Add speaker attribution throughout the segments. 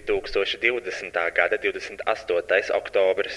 Speaker 1: 2020. gada 28. oktobris.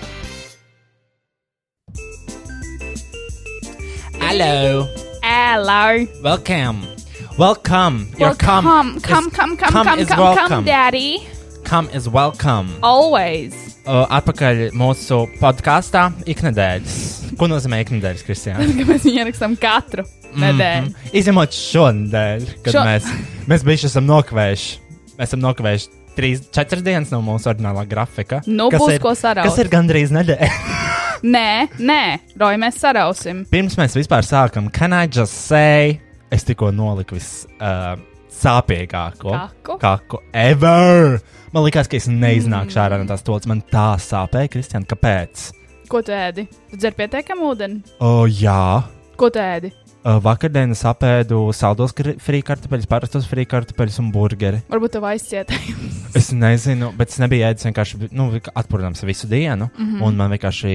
Speaker 2: Hello!
Speaker 3: Hello!
Speaker 2: Welcome! Welcome!
Speaker 3: Well, come, come, come, come, come, come, come, come, daddy!
Speaker 2: Come is welcome!
Speaker 3: Always!
Speaker 2: Uh, atpakaļ mūsu podkāstā iknedēļas. Ko nozīmē iknedēļas, Kristija?
Speaker 3: Ka mēs viņu ierakstām katru nedēļu.
Speaker 2: Izņemot šonadēļ, kad
Speaker 3: Šo-
Speaker 2: Šo... mēs, mēs bijuši esam nokavējuši. Mēs esam nokavējuši trīs, četras dienas no mūsu ordinālā grafika.
Speaker 3: Nu,
Speaker 2: kas
Speaker 3: būs
Speaker 2: ir-
Speaker 3: ko saraut.
Speaker 2: Kas ir gandrīz nedēļa?
Speaker 3: Nē, nē, Roja, mēs sarausim.
Speaker 2: Pirms mēs vispār sākam, can I just say, es tikko noliku vis uh, sāpīgāko
Speaker 3: Kaku?
Speaker 2: kaku ever. Man liekas, ka es neiznākšu ārā no tās tolas. Man tā sāpēja, Kristija, kāpēc?
Speaker 3: Ko tu ēdi? Tu dzer pietiekami ūdeni.
Speaker 2: O, jā.
Speaker 3: Ko tu ēdi?
Speaker 2: Uh, Vakardienas apēdu saldos kri- frī kartupeļus, parastos frī kartupeļus un burgeri.
Speaker 3: Varbūt tev aizcietējums.
Speaker 2: Es nezinu, bet es nebiju ēdis vienkārši nu, atpūtams visu dienu. Mm
Speaker 3: Mhm.
Speaker 2: -hmm. Un man vienkārši,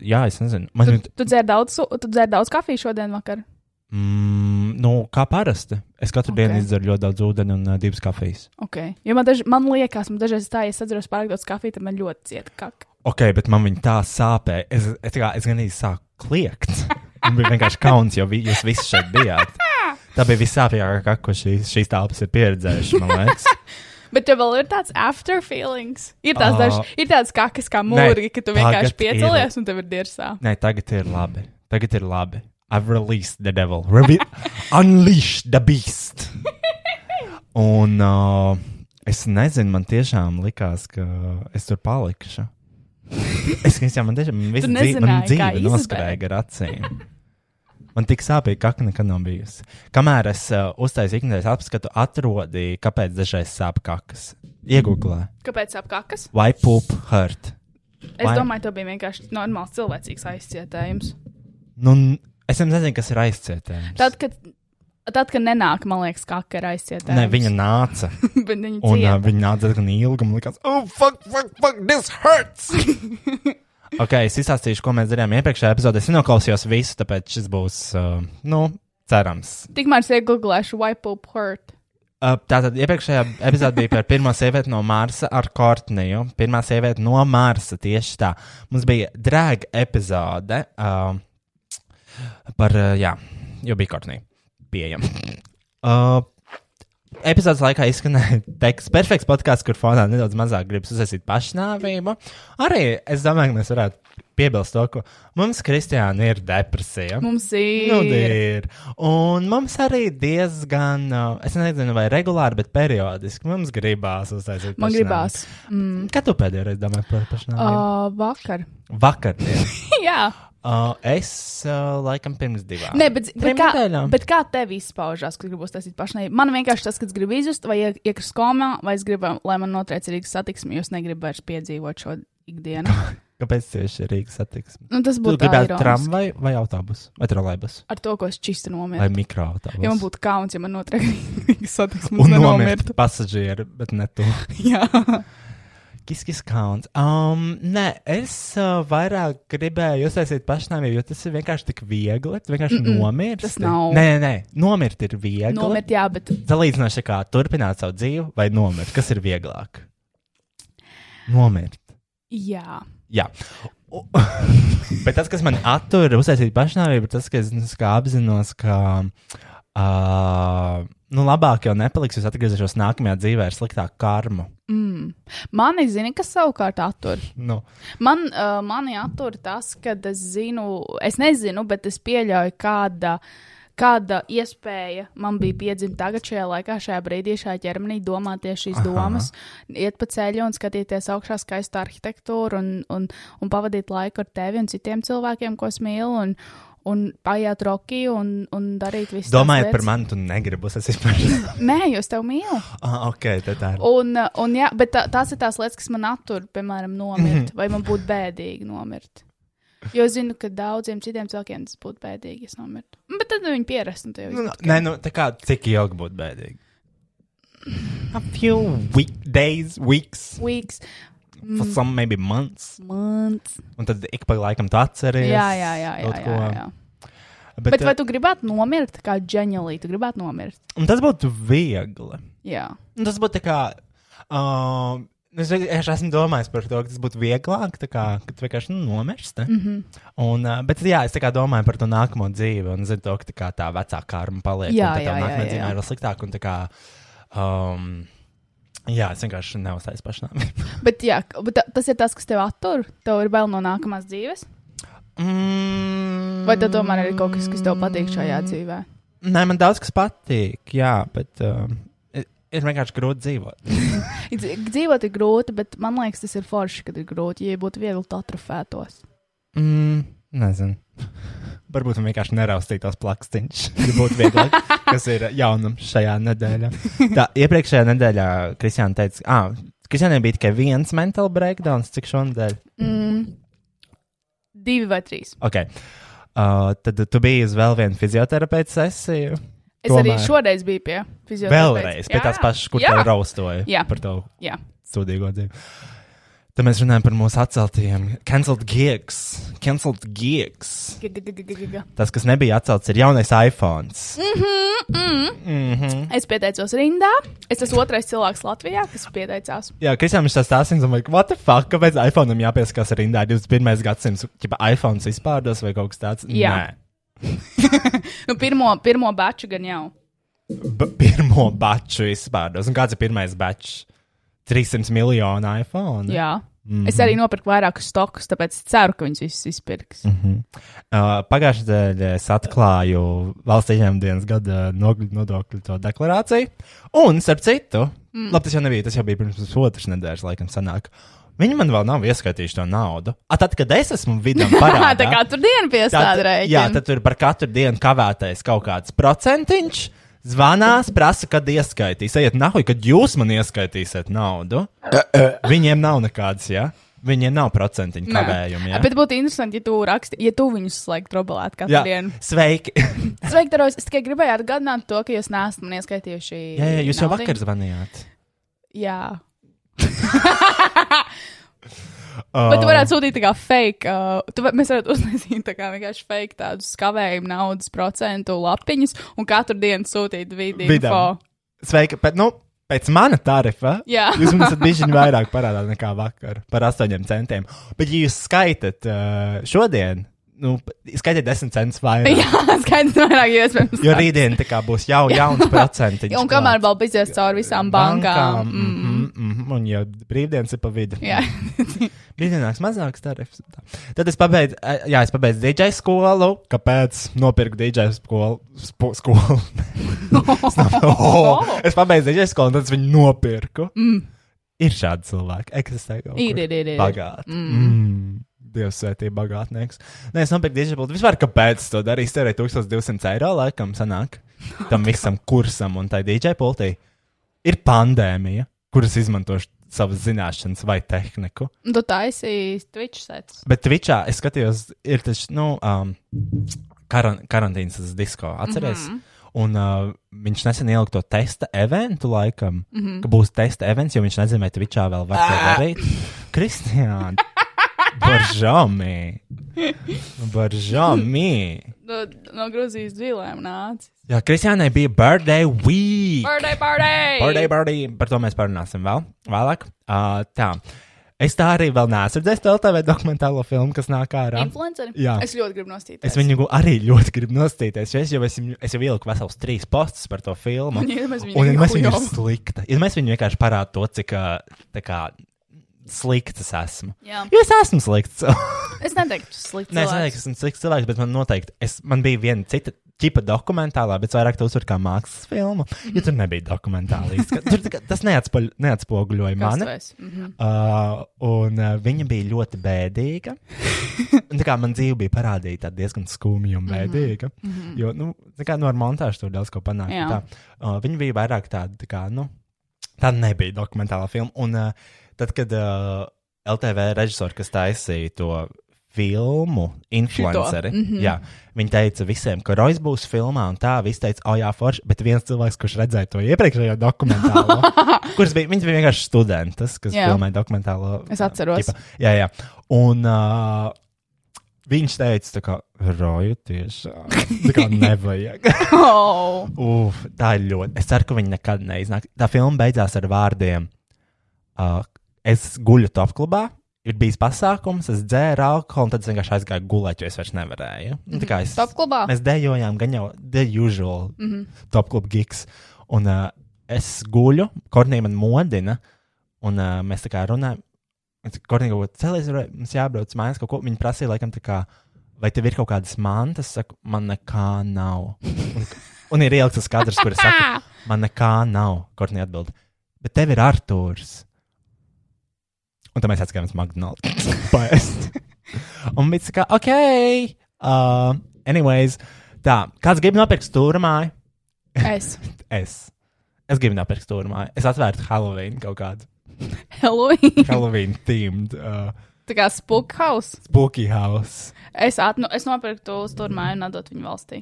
Speaker 2: jā, es nezinu, man ir.
Speaker 3: Tu dzēri daudz, su- tu dzēri daudz kafijas šodien vakar.
Speaker 2: Mm, nu, kā parasti. Es katru okay. dienu
Speaker 3: Ok.
Speaker 2: izdzeru ļoti daudz ūdeni un uh, divas kafijas.
Speaker 3: Okay. Jo man, daž, man liekas, man dažreiz tā, ja es atceros pārāk daudz kafijas, tad man ļoti ciet kaka.
Speaker 2: Ok, bet man viņa tā sāpēja. Es, es, kā- es gan īsti sāku kliegt. Man bija vienkārši kauns, jo vi, jūs visi šeit bijāt. Tā bija vissāpīgākā, ko šīs, šīs tāpas ir pieredzējušas, man liekas.
Speaker 3: Bet tev vēl ir tāds after feelings. Ir tāds,
Speaker 2: Ā.
Speaker 3: dažs, ir tāds kakas kā
Speaker 2: Ah. Nē,
Speaker 3: mūri, ka tu vienkārši
Speaker 2: tagad
Speaker 3: piecelies un tev ir dirsā.
Speaker 2: Nē, tagad ir labi. Tagad ir labi. I've released the devil. Revi Unleash the beast. Un uh, es nezinu, man tiešām likās, ka es tur palikšu. Es domāju, man tiešām man visu dzīvi, man
Speaker 3: nezināji, kā
Speaker 2: dzīve
Speaker 3: izbēgt.
Speaker 2: noskrēja ar acīm. Man tik sāpīgi, ka kakla nekad nav bijusi. Kamēr es uh, uztaisīju ikdienas apskatu, atrodīju, kāpēc dažreiz sāp kakas. Iegūglē,
Speaker 3: Kāpēc ap kakas?
Speaker 2: why poop hurt?
Speaker 3: Es
Speaker 2: Vai-
Speaker 3: domāju, tev bija vienkārši normāls cilvēcīgs aizcietējums.
Speaker 2: Nu, n- es nemaz nezinu, kas ir aizcietējums.
Speaker 3: Tad, kad, tad, kad nenāk, man liekas, kaka ir aizcietējums.
Speaker 2: Ne, viņa nāca.
Speaker 3: bet viņa
Speaker 2: Un
Speaker 3: cieta.
Speaker 2: uh, viņa nāca diezgan ilgi. Man liekas, oh, fuck, fuck, fuck, this hurts! ok, es izstāstīšu, ko mēs darījām iepriekšējā epizodē. Es noklausījos visu, tāpēc šis būs, uh, nu, cerams.
Speaker 3: Tikmēr es iegooglēšu wipe up hurt.
Speaker 2: Uh, tātad iepriekšējā epizodē bija par pirmo sievieti no Marsa ar Kortniju. Pirmā sieviete no Marsa tieši tā. Mums bija drēga epizode uh, par, uh, jā, jo bija Kortnija pieejama. Uh, epizodes laikā izskanēja teksts, perfekts podkāsts, kur fonā nedaudz mazāk gribas uzsākt pašnāvību. Arī es domāju, ka mēs varētu piebilst to, ka mums, Kristiāna, ir depresija.
Speaker 3: Mums ir.
Speaker 2: Nu, ir. Un mums arī diezgan, uh, es nezinu, vai regulāri, bet periodiski mums gribās uzsākt.
Speaker 3: Man gribās.
Speaker 2: Mm. Kad tu pēdējo reizi domāji par
Speaker 3: Uh,
Speaker 2: pašnāvību?
Speaker 3: vakar.
Speaker 2: Uh. Vakar. jā.
Speaker 3: Jā,
Speaker 2: Uh, es uh, laikam pirms divām.
Speaker 3: Nē, bet, bet,
Speaker 2: Trim
Speaker 3: kā,
Speaker 2: nedēļām.
Speaker 3: bet kā tev izpaužās, kad gribos taisīt pašnāvību? Man vienkārši tas, kad gribu izjust, vai ie- iekrist komā, vai es gribu, lai man notriec Rīgas satiksme, jo es negribu vairs piedzīvot šo ikdienu.
Speaker 2: Kāpēc tieši Rīgas satiksme?
Speaker 3: Nu, tas
Speaker 2: Tu
Speaker 3: būtu
Speaker 2: gribētu
Speaker 3: grūti.
Speaker 2: tramvaju vai autobusu? Vai trolēbus?
Speaker 3: Ar to, ko es čisti
Speaker 2: Vai
Speaker 3: nomirtu.
Speaker 2: mikroautobusu?
Speaker 3: Ja man būtu kauns, ja man notriec Rīgas satiksme, un
Speaker 2: Un nomirt
Speaker 3: nomirtu.
Speaker 2: pasažieri, bet ne tu.
Speaker 3: Jā,
Speaker 2: Kiskis kauns. Um, nē, es uh, vairāk gribēju uztaisīt pašnāvību, jo tas ir vienkārši tik viegli. Tu vienkārši mm -mm, nomirsti.
Speaker 3: tas nav.
Speaker 2: Nē, nē, nē, nomirt ir viegli.
Speaker 3: nomirt, jā, bet
Speaker 2: Salīdzinoši kā turpināt savu dzīvi vai nomirt, kas ir vieglāk? Nomirt.
Speaker 3: jā.
Speaker 2: Jā. U- Bet tas, kas man attur uztaisīt pašnāvību, ir tas, ka es nu, es kā apzinos, ka uh, nu, labāk jau nepaliks, jo es atgriezīšos nākamajā dzīvē ar sliktāku karmu.
Speaker 3: Mm. Mani zina, kas savukārt attur.
Speaker 2: Nu,
Speaker 3: Man, uh, mani attur tas, ka es zinu, es nezinu, bet es pieļauju, kāda, kāda iespēja man bija piedzimt tagad, šajā laikā, šajā brīdī, šajā ķermenī, domāt tieši šīs
Speaker 2: Aha.
Speaker 3: domas, iet pa ceļu un skatīties augšā skaistu arhitektūru un, un, un pavadīt laiku ar tevi un citiem cilvēkiem, ko es mīlu. Un, un paiet roki un, un darīt visu.
Speaker 2: domājot par mani, tu negribi uztaisīt pašnāvību.
Speaker 3: Nē, jūs tevi mīlu.
Speaker 2: ah, ok, tad tā ir.
Speaker 3: Un, uh, un jā, bet tā, tās ir tās lietas, kas man attur, piemēram, nomirt,
Speaker 2: Mhm.
Speaker 3: vai man būtu bēdīgi nomirt. Jo es zinu, ka daudziem citiem cilvēkiem tas būtu bēdīgi, ja es nomirtu. Bet tad viņi pierast, un tas jau
Speaker 2: Nu,
Speaker 3: ir.
Speaker 2: nē, nu, tā kā cik ilgi būtu bēdīgi? A few week, days, weeks,
Speaker 3: Weeks,
Speaker 2: for
Speaker 3: Mm.
Speaker 2: some maybe months.
Speaker 3: months.
Speaker 2: Un tad ik pa laikam tu atceries.
Speaker 3: Jā, jā, jā. jā, jā,
Speaker 2: kaut ko.
Speaker 3: jā.
Speaker 2: Bet,
Speaker 3: Bet
Speaker 2: bet, eh,
Speaker 3: vai tu gribētu nomirt kā ģeniāli? Tu gribētu nomirt.
Speaker 2: bet... Tas būtu viegli.
Speaker 3: Jā,
Speaker 2: Nu, Tas būtu tā kā. Um, Es vienkārši esmu domājis par to, ka tas būtu vieglāk, tā kā, kad tu vienkārši nu, nomirsti. Mm
Speaker 3: Mhm.
Speaker 2: -hmm. un, uh, bet, jā, es tā kā domāju par to nākamo dzīvi, un zinu, to, ka tā, kā, tā vecā kārma paliek.
Speaker 3: Jā,
Speaker 2: un tā
Speaker 3: jā,
Speaker 2: tā
Speaker 3: jā,
Speaker 2: nākamā
Speaker 3: jā.
Speaker 2: dzīve ir vēl sliktāka. un tā kā, Um, jā, es vienkārši neuzsācu pašnāvību.
Speaker 3: bet, jā, k- bet ta- tas ir tas, kas tev attur. Tev ir bail no nākamās dzīves.
Speaker 2: Mm,
Speaker 3: Vai tad tomēr ir kaut kas, kas tev patīk šajā dzīvē?
Speaker 2: Nē, man daudz kas patīk, jā, bet um, ir ir vienkārši grūti dzīvot.
Speaker 3: Ir dz- Dzīvot ir grūti, bet man liekas, tas ir forši, kad ir grūti. Ja būtu viegli, tad atrofētos.
Speaker 2: Mm, nezinu. Varbūt man vienkārši neraustītos plakstīns. Tas būtu vieglāk, kas ir jaunums šajā nedēļā. Tā, iepriekšējā nedēļā Kristiāna teica, ka Kristiānai bija tikai viens mental breakdown, cik šonadēļ.
Speaker 3: Mm. Divi vai trīs.
Speaker 2: Okay. Uh, tad tu biji uz vēl vienu fizioterapeita sesiju.
Speaker 3: Es Tomēr. arī
Speaker 2: Tomēr.
Speaker 3: šoreiz biju pie fizioterapeita.
Speaker 2: Vēlreiz pie
Speaker 3: Jā,
Speaker 2: tās pašas, kur
Speaker 3: jā.
Speaker 2: tev raustoja
Speaker 3: Jā.
Speaker 2: par to
Speaker 3: Jā.
Speaker 2: sūdīgo dzīvi. Tad mēs runājam par mūsu atceltajiem. Cancelled gigs. Cancelled gigs.
Speaker 3: G-g-g-g-g-g.
Speaker 2: Tas, kas nebija atcelts, ir jaunais iPhone. Mm -hmm. Mm -hmm.
Speaker 3: Mhm, Es pieteicos rindā. Es esmu otrais cilvēks Latvijā, kas pieteicās.
Speaker 2: Jā, Kristija, viņš tā stāsta, un like, what the fuck, kāpēc iPhone jāpieskās rindā 21. gadsimts, ja iPhone izpārdos vai kaut kas tāds?
Speaker 3: Jā. Nu, pirmo, pirmo baču gan jau.
Speaker 2: Nē. B pirmo baču izpārdos. Un kāds ir pirmais bačs? 300 miljonu iPhone.
Speaker 3: Jā.
Speaker 2: Mhm.
Speaker 3: Mm -hmm. Es arī nopirku vairākus stokus, tāpēc es ceru, ka viņas visas izpirks.
Speaker 2: Mhm.
Speaker 3: Mm -hmm.
Speaker 2: Uh, Pagājušajā nedēļā es atklāju valsts ieņēmuma dienas gada nogļu- nodokļu to deklarāciju. Un, starp citu, mm. labi, tas jau nebija, tas jau bija pirms pusotras nedēļas, laikam, sanāk. Viņi man vēl nav ieskaitījuši to naudu. A, tad, kad es esmu vidū,
Speaker 3: Tā kā tur diena piestāda
Speaker 2: tad, jā,
Speaker 3: reiķi.
Speaker 2: tad tur par katru dienu kavētais kaut kāds procentiņš. Zvanās, prasa, kad ieskaitīs. Ejiet, nahuj, kad jūs man ieskaitīsiet naudu. Viņiem nav nekādas, jā. Viņiem nav procentiņu kavējumi. jā.
Speaker 3: Bet būtu interesanti, ja tu raksti, ja tu viņus slēgtu trobelēt katru
Speaker 2: Jā,
Speaker 3: dienu.
Speaker 2: sveiki.
Speaker 3: Sveiki, Taros! Es tikai gribēju atgādināt to, ka jūs neesat man ieskaitījuši.
Speaker 2: jā, jā, jūs jau
Speaker 3: naudiņu.
Speaker 2: vakar zvanījāt.
Speaker 3: Jā. Bet tu
Speaker 2: Um.
Speaker 3: varētu sūtīt tādu fake. Uh, tu, va- mēs varētu uztaisīt tā kā vienkārši fake tādu skavējumu naudas procentu lapiņas un katru dienu sūtīt vidi
Speaker 2: Vidam.
Speaker 3: info.
Speaker 2: Sveiki, bet, nu, pēc mana tarifa.
Speaker 3: Jā.
Speaker 2: Jūs mums esat bijuši vairāk parādā nekā vakar par astoņiem centiem. Bet, ja jūs skaitat uh, eh, šodien, nu, skaitiet, 10 cents vairāk.
Speaker 3: Jā, skaidrs, vairāk iespējams.
Speaker 2: Jo rītdien tā kā būs jau jauns procentiņš.
Speaker 3: Un kamēr vēl aizies cauri visām bankām.
Speaker 2: Mm -hmm, mm -hmm, un ja brīvdienas ir pa vidu.
Speaker 3: Jā,
Speaker 2: Brīvdienās mazāks tarifs. Tā. Tad es pabeidzu, ā, jā, es pabeidzu DJ skolu. Kāpēc? Nopirku DJ skolu. Spo, skolu. es, oh, es pabeidzu DJ skolu un tad es viņu nopirku.
Speaker 3: Mm.
Speaker 2: Ir šādi cilvēki. Eksistē kaut
Speaker 3: ir,
Speaker 2: kur.
Speaker 3: ir, ir. ir.
Speaker 2: Bagāti. Mm. Dievs svētī, bagātnieks. Nē, es nopirku dižabaldu. Vispār kāpēc es to darīju? Es Tērēju 1200 eiro laikam sanāk. Tam visam kursam un tai DJ pultī. Ir pandēmija, kuras izmantošu savas zināšanas vai tehniku.
Speaker 3: Un Tu taisīji Twitch sets.
Speaker 2: Bet Twitchā es skatījos, ir tas, nu, um, karan karantīnas tas disko, atceries? Mm -hmm. Un uh, viņš nesen ielika to testa eventu, laikam, mm -hmm. ka būs testa events, jo viņš nezināja, vai Twitchā vēl var to darīt. Kristiāna! Baržāmī! Baržāmī!
Speaker 3: No, no Grūzijas dzīvēm nācis.
Speaker 2: Jā, Kristiānai bija birthday week!
Speaker 3: Birthday party!
Speaker 2: Birthday party! Par to mēs parunāsim vēl vēlāk. Uh, tā. Es tā arī vēl neesmu redzējis TV dokumentālo filmu, kas nāk ārā.
Speaker 3: Influenceri?
Speaker 2: Jā.
Speaker 3: Es ļoti gribu nostīties.
Speaker 2: Es viņu arī ļoti gribu nostīties. jo Es jau, es, es jau ieliku vesels trīs postus par to filmu.
Speaker 3: Un iedomājies, viņa
Speaker 2: Un
Speaker 3: ir
Speaker 2: mēs viņu ir
Speaker 3: kujava.
Speaker 2: slikta. Ja mēs viņu vienkārši parādām to, cik ā, tā kā, slikts es esmu.
Speaker 3: Jā.
Speaker 2: Jo es esmu slikts.
Speaker 3: Es neteiktu slikti.
Speaker 2: Nē, es nezinu, kas esmu slikts cilvēks, bet man noteikti, es, man bija viena cita. Čipa dokumentālā, bet vairāk to uzsver kā mākslas filmu. Jo tur nebija dokumentālā izskata. Tur tā kā- Tas neatspoļ- neatspoguļoja mani.
Speaker 3: Mhm.
Speaker 2: Uh, un uh, viņa bija ļoti bēdīga. Un, tā kā man dzīve bija parādīta tāda diezgan skumja un bēdīga. Mm
Speaker 3: Mhm.
Speaker 2: -hmm. Jo, nu, tā kā no ar montāžu tur daudz ko panākt. un
Speaker 3: Jā.
Speaker 2: tā. Uh, viņa bija vairāk tāda, tā kā, nu, tā nebija dokumentāla filma. Un uh, tad, kad uh, LTV režisori, kas taisīja to filmu, influenceri, mm
Speaker 3: Mhm.
Speaker 2: -hmm. jā, viņi teica visiem, ka Rois būs filmā, un tā, visi teica, o, jā, forši, bet viens cilvēks, kurš redzēja to iepriekšējo dokumentālo, kurš bija, viņš bija vienkārši students, kas
Speaker 3: Jā.
Speaker 2: jā. filmēja dokumentālo.
Speaker 3: Es atceros.
Speaker 2: Ķipa. Jā, jā. Un uh, viņš teica, tā kā roju tiešām. Tā kā nevajag.
Speaker 3: Oh.
Speaker 2: Uf, tā ir ļoti. Es ceru, ka viņi nekad neiznāks. Tā filma beidzās ar vārdiem. Uh, es guļu top klubā. Ir bijis pasākums, es dzēru alkoholu, un tad es vienkārši aizgāju gulēt, jo es vairs nevarēju. Nu, tā kā es,
Speaker 3: Top klubā.
Speaker 2: mēs dejojām, gan jau the usual mm -hmm. top klubu gigs. Un uh, es guļu, Kornija man modina, un uh, mēs tā kā runājam. Kornija kaut ko celies, mums jābrauc mājās kaut ko. Viņa prasīja, laikam, tā kā, vai tev ir kaut kādas mantas? Es Saku, man nekā nav. Un, un ir ieliktas kadrs, kur es
Speaker 3: Ah!
Speaker 2: saku, man nekā nav. Kornija atbild, bet tev ir Artūrs. Un tad mēs atskatījāmies McDonald's. Paēst. Un bija tā kā, ok, uh, anyways, tā, kāds grib nopirkt stūrmāju?
Speaker 3: Es.
Speaker 2: Es. Es gribu nopirkt stūrmāju. Es atvērtu Halloween kaut kādu.
Speaker 3: Halloween.
Speaker 2: Halloween themed uh,
Speaker 3: Tā kā spook house.
Speaker 2: spooky house.
Speaker 3: Es, atnu, es nopirku to uzturmāju un atdot viņu valstī.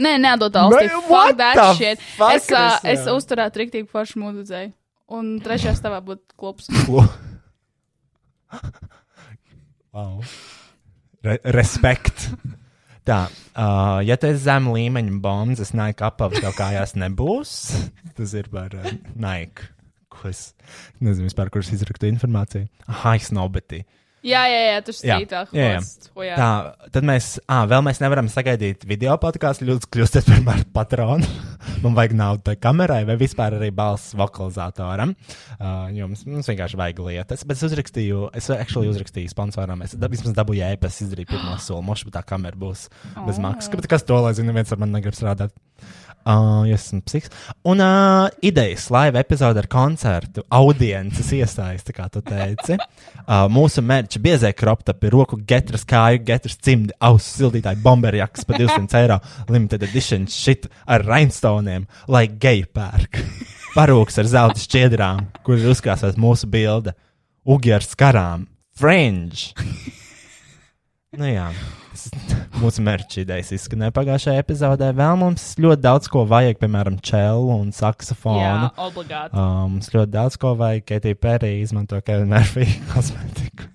Speaker 3: Nē, nedod valstī.
Speaker 2: Man-
Speaker 3: Fuck
Speaker 2: what the
Speaker 3: that shit.
Speaker 2: fuck,
Speaker 3: Es, uh,
Speaker 2: Kristiāna?
Speaker 3: es uzturētu rīktīgi foršu mūdudzēju. Un trešajā stāvā būtu klops.
Speaker 2: Lo- wow. Re respekt. Tā, uh, ja tu esi zem līmeņa bombas, es Nike apavs tev kājās nebūs. Tas ir par uh, Nike. Ko es nezinu, vispār, kurš izraktu informāciju. Aha, snobetī.
Speaker 3: Jā, jā, jā, tur
Speaker 2: Jā,
Speaker 3: strīdā.
Speaker 2: jā, jā. Tā, tad mēs, ah, vēl mēs nevaram sagaidīt video podkāstu. Lūdzu, kļūstiet par mani patronu. Man vajag naudu tai kamerai vai vispār arī balss vokalizatoram. Uh, jums, mums vienkārši vajag lietas. Bet es uzrakstīju, es actually uzrakstīju sponsoram. Es dab, vismaz dabūju ēpas, izdarīju pirmo soli. Mošu, bet tā kamera būs bez maksas. Kāpēc kas to, lai zinu, viens ar mani negrib strādāt? Uh, es esmu psiks. Un uh, idejas, live epizode ar koncertu, audiences iesaista, kā tu teici. Uh, mūsu mērķis - biezē kroptapi, roku getras, kāju getras, cimdi, ausu sildītāji, bomberjaks par 200 eiro, limited edition shit ar rainstoniem, lai geju pērk. Parūks ar zelta šķiedrām, kur ir uzkrāsās mūsu bilde, ugi ar skarām, fringe. Nu jā, tas mūsu mērķis idejas izskanēja pagājušajā epizodē. Vēl mums ļoti daudz ko vajag, piemēram, čelu un saksofonu.
Speaker 3: Jā, obligāti.
Speaker 2: Uh, mums ļoti daudz ko vajag. Katie Perry izmanto Kevina Murphy kosmetiku.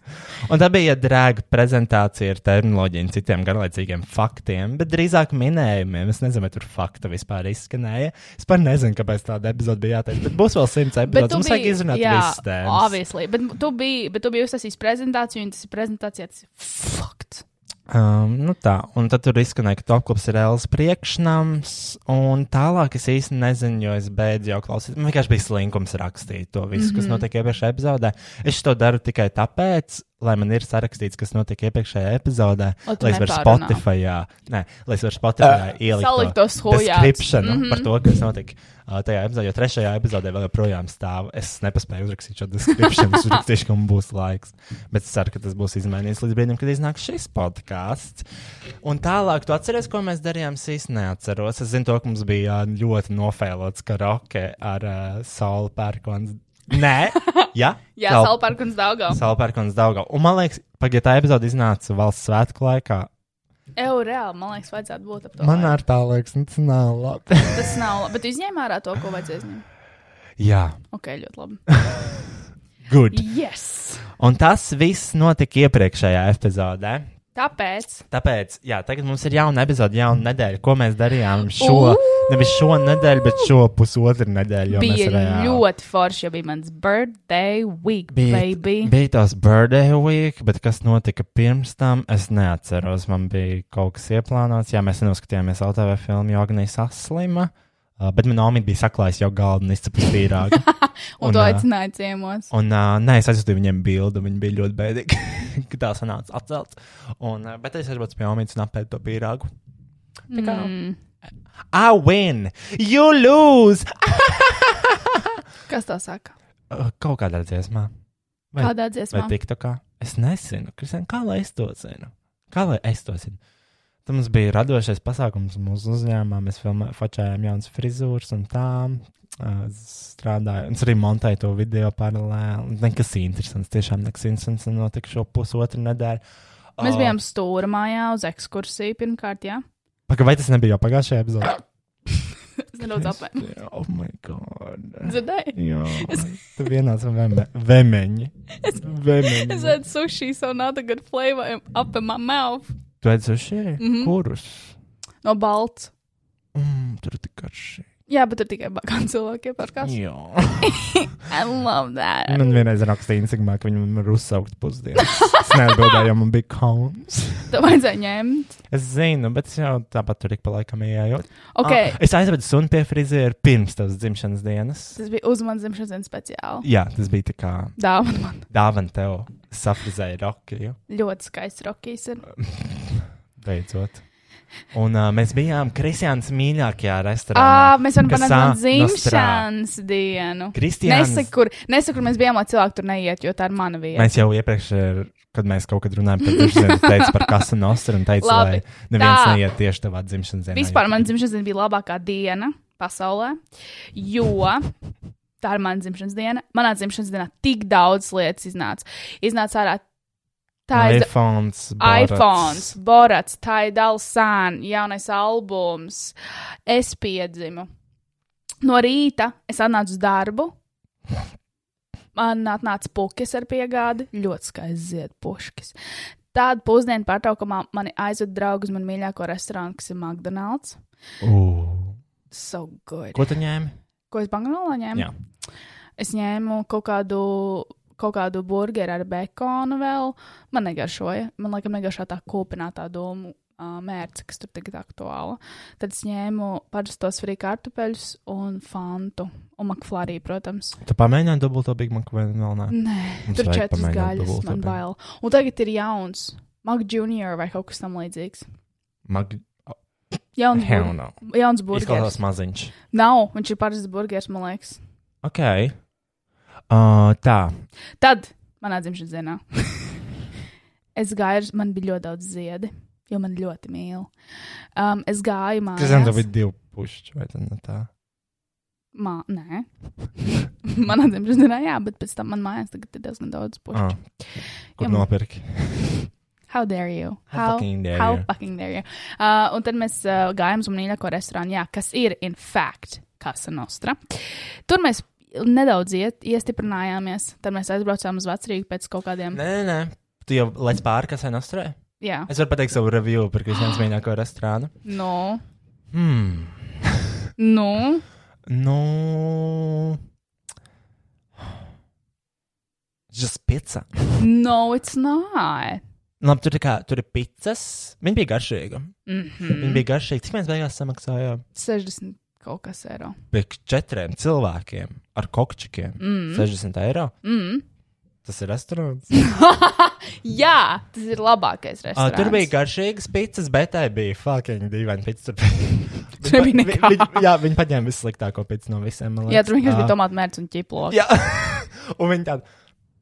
Speaker 2: Un tā bija drēga prezentācija ar terminoloģiju un citiem garlaicīgiem faktiem, bet drīzāk minējumiem. Es nezinu, vai tur fakta vispār izskanēja. Es pat nezinu, kāpēc tāda epizode bija jāteic, bet būs vēl simts
Speaker 3: Bet
Speaker 2: epizodes.
Speaker 3: tu
Speaker 2: Mums vajag
Speaker 3: biji,
Speaker 2: izrunāt
Speaker 3: jā,
Speaker 2: visas tēmas.
Speaker 3: obviously. Bet tu biji, bet tu biji uztaisījis prezentāciju, un tas ir prezentācija, tas ir fakts.
Speaker 2: Um, nu tā, un tad tur izskanēja, ka topklups ir Elsa priekšnams, un tālāk es īsti nezinu, jo es beidzu jau klausīties. Man vienkārši bija slinkums rakstīt to visu, mm -hmm. kas notika iepriekšējā epizodē. Es to daru tikai tāpēc, lai man ir sarakstīts, kas notika iepriekšējā epizodē,
Speaker 3: Lai tu
Speaker 2: lai es varu
Speaker 3: nepārunā.
Speaker 2: Spotify, nē, lai es varu Spotify uh, ielikt
Speaker 3: Salikt tos hujāts.
Speaker 2: description
Speaker 3: Mhm.
Speaker 2: mm -hmm. par to, kas notika uh, tajā epizodē, jo trešajā epizodē vēl joprojām stāv. Es nespēju uzrakstīt šo description, es uzrakstīšu, ka man būs laiks. Bet es ceru, ka tas būs izmainīts līdz brīdim, kad iznāks šis podkāsts. Un tālāk, tu atceries, ko mēs darījām? Es īsti neatceros. Es zinu, to, ka mums bija ā, ļoti nofēlots karaoke ar uh, sauli pērkons. Nē, jā,
Speaker 3: Jā,
Speaker 2: Saul-
Speaker 3: Salparkums Daugavs.
Speaker 2: Salopērkons Daugā. Un man liekas, pagaidā tā epizode iznāca valsts svētku laikā.
Speaker 3: Eju, reāli, man liekas, vajadzētu būt ap to.
Speaker 2: Man
Speaker 3: laiku.
Speaker 2: ar tā liekas, nu, tas nav labi.
Speaker 3: Tas nav labi, bet izņēma ārā to, ko vajadzēja izņemt.
Speaker 2: Jā,
Speaker 3: Ok, ļoti labi.
Speaker 2: good.
Speaker 3: Yes!
Speaker 2: Un tas viss notika iepriekšējā epizodē.
Speaker 3: Tāpēc
Speaker 2: Tāpēc, jā, tagad mums ir jauna epizode, jauna nedēļa, ko mēs darījām šo, nevis šo nedēļu, bet šo pusotru nedēļu. jo
Speaker 3: bija
Speaker 2: mēs reāli-
Speaker 3: ļoti forši, jo bija mans birthday week, bija,
Speaker 2: Bija,
Speaker 3: baby.
Speaker 2: bija tās birthday week, bet kas notika pirms tam, es neatceros. Man bija kaut kas ieplānots, jā, mēs noskatījāmies LTV filmu, jo Agnija saslima. Uh, bet manā omīte bija saklājis jau galdu un izcēlus pīrāgu.
Speaker 3: Un, un to aicināja ciemos.
Speaker 2: Un, uh, nē, es aizsūtīju viņiem bildi, viņi bija ļoti bēdīgi, ka tā sanāca atcelt. Un, uh, bet es aizbraucu pie omītes un apēdu to pīrāgu. Tā kā mm. I win, you lose!
Speaker 3: Kas tā saka?
Speaker 2: Uh, kaut kādā dziesmā. Vai-
Speaker 3: Kādā
Speaker 2: Vai
Speaker 3: dziesmā?
Speaker 2: TikTokā? Es nezinu, Kristian, kā lai es to zinu. Kā lai es to zinu? Tad mums bija radošais pasākums mūsu uzņēmumā. Mēs filmē- fačājām jaunas frizūras un tām. ā, Strādāju, un es arī montēju to video paralēli. Nekas interesants, tiešām nekas interesants notika šo pusotru nedēļu.
Speaker 3: Mēs
Speaker 2: Ā,
Speaker 3: bijām stūra mājā uz ekskursiju pirmkārt, jā.
Speaker 2: Paka, vai tas nebija jau pagājušajā epizodē?
Speaker 3: Es nedaudz apēnu.
Speaker 2: Jā, oh my god.
Speaker 3: Dzirdēju?
Speaker 2: Jā, tu vienāds ar veme- vemeņi.
Speaker 3: Es
Speaker 2: Vemeņi.
Speaker 3: redzu sushi, so not a good flavor up in my mouth.
Speaker 2: Tu esi šie?
Speaker 3: Mhm.
Speaker 2: Kurus?
Speaker 3: No balts.
Speaker 2: Mm, tur ir tik karši.
Speaker 3: Jā, bet tur tikai bagāti cilvēki iepērkās.
Speaker 2: Jā.
Speaker 3: I love that.
Speaker 2: Man vienreiz rakstīja Instagramā, ka viņam ir uzsaukts pusdienas. Es neatbildēju, jo man bija kauns.
Speaker 3: Tev vajadzēja ņemt.
Speaker 2: Es zinu, bet es jau tāpat tur ik pa laikam ienāku.
Speaker 3: Ok,
Speaker 2: Ah, es aizvedu sunu pie friziera pirms tavas dzimšanas dienas.
Speaker 3: tas bija uz manas dzimšanas dienas speciāli.
Speaker 2: Jā, tas bija tā kā
Speaker 3: Dāvana man
Speaker 2: dāvana tev. Safrizēja rokkļu.
Speaker 3: ļoti skaists rokīs. Ir.
Speaker 2: Beidzot. Un uh, mēs bijām Kristiānas mīļākajā restorānā.
Speaker 3: À, ah, mēs varam
Speaker 2: kas
Speaker 3: panākt manu
Speaker 2: ā- nostrā.
Speaker 3: dzimšanas dienu.
Speaker 2: Kristiāns,
Speaker 3: Nesaka, kur, nesaka, kur mēs bijām, lai cilvēki tur neiet, jo tā ir mana vieta.
Speaker 2: Mēs jau iepriekš, ir, kad mēs kaut kad runājām par dzimšanas dienu, par kasu nostru un teicu,
Speaker 3: Labi,
Speaker 2: lai neviens
Speaker 3: tā.
Speaker 2: neiet tieši tavā dzimšanas dienā.
Speaker 3: Vispār mana dzimšanas diena bija labākā diena pasaulē, jo tā ir mana dzimšanas diena. Manā dzimšanas dienā tik daudz lietas iznāca. Iznāca ārā tā ir
Speaker 2: iPhone.
Speaker 3: iPhone, Borats, Taidalsan, jaunais albums. Es piedzimu. No rīta es atnācu uz darbu. Man atnāca puķis ar piegādi, ļoti skaisti zied puškas. Tāda pusdiena pārtraukumā mani aizved draugi uz manu mīļāko restorānu, kas ir McDonald's. So good.
Speaker 2: Ko tu ņēmi?
Speaker 3: Ko es Bangalorā ņēmu?
Speaker 2: Jā.
Speaker 3: Es ņēmu kaut kādu, kaut kādu burgeru ar bekonu vēl. Man negaršoja. Man liekas, negaršā tā kūpinātā doma. ā, Mērce, kas tur tagad ir aktuāla. Tad es ņēmu parastos frī kartupeļus un fantu. Un maklārī, protams.
Speaker 2: Tu pamēģināji dubulto Big Mac vai vēl nē?
Speaker 3: Nē,
Speaker 2: Mums
Speaker 3: tur
Speaker 2: vajag
Speaker 3: četras
Speaker 2: pamēģināt
Speaker 3: gaļas,
Speaker 2: dubulto
Speaker 3: man
Speaker 2: Big-
Speaker 3: bail. Un tagad ir jauns. Mac Junior vai kaut kas tam līdzīgs.
Speaker 2: Mag...
Speaker 3: Jauns,
Speaker 2: Hell
Speaker 3: bur
Speaker 2: no.
Speaker 3: jauns burgeris.
Speaker 2: Izklausās maziņš.
Speaker 3: Nav, viņš ir parasts burgeris, man liekas.
Speaker 2: Ok. Uh, tā.
Speaker 3: Tad, manā dzimšanas dienā, es gāju, man bija ļoti daudz ziedi, jo man ļoti mīl. Um, es gāju
Speaker 2: Kristian, tev
Speaker 3: mājās.
Speaker 2: bija divi pušķi, vai tad ne tā?
Speaker 3: Mā, nē, manā dzimšanas dienā, jā, bet pēc tam man mājās tagad ir diezgan daudz pušu.
Speaker 2: Ah. Kur
Speaker 3: Jā, man-
Speaker 2: nopirki?
Speaker 3: How dare you?
Speaker 2: Ah. How fucking dare
Speaker 3: how
Speaker 2: you?
Speaker 3: fucking dare you? Uh, un tad mēs uh, gājām uz mīļāko restorānu, jā, kas ir in fact Casa Nostra. Tur mēs nedaudz iet, iestiprinājāmies, tad mēs aizbraucām uz Vecrīgu pēc kaut kādiem.
Speaker 2: Nē, nē, nē. Tu jau lec pāri, kas ir nostrē?
Speaker 3: Jā,
Speaker 2: Es varu pateikt savu review par Kristianas mīļāko restorānu.
Speaker 3: nu,
Speaker 2: Hmm.
Speaker 3: nu.
Speaker 2: Nu. Just pizza.
Speaker 3: No, it's not.
Speaker 2: Labi, tur, ir kā, tur ir pitas. Viņa bija garšīga.
Speaker 3: Mm
Speaker 2: Mm. Viņa bija garšīga. Cik mēs beigās samaksājām?
Speaker 3: 60 kaut kas eiro.
Speaker 2: Pie četriem cilvēkiem ar kokčikiem. Mm. 60 eiro.
Speaker 3: Mm.
Speaker 2: Tas ir restorāns.
Speaker 3: Jā, tas ir labākais
Speaker 2: Uh,
Speaker 3: restorāns.
Speaker 2: tur bija garšīgas pitas, bet tai bija fucking dīvaina pita.
Speaker 3: Tur nebija nekā.
Speaker 2: Jā, viņi paņēma vissliktāko pitu no visiem. man
Speaker 3: Jā,
Speaker 2: liekas.
Speaker 3: tur vienkārši bija
Speaker 2: Ā,
Speaker 3: tomātu mērķis un ķiploks.
Speaker 2: Jā, un viņi tādi.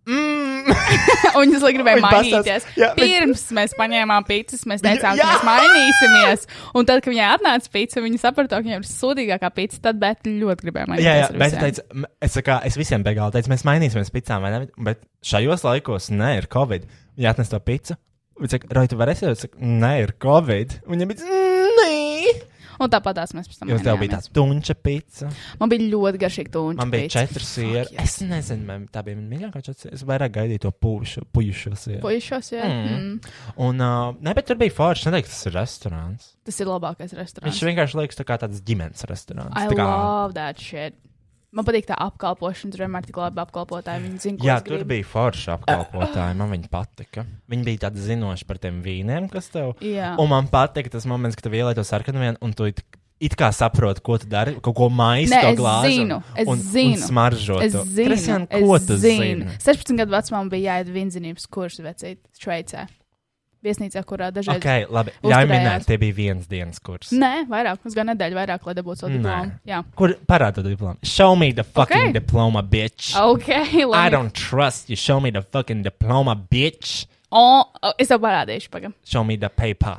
Speaker 2: Mm.
Speaker 3: un viņas lai gribēja
Speaker 2: Viņa
Speaker 3: mainīties.
Speaker 2: pastāst- jā, viņa-
Speaker 3: Pirms mēs paņēmām pīcis, mēs teicām,
Speaker 2: jā!
Speaker 3: ka mēs mainīsimies. Un tad, kad viņai atnāca pīcis, viņa saprata, ka viņai ir sūdīgākā pīcis, tad bet ļoti gribēja
Speaker 2: Jā, jā,
Speaker 3: mainīties. ar
Speaker 2: bet
Speaker 3: visiem.
Speaker 2: teicu, m- es, tā kā, es visiem beigās teicu, mēs mainīsimies picām, vai ne? Bet šajos laikos, nē, ir covid. Viņa atnes to pitu. Viņa saka, Rai, tu varēsi? Es saku, nē, ir covid. Viņa bija, "Mm, nē.
Speaker 3: Un tāpat tās mēs pēc tam.
Speaker 2: Jo tev bija
Speaker 3: mainījāmies.
Speaker 2: tā tunča pica.
Speaker 3: Man bija ļoti garšīgi tūņi.
Speaker 2: Man bija četri sieri. Es nezinu, man tā bija mana mīļākā četri sieri. Es vairāk gaidīju to pušu, pušu sieru.
Speaker 3: Puišos, jā.
Speaker 2: Mm.
Speaker 3: Mm.
Speaker 2: Un, uh, ne, bet tur bija forši. Es neteiktu, tas ir restorāns.
Speaker 3: Tas ir labākais restorāns.
Speaker 2: Viņš vienkārši liekas tā kā tāds ģimenes restorāns.
Speaker 3: I
Speaker 2: Tā kā,
Speaker 3: love that shit. Man patīk tā apkalpošana, tur vienmēr tik labi apkalpotāji. Viņi zina, ko
Speaker 2: jā,
Speaker 3: es
Speaker 2: tur
Speaker 3: gribu.
Speaker 2: bija forši apkalpotāji. Man viņi patika. Viņi bija tādi zinoši par tiem vīniem, kas tev.
Speaker 3: Jā.
Speaker 2: Un man patika tas moments, kad tev ielai to sarkanu vienu, un tu it, it kā saproti, ko tu dari, kaut ko maisi
Speaker 3: Nē,
Speaker 2: to
Speaker 3: es
Speaker 2: glāzi.
Speaker 3: zinu, es
Speaker 2: un,
Speaker 3: zinu.
Speaker 2: Un smaržo.
Speaker 3: Es
Speaker 2: to.
Speaker 3: zinu,
Speaker 2: Kristian,
Speaker 3: es
Speaker 2: ko tu
Speaker 3: zinu.
Speaker 2: zini?
Speaker 3: 16 gadu vecumā man bija jāiet vinzinības kurs vecīt Šveicē. Viesnīcā, kurā dažreiz.
Speaker 2: Okay, labi, ļauj
Speaker 3: uzturējās.
Speaker 2: minēt, tie bija viens dienas kurs.
Speaker 3: Nē, vairāk, uz gan nedēļu vairāk, lai dabūtu savu
Speaker 2: Nē.
Speaker 3: diplomu. Jā.
Speaker 2: Kur parāda to diplomu? Show me the fucking okay.
Speaker 3: Okay.
Speaker 2: diploma, bitch. Oh,
Speaker 3: Ok,
Speaker 2: I
Speaker 3: labi.
Speaker 2: don't trust you. Show me the fucking diploma, bitch.
Speaker 3: O, o, es tev parādīšu, pagam.
Speaker 2: Show me the paper.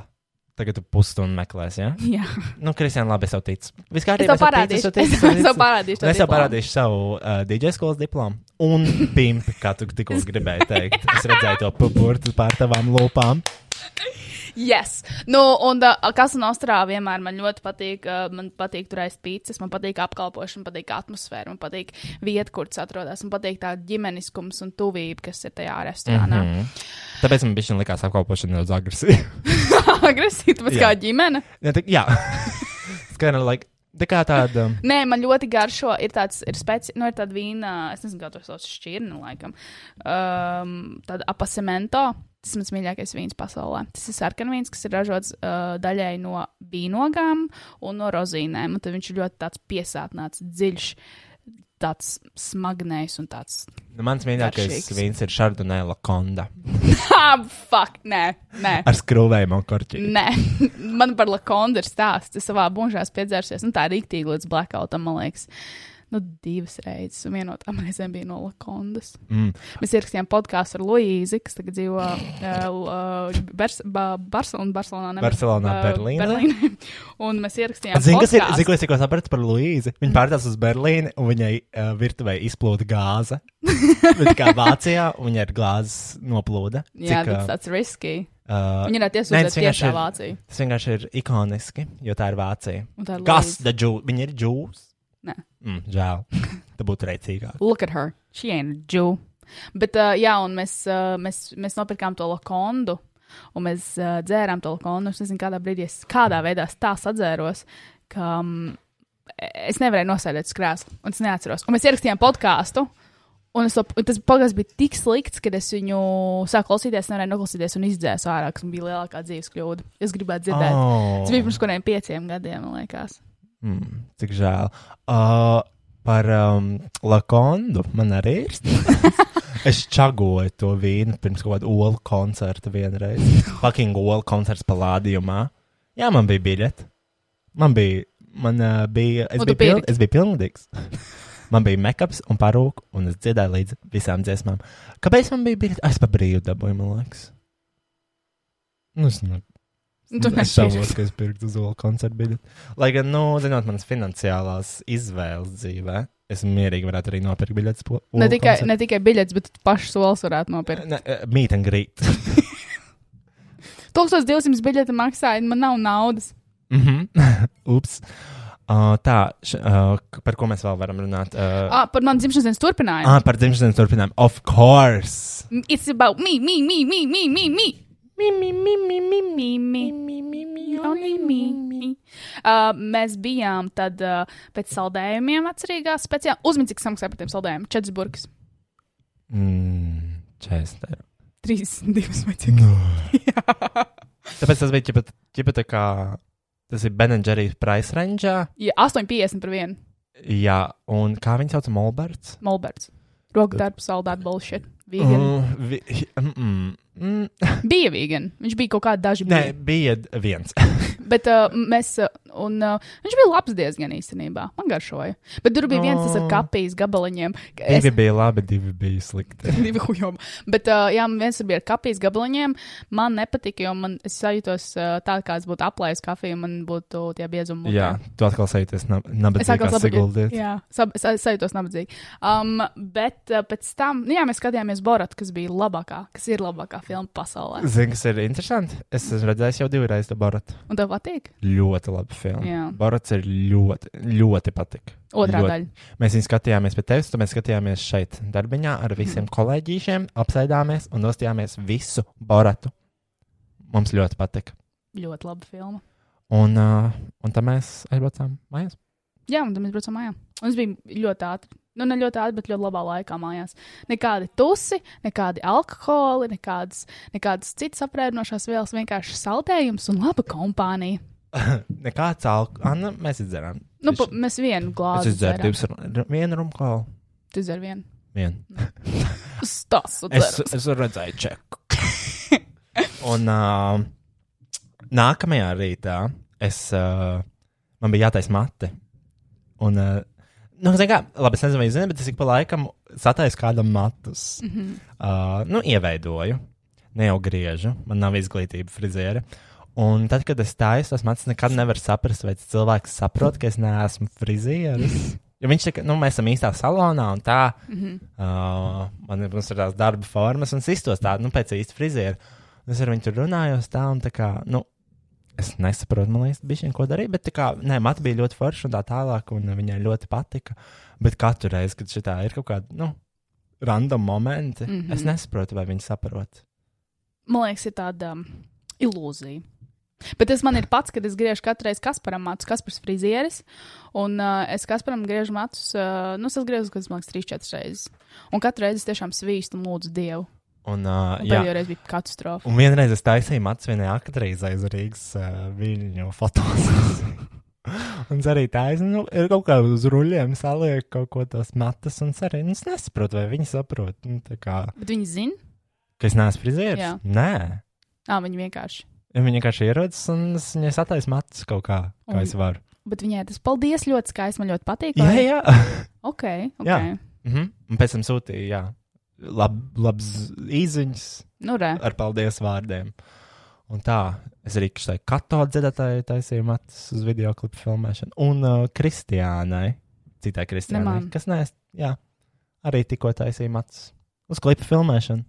Speaker 2: Tagad tu pusstundu meklēsi, ja?
Speaker 3: Jā.
Speaker 2: Nu, Kristian, labi, es tev ticu.
Speaker 3: Es
Speaker 2: Viss kārtībā,
Speaker 3: tev parādīšu.
Speaker 2: tev ticu,
Speaker 3: Es tev- es tev
Speaker 2: ticu.
Speaker 3: parādīšu.
Speaker 2: Un
Speaker 3: to
Speaker 2: es tev
Speaker 3: diplomu.
Speaker 2: parādīšu savu uh, DJ skolas diplomu un pimpu, kā tu tikko gribēji teikt. Es redzēju to puburtu pār tavām lūpām.
Speaker 3: Yes. Nu, un uh, kas no Austrālijas vienmēr man ļoti patīk. Uh, man patīk tur aizt pīcis, man patīk apkalpošana, man patīk atmosfēra, man patīk vieta, kur tas atrodas. Man patīk tā ģimeniskums un tuvība, kas ir tajā restorānā. Mm
Speaker 2: Mm. Tāpēc man bija likās apkalpošana nedaudz agresīva.
Speaker 3: -hmm. Agresīvi, tāpēc kā ģimene.
Speaker 2: Ja, tā- Jā, tas kā like, tā kā tāda. um,
Speaker 3: Nē, man ļoti garšo. Ir tāds, ir speci, nu, ir tāda vīna, es nezinu, kā to sauc, šķirni, laikam. Um, tāda apasemento. Tas ir mans mīļākais vīns pasaulē. Tas ir sarkanvīns, kas ir ražots uh, daļai no vīnogām un no rozīnēm. Un tad viņš ir ļoti tāds piesātnēts, dziļš, tāds smagnējs un tāds.
Speaker 2: Nu, mans mīļākais
Speaker 3: Garšīgs.
Speaker 2: vīns ir Šardonēla konda
Speaker 3: Ha, Ah, fuck, nē, nē.
Speaker 2: ar skrūvēm un korķiem.
Speaker 3: Nē, man par Lakondu ir stāsts. Es savā mūžā esmu piedzērsies, un tā ir rīktīgi līdz blackoutam, man liekas. Nu, divas reizes, un viena no tām reizēm bija no Lakondas.
Speaker 2: Mm.
Speaker 3: Mēs ierakstījām podkāstu ar Luīzi, kas tagad dzīvo uh, Bers ba Barcelonā. Barcelonā, ne,
Speaker 2: Barcelonā,
Speaker 3: eh,
Speaker 2: Berlīnē.
Speaker 3: Berlīnē. Un mēs ierakstījām.
Speaker 2: Zini, kas ir,
Speaker 3: podcastu.
Speaker 2: zini, ko es tikko sapratu par Luīzi? Viņa pārcēlās uz Berlīni, un viņai uh, virtuvē izplūda gāze. Viņa kā Vācijā, un viņai ir glāzes noplūda.
Speaker 3: Jā,
Speaker 2: Cik,
Speaker 3: tas
Speaker 2: uh,
Speaker 3: tāds risky.
Speaker 2: uh,
Speaker 3: Viņa ir
Speaker 2: nē,
Speaker 3: tiesūtīta
Speaker 2: tas vienkārši
Speaker 3: tiešā
Speaker 2: ir-
Speaker 3: Vācijā.
Speaker 2: Tas vienkārši ir ikoniski, jo tā ir Vācija.
Speaker 3: Un tā ir
Speaker 2: Kas
Speaker 3: Luīze.
Speaker 2: tad džūs? Viņa ir džūs.
Speaker 3: Nē.
Speaker 2: Mm, žēl. Tā būtu rēcīgāk.
Speaker 3: Look at her. She ain't a Jew. Bet, uh, jā, un mēs, uh, mēs, mēs nopirkām to lakondu. Un mēs uh, dzērām to lakondu. Es nezinu, kādā brīdī es kādā veidā es tā sadzēros, ka um, es nevarēju nosēdēt uz krēsla. Un es neatceros. Un mēs ierakstījām podkāstu. Un, es, to- un tas podkāsts bija tik slikts, ka es viņu sāku klausīties, nevarēju noklausīties un izdzēsu ārā, kas man bija lielākā dzīves kļūda. Es gribētu dzirdēt.
Speaker 2: Ah.
Speaker 3: Oh. Tas bija pirms kaut kādiem pieciem gadiem, man liekas.
Speaker 2: Mm, cik žēl. Uh, par um, Lakondu man arī ir. stāsts. es čagoju to vīnu pirms kaut kāda olu koncerta vienreiz. Fucking olu koncerts palādījumā. Jā, man bija biļete. Man bija, man uh, bija, es
Speaker 3: Un tu
Speaker 2: biju, piln,
Speaker 3: pirki?
Speaker 2: es biju pilngadīgs. man bija make-ups un parūka, un es dziedāju līdz visām dziesmām. Kāpēc man bija biļete? Es pa brīvu dabūju, man liekas. Nu, es ne,
Speaker 3: Nu, tu
Speaker 2: es
Speaker 3: nepirksi.
Speaker 2: šaubos, ka es pirktu uz olu koncertu biļeti. Lai gan, nu, zinot, manas finansiālās izvēles dzīvē, es mierīgi varētu arī nopirkt biļetes. po-
Speaker 3: Ne
Speaker 2: Olu
Speaker 3: tikai,
Speaker 2: koncertu.
Speaker 3: ne tikai biļets, bet pašu solis varētu nopirkt.
Speaker 2: Ne, eh, Meet and greet.
Speaker 3: 1200 biļete maksāja, man nav naudas.
Speaker 2: Mhm. Ups. Uh, tā, š, uh, k- par ko mēs vēl varam runāt? Uh,
Speaker 3: Ah, par manu dzimšanas dienas turpinājumu.
Speaker 2: ah, par dzimšanas turpinājumu. Of course!
Speaker 3: It's about me, me, me, me, me, me, me. Me, me, me, me, me, me, me, me, me, me, only me, me. Uh, mēs bijām tad uh, pēc saldējumiem atcerīgās speciāli. Uzmini, cik samaksāja par tiem saldējumiem. Četras burkas.
Speaker 2: Mm, 40 eiro.
Speaker 3: 32 vai cik. Jā.
Speaker 2: Tāpēc tas bija ģipa, ģipa tā kā. Tas ir Benedžerijas price range.
Speaker 3: Jā, 8,50 par vienu.
Speaker 2: Jā, un kā viņu sauc? Molberts.
Speaker 3: Molberts. Roku darbs, all that bullshit. Vegan.
Speaker 2: Mm, vi, mm, mm, mm.
Speaker 3: Bija vegan. Viņš bija kaut kādi daži.
Speaker 2: Nē,
Speaker 3: bija.
Speaker 2: bija d- viens.
Speaker 3: Bet uh, mēs, uh, un uh, viņš bija labs diezgan īstenībā. Man garšoja. Bet tur bija viens, tas ar
Speaker 2: Oh.
Speaker 3: kapijas gabaliņiem. ka
Speaker 2: divi bija labi, divi bija slikti.
Speaker 3: Divi hujom. Bet, uh, jā, man viens tur bija ar kapijas gabaliņiem. Man nepatika, jo man es sajūtos uh, tā, kā es būtu aplējis kafiju, man būtu tie biezumi. mutē.
Speaker 2: Jā, tu atkal sajūties nab-
Speaker 3: Es atkal
Speaker 2: nabadzīgā
Speaker 3: saprotu,
Speaker 2: siguldīt.
Speaker 3: ka sajūtos nabadzīgi. Um, bet uh, pēc tam, nu jā, mēs skatījāmies Boratu, kas bija labākā, kas ir labākā filma pasaulē.
Speaker 2: Zini, kas ir interesanti? Es esmu redzējis jau divreiz Boratu.
Speaker 3: Un tev patīk?
Speaker 2: Ļoti labi filmu.
Speaker 3: Jā.
Speaker 2: Borats ir ļoti, ļoti patika.
Speaker 3: Otrā
Speaker 2: Ļoti.
Speaker 3: daļa.
Speaker 2: Mēs viņu skatījāmies pie tevis, tad mēs skatījāmies šeit, darbiņā ar visiem kolēģīšiem, apsēdāmies un nostājāmies visu Boratu. Mums ļoti patika.
Speaker 3: Ļoti laba filma.
Speaker 2: Un, uh, un tad mēs aizbraucām mājās.
Speaker 3: Jā, un tad mēs braucām mājās. Un tas bija ļoti ātri. Nu, ne ļoti ātri, bet ļoti labā laikā mājās. Nekādi tusi, nekādi alkoholi, nekādas, nekādas citas aprēķinošās vielas, vienkārši saltējums un laba kompānija.
Speaker 2: Nekāds alkohols. Anna, mēs izdzerām.
Speaker 3: Nu, pa, mēs vienu glāzi
Speaker 2: Es izdzēru divas, ru- vienu rumkolu.
Speaker 3: Tu izdzer vienu.
Speaker 2: Vienu.
Speaker 3: Stas,
Speaker 2: Es, es redzēju, čeku. Un uh, nākamajā rītā es, uh, man bija jātaisa mati. Un, uh, nu, zini kā, labi, es nezinu, vai jūs zināt, bet es ik pa laikam sataisu kādam matus. Mm -hmm. uh, nu, ieveidoju, ne jau griežu, man nav izglītība friziera. Un tad, kad es taisu, tas mans nekad nevar saprast, vai tas cilvēks saprot, ka es neesmu frizieris. Jo viņš teica, nu, mēs esam īstā salonā un tā. Mm -hmm. uh, man ir, protams, ir tās darba formas, un es iztos tādu, nu, pēc īsta friziera. Un Es ar viņu tur runāju, uz tā un tā kā, nu, es nesaprotu, man liekas, bija ko darīt, bet tā kā, nē, matu bija ļoti forša un tā tālāk, un viņai ļoti patika. Bet katru reizi, kad šitā ir kaut kāda, nu, random momenti, mm
Speaker 3: Mhm.
Speaker 2: -hmm. es nesaprotu, vai viņi saprot.
Speaker 3: Man liekas, ir tāda um, ilūzija. Bet tas man ir pats, kad es griežu katru reizi Kasparam matus, kas ir frizieris. Un uh, es Kasparam griežu matus, uh, nu, es griezu, kas man liekas, trīs, četras reizes. Un katru reizi es tiešām svīstu un lūdzu Dievu.
Speaker 2: Un, uh,
Speaker 3: Un
Speaker 2: jā.
Speaker 3: pēdējo reizi bija katastrofa.
Speaker 2: Un vienreiz es taisīju matu vienai aktrisei aiz Rīgas uh, viļņu fotos. un es arī taisīju, nu, ir kaut kā uz ruļļiem saliek kaut ko tos matus, un es arī nu, es nesaprotu, vai viņi saprot, nu, tā kā,
Speaker 3: Bet viņi zina,
Speaker 2: ka es neesmu frizieris.
Speaker 3: Jā.
Speaker 2: Nē.
Speaker 3: ah, viņi vienkārši.
Speaker 2: Ja viņi vienkārši ierodas un es viņai sataisu matus kaut kā, kā
Speaker 3: Un-
Speaker 2: un... es varu.
Speaker 3: Bet viņai tas paldies ļoti skaisti, man ļoti patīk.
Speaker 2: Jā,
Speaker 3: vai?
Speaker 2: jā.
Speaker 3: Ok, ok. Jā.
Speaker 2: Jā. Mhm. Un pēc tam sūtīju, jā, lab, labs īziņas
Speaker 3: Nu, re.
Speaker 2: ar paldies vārdiem. Un tā, es arī kštai katoļu dziedātāju taisīju matus uz video klipu filmēšanu. Un uh, Kristiānai, citai Kristiānai,
Speaker 3: Nemam.
Speaker 2: kas nē, jā, arī tikko taisīju matus uz klipu filmēšanu.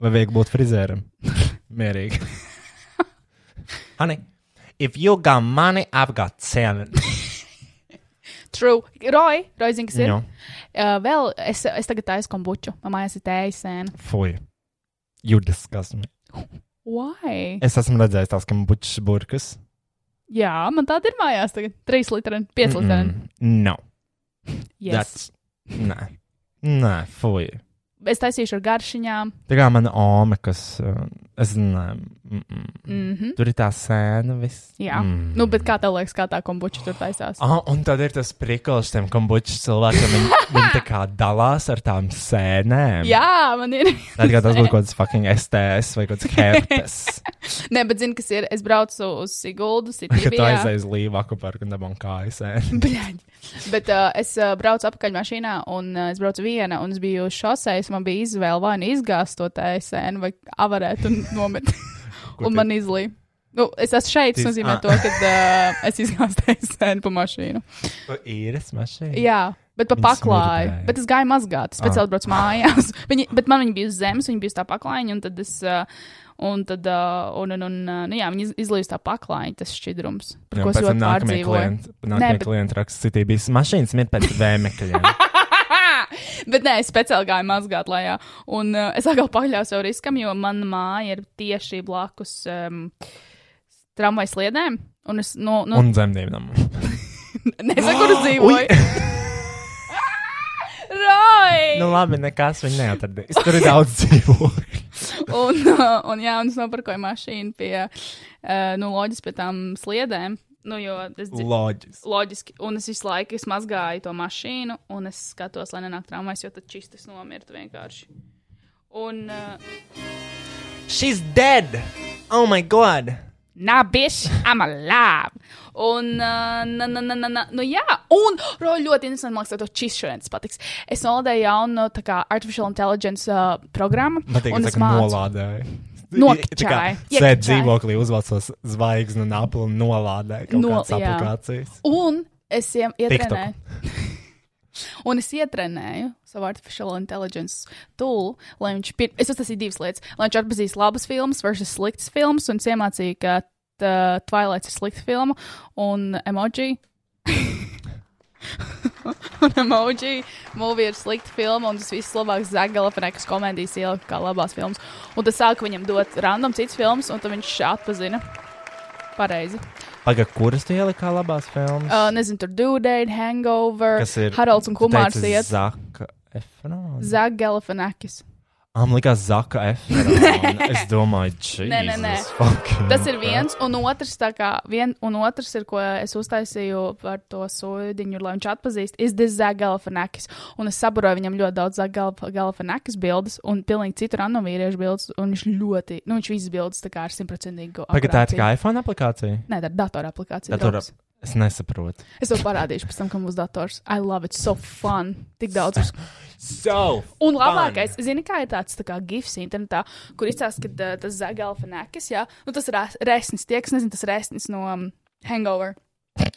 Speaker 2: Vai vajag būt frizēram? Mierīgi. Honey, if you got money, I've got seven.
Speaker 3: True. Roy, Roy zina, kas ir.
Speaker 2: Nu,
Speaker 3: Uh, vēl es, es tagad taisu kombuču. Mamā, es esmu tējas sēna.
Speaker 2: Fuj. Jūtas, kas man.
Speaker 3: Why?
Speaker 2: Es esmu redzējis tās, kam bučs burkas.
Speaker 3: Jā, man tāda ir mājās. Tagad 3 litri, 5 litri. Mm -mm.
Speaker 2: No.
Speaker 3: Yes.
Speaker 2: That's... Nē, nē, fuj.
Speaker 3: Es taisīšu ar garšiņām.
Speaker 2: Tā kā mana ome, kas. uh, Es nezinu, mm -mm.
Speaker 3: Mm -hmm.
Speaker 2: tur ir tā sēna, viss.
Speaker 3: Jā, mm. nu, bet kā tev liekas, kā tā kombuča tur taisās?
Speaker 2: Ah, un tad ir tas priklis tam kombučs cilvēkam. Viņi, viņi tā kā dalās ar tām sēnēm.
Speaker 3: Jā, man ir.
Speaker 2: Tad, kad tas būtu kaut kāds fucking STS vai kaut kāds herpes.
Speaker 3: Nē, bet zini, kas ir. Es braucu uz Siguldu,
Speaker 2: Kad tu
Speaker 3: Sitiju.
Speaker 2: aizies līvāku parku un dabūji kājas sēni.
Speaker 3: Bļaļ. Bet uh, es uh, braucu apakaļ mašīnā, un uh, es braucu viena, un es biju uz šoseis. Man bija izvēle vai nu izgāzt to tēju sēnu, vai avarēt un nomet. un man izlīja. Nu, es esmu šeit, tas
Speaker 2: Tis-
Speaker 3: nozīmē
Speaker 2: ah.
Speaker 3: to, ka uh, es izgāzu tēju sēnu pa mašīnu.
Speaker 2: Īres mašīna.
Speaker 3: Jā, bet pa
Speaker 2: Viņi Ah.
Speaker 3: paklāju.
Speaker 2: smirdēja.
Speaker 3: Bet es gāju mazgāt, es speciāli braucu mājās. Viņi, bet man viņi bija uz zemes, viņi bija uz tā paklājiņa, un tad es. ā, Un tad, ā, un, un, un ā, nu jā, viņi iz- izlīdz tā paklājiņa, tas šķidrums.
Speaker 2: Jā,
Speaker 3: Jā, ko es
Speaker 2: pēc tam
Speaker 3: ļoti
Speaker 2: nākamie
Speaker 3: pārdzīvoju.
Speaker 2: klienti, nākamie
Speaker 3: bet-
Speaker 2: klienti raksta, citī bija mašīnas, mirst pēc vēmekļiem.
Speaker 3: Bet nē, es speciāli gāju mazgāt lejā. Un uh, es atkal paļāvos jau riskam, jo mana māja ir tieši blakus um, tramvajas sliedēm. Un es no, no,
Speaker 2: un dzemdībam.
Speaker 3: nezinu, kur es dzīvoju. Roj!
Speaker 2: Nu, labi, nekas viņa neatradīs. Tur ir daudz dzīvokļu.
Speaker 3: Un, uh, un jā, un es nopirkoju mašīnu pie, uh, nu, loģiski pie tām sliedēm. Nu, jo es dzirdu.
Speaker 2: Loģiski.
Speaker 3: Loģiski, un es visu laiku es mazgāju to mašīnu, un es skatos, lai nenāk traumas, jo tad čistis nomirtu vienkārši. Un, uh,
Speaker 2: She's dead! Oh my god!
Speaker 3: nabiš, amalāb! Un, uh, na, na, na, na, na, nu jā, un, ro, ļoti interesanti, man liekas, tev to čisšanas patiks. Es nolādēju jaunu, tā kā, artificial intelligence uh, programmu.
Speaker 2: Patīk,
Speaker 3: un
Speaker 2: ka
Speaker 3: es
Speaker 2: saka,
Speaker 3: mācu-
Speaker 2: nolādēja.
Speaker 3: Nokčāja.
Speaker 2: Sēd
Speaker 3: Iekčāja.
Speaker 2: dzīvoklī, uzvācos zvaigzni un apli un nolādēja kaut
Speaker 3: Nol-
Speaker 2: kādas
Speaker 3: jā.
Speaker 2: aplikācijas.
Speaker 3: Un es iem- ietrenēju. Un es ietrenēju savu artificiālo intelektu tūlu, lai viņš pir... es uztaisīju divas lietas. Lai viņš atpazīst labas filmas versus sliktas filmas, un es iemācīju, ka uh, Twilight ir slikta filma un emoji. un emoji mūvija ir slikta filma, un tas viss labāk zagala frekas komēdijas ielika kā labās filmas. Un tas sāka viņam dot random citas filmas, un tad viņš atpazina pareizi.
Speaker 2: Pagaid, kuras tu ielikā labās filmas?
Speaker 3: Uh, nezinu, tur Dudei, Hangover,
Speaker 2: Kas ir?
Speaker 3: Haralds un
Speaker 2: Tu
Speaker 3: Kumārs
Speaker 2: teici
Speaker 3: iet.
Speaker 2: Zaka Efrona.
Speaker 3: Zag Galifianakis.
Speaker 2: Ah, man likās Zaka Efrona. es domāju, Jesus.
Speaker 3: Nē, nē, nē.
Speaker 2: fucking
Speaker 3: Tas ir
Speaker 2: crap.
Speaker 3: viens, un otrs, tā kā, vien, un otrs ir, ko es uztaisīju par to sūdiņu, lai viņš atpazīst, is this Zag Galifianakis. Un es sabaroju viņam ļoti daudz Zag Galifianakis bildes, un pilnīgi citu randu vīriešu bildes, un viņš ļoti, nu, viņš visas bildes tā kā ar simtprocentīgu.
Speaker 2: Pagaid, tā ir tikai iPhone aplikācija?
Speaker 3: Nē, tā ir datora aplikācija.
Speaker 2: Datora-
Speaker 3: draugs.
Speaker 2: Es nesaprotu.
Speaker 3: Es tev parādīšu pēc tam, kam būs dators. I love it, so fun. Tik daudz uz
Speaker 2: So,
Speaker 3: Un labākais, zini, kā ir tāds tā kā gifs internetā, kur izstāsta, ka uh, tas zagalfa nekas, jā, nu tas ir ās- resnis, tie, kas nezina, tas resnis no um, hangover.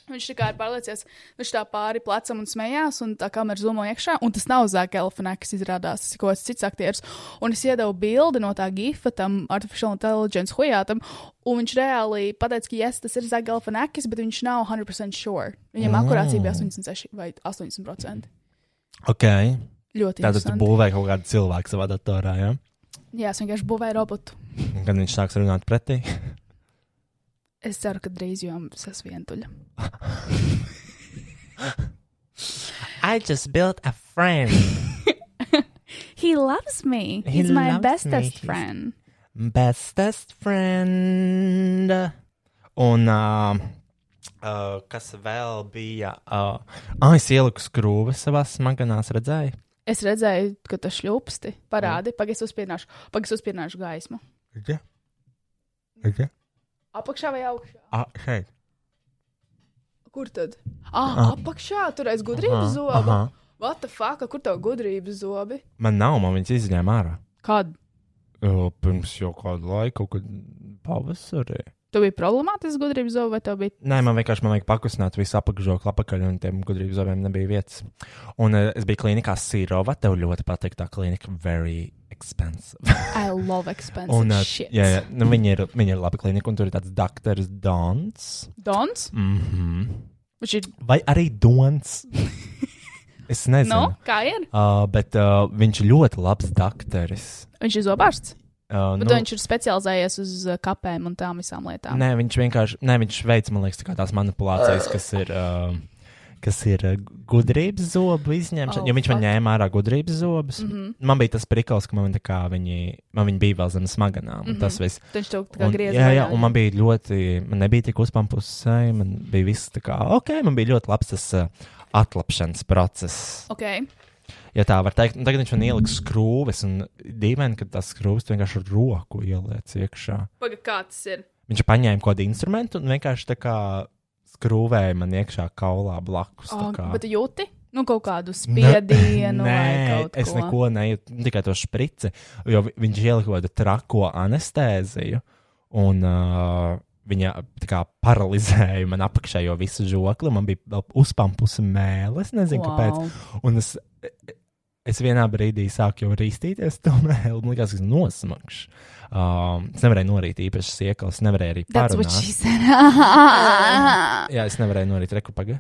Speaker 3: Viņš tā kā ir pārliecies, viņš tā pāri plecam un smējās, un tā kamera zumo iekšā, un tas nav Zaka Elfana, kas izrādās, tas ir kaut kāds cits aktieris. Un es iedevu bildi no tā gifa tam artificial intelligence hojātam, un viņš reāli pateica, ka yes, tas ir Zaka Elfana, bet viņš nav 100% sure.
Speaker 2: Mm.
Speaker 3: Viņam akurācija bija 86 vai 80%.
Speaker 2: Okay.
Speaker 3: Ļoti
Speaker 2: Tātad tu
Speaker 3: interesanti.
Speaker 2: būvēji kaut kādu cilvēku savā datorā, ja?
Speaker 3: Jā, es vienkārši būvēju robotu.
Speaker 2: Un Kad viņš sāks runāt pretī.
Speaker 3: Es ceru, ka drīz jums es vientuļa.
Speaker 2: I just built a friend.
Speaker 3: He loves me.
Speaker 2: He
Speaker 3: He's my
Speaker 2: loves
Speaker 3: bestest
Speaker 2: me.
Speaker 3: friend.
Speaker 2: Bestest friend. Un uh, uh, kas vēl bija? Uh, ah, es ieliku skrūves savā smaganās, redzēju.
Speaker 3: Es redzēju, ka tas šļūpsti parādi. Pagaids uzspieināšu, pagaids uzspieināšu gaismu.
Speaker 2: Ja. Ja.
Speaker 3: Apakšā vai augšā?
Speaker 2: Ah, šeit.
Speaker 3: Kur tad? Ah, apakšā tur aiz gudrības zoba.
Speaker 2: aha.
Speaker 3: What the fuck, kur tev gudrības zobi?
Speaker 2: Man nav, man viņas izņēma ārā.
Speaker 3: Kad?
Speaker 2: Jo, pirms jau kādu laiku, kad pavasarī.
Speaker 3: Tev bija problemātiski gudrības zobi, vai tev bija
Speaker 2: Nē, man vienkārši man vajag pakustināt visu apakšžokli apakaļ, un tiem gudrības zobiem nebija vietas. Un uh, es biju klīnikā Sīrova, tev ļoti patīk tā klinika, very expensive.
Speaker 3: I love expensive
Speaker 2: un,
Speaker 3: un,
Speaker 2: ā,
Speaker 3: shit?
Speaker 2: jā, jā, nu, viņi, ir, viņi ir laba klinika, un tur ir tāds doktors Dons.
Speaker 3: Dons?
Speaker 2: Mm -hmm.
Speaker 3: Viņš ir,
Speaker 2: Vai arī Dons? es nezinu.
Speaker 3: nu, kā ir?
Speaker 2: Uh, bet uh, viņš ir ļoti labs doktors.
Speaker 3: Viņš ir zobārsts.
Speaker 2: Uh,
Speaker 3: Bet nu, viņš ir specializējies uz uh, kapēm un tām visām lietām.
Speaker 2: Nē, viņš vienkārši, nē, viņš veic, man liekas, tā kā tās manipulācijas, kas ir, uh, kas ir uh, gudrības zobu izņemšana.
Speaker 3: Oh,
Speaker 2: Oh, jo viņš man
Speaker 3: fuck.
Speaker 2: ņēma ārā gudrības zobus. Mm
Speaker 3: Mhm.
Speaker 2: -hmm. Man bija tas prikals, ka man, tā kā viņi, man viņi bija vēl zem smaganām. Mm -hmm. Tas viss.
Speaker 3: Tad Viņš to Mhm. tā kā
Speaker 2: Un,
Speaker 3: griezās.
Speaker 2: jā, jā, un man bija ļoti, man nebija tik uzpampus seja, man bija viss tā kā, ok, man bija ļoti labs tas uh, atlapšanas process.
Speaker 3: Ok,
Speaker 2: Ja tā var teikt, un tagad viņš man ielika skrūves, un dīvaini, ka tās skrūves tu vienkārši ar roku ieliec iekšā.
Speaker 3: pagaidi, kā tas ir?
Speaker 2: Viņš paņēma kaut kādu instrumentu un vienkārši tā kā skrūvēja man iekšā kaulā blakus. tā
Speaker 3: Oh,
Speaker 2: kā.
Speaker 3: bet tu jūti nu, kaut kādu spiedienu
Speaker 2: Nē,
Speaker 3: vai kaut
Speaker 2: es
Speaker 3: ko
Speaker 2: neko nejūtu, tikai to sprici, jo vi- viņš ielika kaut kādu trako anestēziju un uh, viņa tā kā paralizēja man apakšējo visu žokli. Man bija vēl uzpampusi mēlis, nezinu wow. kāpēc. Un es, es vienā brīdī sāku jau rīstīties, tomēr man liekas, ka nosmakšs. Um, es nevarēju norīt īpašas iekals, nevarēju arī
Speaker 3: That's what
Speaker 2: parunāt.
Speaker 3: she said.
Speaker 2: Jā, es nevarēju norīt reku pagaidu.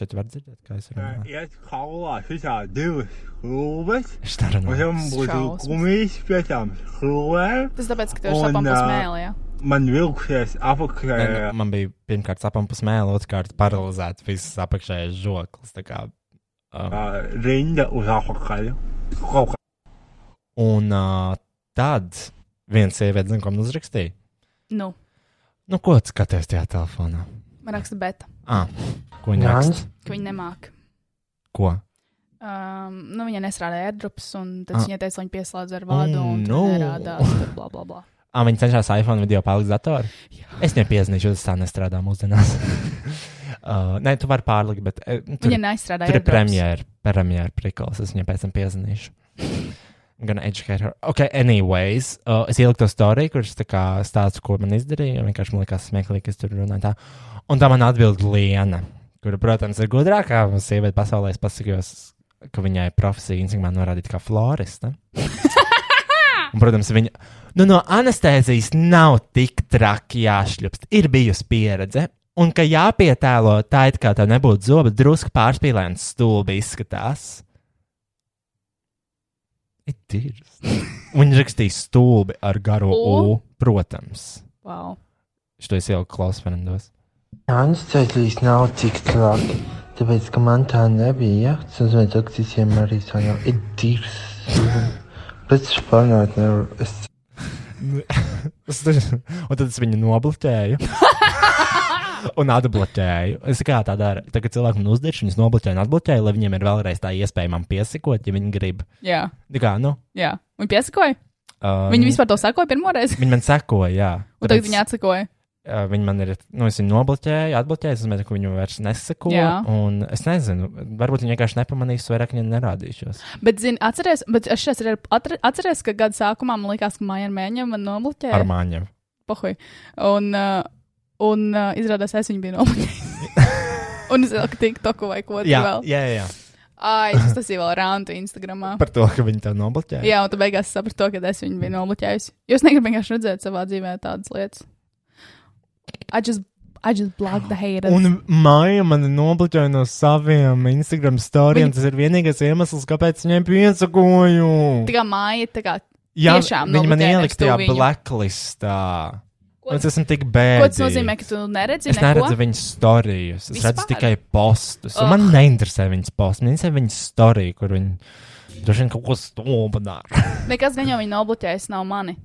Speaker 2: Četri var dzirdēt, kā es runāju.
Speaker 4: Jetzt Kaula ist ja divas rūbes,
Speaker 2: Es tā
Speaker 4: un
Speaker 2: runāju.
Speaker 4: viņam būtu
Speaker 3: Šausmas.
Speaker 4: gumijas pie tām skrūvēm.
Speaker 3: Tas tāpēc, ka tev ir
Speaker 4: Un,
Speaker 3: sapampas
Speaker 4: ā,
Speaker 3: mēlī. jā.
Speaker 4: Man vilksies apakšā.
Speaker 2: Nē, nu, Man bija pirmkārt sapņu smēle, otrkārt paralizēts visas apakšējais žoklis. tā kā
Speaker 1: Um,
Speaker 4: Ā, rinda uz apakaļ. Kaut kā
Speaker 2: Un uh, tad viens sieviete, zinu, ko man uzrakstīja.
Speaker 3: Nu,
Speaker 2: Nu, ko tu skaties tajā telefonā?
Speaker 3: man raksta beta,
Speaker 2: Ah, ko viņa raksta?
Speaker 3: ka viņa nemāk.
Speaker 2: Ko?
Speaker 3: Um, nu, viņa nestrādāja airdrops, un tad
Speaker 2: Ah.
Speaker 3: ah. viņa teica, lai viņa pieslēdz ar vādu,
Speaker 2: Oh,
Speaker 3: un
Speaker 2: no.
Speaker 3: tur nerādās, tur bla, bla, bla.
Speaker 2: Ah, viņi cenšas iPhone video pārlikt datorā. Es nepiezīmēju, jo tas tā nestrādā mūsdienās. uh, nē, tu vari pārlikt, bet eh, tur,
Speaker 3: Viņa neizstrādāja
Speaker 2: tur ir
Speaker 3: airdrops.
Speaker 2: premjera, premjera priklis. Es viņai pēc tam piezīmēšu. Gan educate her. Ok, anyways, uh, es ieliku to storiju, kurš tā kā stāsta, ko man izdarīja. un Vienkārši man liekas smieklīgi, ka es tur runāju tā. Un tā man atbild Liena, kura, protams, ir gudrākā sieviete pasaulē. Es pasakījos, ka viņai profesija Instagramā norādīta kā florista. Un, protams, viņa nu, no anestēzijas nav tik traki jāšļupst. Ir bijusi pieredze, un ka jāpietēlo tā, it kā tā nebūtu zoba, drusku pārspīlēns stulbi izskatās. It ir. Viņa rakstīja stulbi ar garo
Speaker 3: U.
Speaker 2: U, protams.
Speaker 3: Wow.
Speaker 2: Šo es jau klausos Fernandos.
Speaker 5: Anestezijas nav tik traki, tāpēc, ka man tā nebija. Es uzvedu toksiskiem arī savā ir tīrs. Pēc spārnāt nevaru. Es
Speaker 2: Es tur- un tad es viņu nobloķēju. un atbloķēju. Es kā tā daru. Tagad cilvēkam uzdrošinu, viņus nobloķēju un atbloķēju, lai viņiem ir vēlreiz tā iespēja man piesakot, ja viņi grib.
Speaker 3: Jā,
Speaker 2: Tā kā, nu,
Speaker 3: jā. Viņa piesakoja.
Speaker 2: um,
Speaker 3: Viņa vispār to sakoja pirmoreiz,
Speaker 2: Viņi man sekoja, jā.
Speaker 3: un tagad viņa atsakoja.
Speaker 2: uh, viņi man ir, nu, es viņu nobloķēju, atbloķēju, es domāju, ka viņu vairs neseko.
Speaker 3: Jā.
Speaker 2: Un es nezinu, varbūt viņi vienkārši nepamanīs, vai arī viņi nerādīšos.
Speaker 3: Bet, zini, atceries, bet es šeit arī atra- atceries, ka gada sākumā man likās, ka Maija Mēņa man nobloķēja.
Speaker 2: Ar māņiem.
Speaker 3: Pohuj. Un, uh, un uh, izrādās, es viņu biju nomainījis. un es vēl tiku toku vai ko
Speaker 2: Jā,
Speaker 3: tādu.
Speaker 2: jā, jā.
Speaker 3: Ai, tas, tas ir vēl rāmta Instagramā.
Speaker 2: Par to, ka viņi tev nobloķēja.
Speaker 3: Jā, un tu beigās saprati to, ka es viņu biju nobloķējusi. Jūs negribat vienkārši redzēt savā dzīvē tādas lietas. I just, I just block the haters. Un...
Speaker 2: Un māja man nobloķēja no saviem Instagram stāstiem. Viņa... Tas ir vienīgais iemesls, kāpēc viņai piesakoju.
Speaker 3: Tā kā māja, tā kā,
Speaker 2: Jā,
Speaker 3: tiešām
Speaker 2: viņa man
Speaker 3: nobloķēja
Speaker 2: ielika tajā
Speaker 3: nevis tu viņu.
Speaker 2: blacklistā.
Speaker 3: Ko-
Speaker 2: Ko... Es esmu tik bēdīgs.
Speaker 3: ko tas nozīmē, ka tu neredzi
Speaker 2: Es
Speaker 3: neko?
Speaker 2: neredzu viņas stāstus. Es
Speaker 3: Vispār?
Speaker 2: redzu tikai postus.
Speaker 3: Ugh.
Speaker 2: Oh. Man neinteresē viņas postus. Man interesē viņas stāstī, kur viņi droši vien kaut ko stūmu dara.
Speaker 3: Nekas gan jau viņa nobloķējas, nav mani.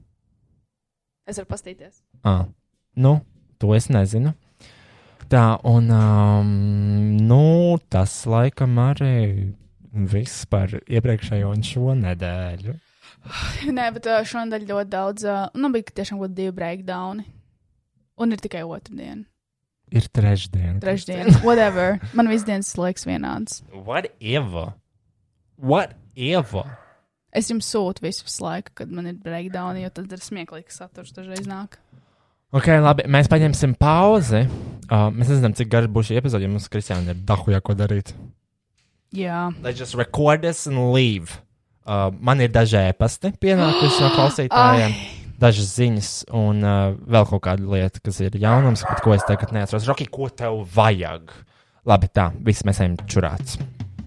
Speaker 3: Es varu pastīties.
Speaker 2: ah. Nu, to es nezinu. Tā, un um, nu, tas laikam arī viss par iepriekšējo un šo nedēļu.
Speaker 3: Nē, bet ā, šonadēļ ļoti daudz, ā, nu, bija tiešām kaut divi breakdowni. Un ir tikai otrdiena,
Speaker 2: Ir trešdiena.
Speaker 3: trešdiena, whatever. Man viss dienas laiks vienāds.
Speaker 2: Whatever. Whatever.
Speaker 3: Es jums sūtu visu visu laiku, kad man ir breakdowni, jo tad ir smieklīgs saturs dažreiz nāk.
Speaker 2: Ok, labi, mēs paņemsim pauzi. Uh, mēs nezinām, cik garš būs šī epizode, jo mums Kristiāna ir dahujā ko darīt.
Speaker 3: Jā,
Speaker 2: Let's just record this and leave. Uh, man ir daži ēpasti pienākuši no klausītājiem, dažas ziņas un uh, vēl kaut kāda lieta, kas ir jaunums, bet ko es tagad neatceros. Roki, ko tev vajag? Labi, tā, viss mēs ejam čurāts.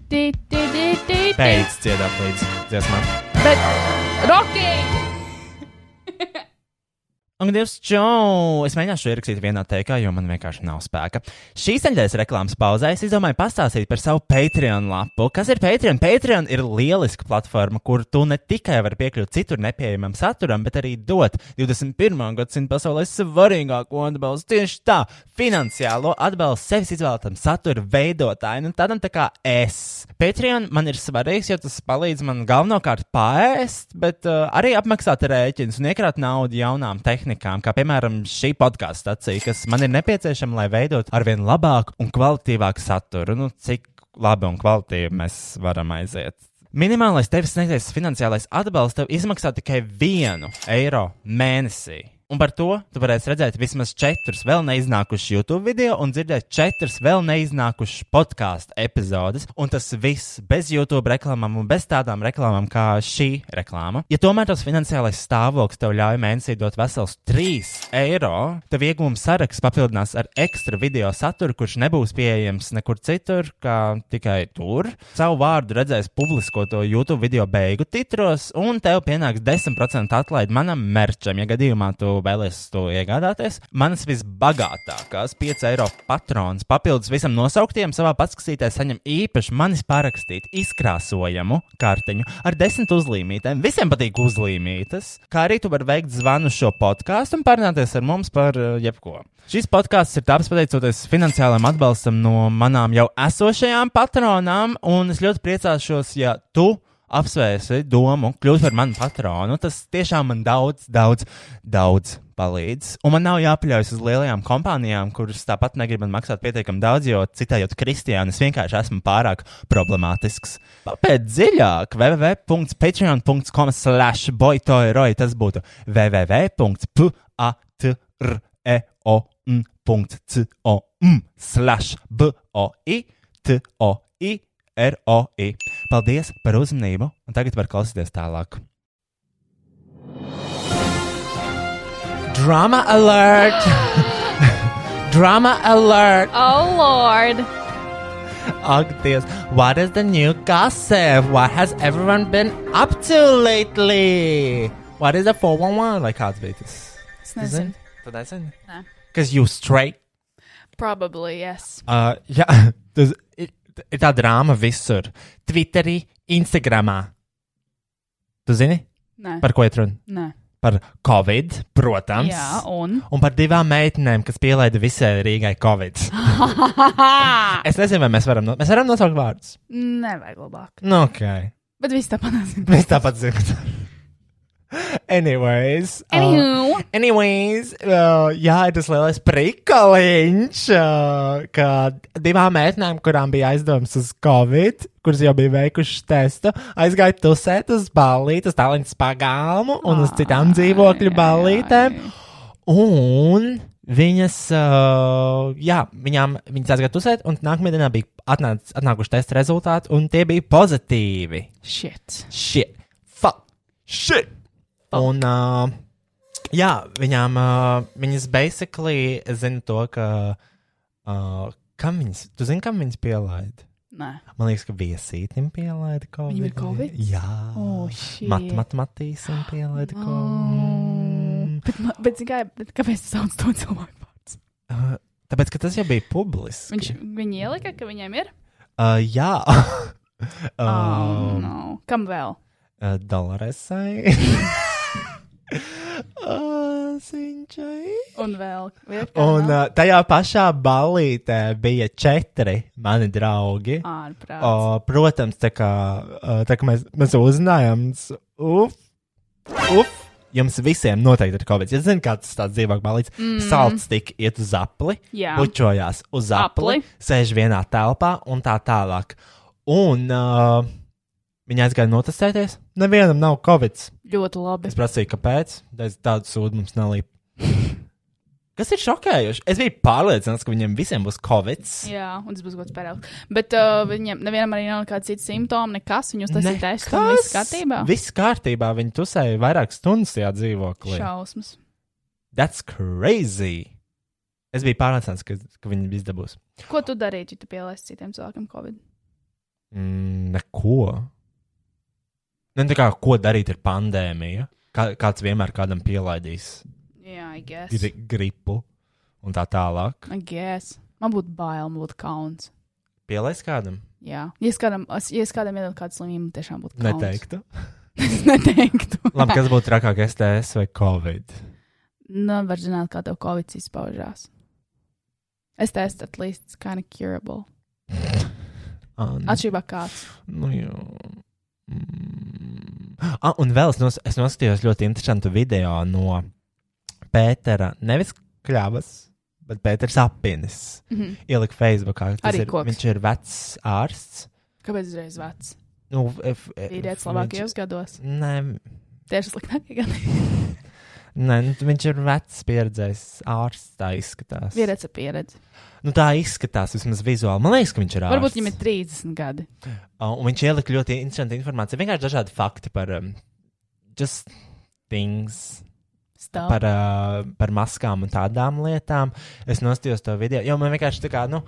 Speaker 3: tī, tī, tī, tī, tī.
Speaker 2: Pēc dziedāt līdz dziesmām.
Speaker 3: Bet, Roki!
Speaker 1: Un, Dievs, čau! Es mēģināšu ierakstīt vienā teikā, jo man vienkārši nav spēka. Šīs nedēļas reklāmas pauzē es izdomāju pastāstīt par savu Patreon lapu. Kas ir Patreon? Patreon ir lieliska platforma, kur tu ne tikai vari piekļūt citur nepieejamam saturam, bet arī dot 21. gadsimta pasaulē svarīgāko atbalstu tieši tā - finansiālo atbalstu sevis izvēlētam satura Nu, veidotājam, un tādam tā kā es. Patreon man ir svarīgs, jo tas palīdz man galvenokārt pāriest, bet uh, arī apmaksāt rēķinus un iekrāt naudu jaunām tehnikām, kā piemēram šī podkāstu stācija, kas man ir nepieciešama, lai veidotu arvien labāku un kvalitīvāku saturu. Nu, cik labi un kvalitīvi mēs varam aiziet. Minimālais tevis sniegtais finansiālais atbalsts tev izmaksā tikai vienu eiro mēnesī. Un par to tu varēsi redzēt vismaz četrus vēl neiznākušus YouTube video un dzirdēt četrus vēl neiznākušus podkāstu epizodes. Un tas viss bez YouTube reklāmām un bez tādām reklāmām kā šī reklāma. Ja tomēr tas finansiālais stāvoklis tev ļauj mēnesī dot vesels 3 eiro, tev iegūmu saraksts papildinās ar ekstra video saturu, kurš nebūs pieejams nekur citur, kā tikai tur. Savu vārdu redzēs publiskoto YouTube video beigu titros, un tev pienāks 10% atlaide manam merčam, ja gadījumā tu tu vēlēsies to iegādāties. Manas visbagātākās 5 eiro patronas papildus visam nosauktiem savā paskatītē saņem īpaši manis parakstītu izkrāsojamu kartiņu ar desmit uzlīmītēm. Visiem patīk uzlīmītas, kā arī tu vari veikt zvanu šo podkāstu un parunāties ar mums par eh, jebko. Šis podkāsts ir taps pateicoties finansiālam atbalstam no manām jau esošajām patronām, un es ļoti priecāšos, ja tu apsvērsi domu, kļūt par manu patronu. Tas tiešām man daudz, daudz, daudz palīdz. Un man nav jāpaļaujas uz lielajām kompānijām, kuras tāpat negrib man maksāt pietiekami daudz, jo citējot kristiāni, es vienkārši esmu pārāk problemātisks. Pēc dziļāk, www.patreon.com slash boytoyroj tas būtu www.patreon.com slash boytoyroj. ROI. Paldies par uzmanību, un tagad var klausīties tālāk.
Speaker 2: Drama alert! Drama alert!
Speaker 3: Oh, Lord!
Speaker 2: Ugh, this. What is the new gossip? What has everyone been up to lately? What is the 411? Like, kāds bija tas?
Speaker 3: Es nezinu.
Speaker 2: Tad nezinu.
Speaker 3: Nē.
Speaker 2: Because you straight.
Speaker 3: Probably, yes.
Speaker 2: Uh, jā, tas ir, ir tā drāma visur. Twitterī, Instagramā. Tu zini,
Speaker 3: Nē.
Speaker 2: par ko ir runa?
Speaker 3: Nē.
Speaker 2: Par Covid, protams.
Speaker 3: Jā, un.
Speaker 2: Un par divām meitenēm, kas pielaida visai Rīgai Covid. es nezinu, vai mēs varam, no, mēs varam nosaukt vārdus.
Speaker 3: Nevajag labāk.
Speaker 2: Nu, ok.
Speaker 3: Bet viss tāpat nezinu.
Speaker 2: Mēs tāpat zinām. Anyways, uh,
Speaker 3: Anywho,
Speaker 2: anyways uh, jā, ir tas lielais prikaliņš, uh, ka divām meitenēm, kurām bija aizdomas uz Covid, kuras jau bija veikušas testu, aizgāja tusēt uz ballītes, tālrunis pagalmu un uz citām dzīvokļu ballītēm. Un viņas, uh, jā, viņām, viņas aizgāja tusēt, un nākamajā dienā bija atnāc, atnākuši testa rezultāti, un tie bija pozitīvi.
Speaker 3: shit.
Speaker 2: Shit. Fuck. Shit. Un, uh, jā, viņām, uh, viņas basically zina to, ka. Uh, kam viņas, tu zini, kam viņas pielaida?
Speaker 3: Nē.
Speaker 2: Man liekas, ka viesītim pielaida kaut
Speaker 3: Viņam ir Covid?
Speaker 2: Jā,
Speaker 3: Oh, shit. Oh.
Speaker 2: Mat, matemātīsim pielaida kaut
Speaker 3: Bet, ma- bet, zini kā, bet kāpēc tas sauc to cilvēku vārds?
Speaker 2: ko. Uh, Tāpēc, ka tas jau bija publiski.
Speaker 3: Viņš, viņi ielika, ka viņiem ir?
Speaker 2: Uh, jā.
Speaker 3: Oh,
Speaker 2: um,
Speaker 3: no. Kam vēl?
Speaker 2: Uh, Dolaresai. uh, Sinčai.
Speaker 3: Un vēl. Vēl kā
Speaker 2: Un
Speaker 3: vēl?
Speaker 2: uh, tajā pašā balītē bija četri mani draugi.
Speaker 3: Ārprāts.
Speaker 2: Uh, protams, tā kā, uh, tā kā mēs, mēs uzzinājām, s- uf, uf, jums visiem noteikti ir kaut kas. Es zinu, kāds tāds dzīvāk balīts. Mm. Salts tik iet uz apli,
Speaker 3: Mhm. Jā.
Speaker 2: bučojās uz apli,
Speaker 3: Apli.
Speaker 2: sēž vienā telpā un tā tālāk. Un uh, viņi aizgāja notestēties. Nevienam nav covid.
Speaker 3: Ļoti labi.
Speaker 2: Es prasīju, kāpēc. Tāda tādu sūdu mums nelīp. Kas ir šokējoši? Es biju pārliecināts, ka viņiem visiem būs covid.
Speaker 3: Jā, un tas būs gods paraugs. Bet uh, viņam nevienam arī nav nekāds cits simptoms, nekas. Viņus tas ir tests, un viss kārtībā.
Speaker 2: Viss kārtībā. Viņi tusēja vairākas stundas tajā dzīvoklī.
Speaker 3: Šausmas.
Speaker 2: That's crazy. Es biju pārliecināts, ka, ka viņi viss dabūs.
Speaker 3: Ko tu darītu, ja tu pielaistu citiem cilvēkiem Covid?
Speaker 2: Mm, neko. Nu, tā kā, ko darīt ar pandēmiju? Kā, kāds vienmēr kādam pielaidīs
Speaker 3: Jā, I guess.
Speaker 2: gri gripu un tā tālāk.
Speaker 3: I guess. Man būtu bail, man būtu kauns.
Speaker 2: Pielaist kādam?
Speaker 3: Jā, ja es kādam, es- ja es kādam iedodu kādu slimību, tiešām būtu kauns.
Speaker 2: Neteiktu.
Speaker 3: es neteiktu.
Speaker 2: Labi, kas būtu trakāk, STS vai Covid?
Speaker 3: Nevar Nu, zināt, kā tev Covid izpaužās. Es teicu, at least kind of curable.
Speaker 2: An...
Speaker 3: Atšķirībā kāds.
Speaker 2: Nu, jā. Mm. Ah, un vēl es, nos, es noskatījos ļoti interesantu video no Pētera. Nevis Kļavas, bet Pēters Apinis.
Speaker 3: Mm -hmm.
Speaker 2: Ielika Facebookā. Tas
Speaker 3: Arī
Speaker 2: ir,
Speaker 3: koks.
Speaker 2: viņš ir vecs ārsts.
Speaker 3: Kāpēc uzreiz vecs?
Speaker 2: Nu, f, f,
Speaker 3: Vīrietis
Speaker 2: viņš-
Speaker 3: labākajos gados.
Speaker 2: Nē,
Speaker 3: Tieši sliktākie gadi.
Speaker 2: nē, nu, viņš ir vecs, pieredzējis ārsts. Tā izskatās.
Speaker 3: Vīrietis ar pieredzi.
Speaker 2: Nu, tā izskatās vismaz vizuāli. Man liekas, ka viņš ir ārsts.
Speaker 3: Varbūt viņam ir 30 gadi.
Speaker 2: Uh, un viņš ielika ļoti interesantu informāciju. Vienkārši dažādi fakti par um, just things.
Speaker 3: Stāv.
Speaker 2: par, uh, par maskām un tādām lietām. Es nostājos to video, jo man vienkārši tā kā, nu,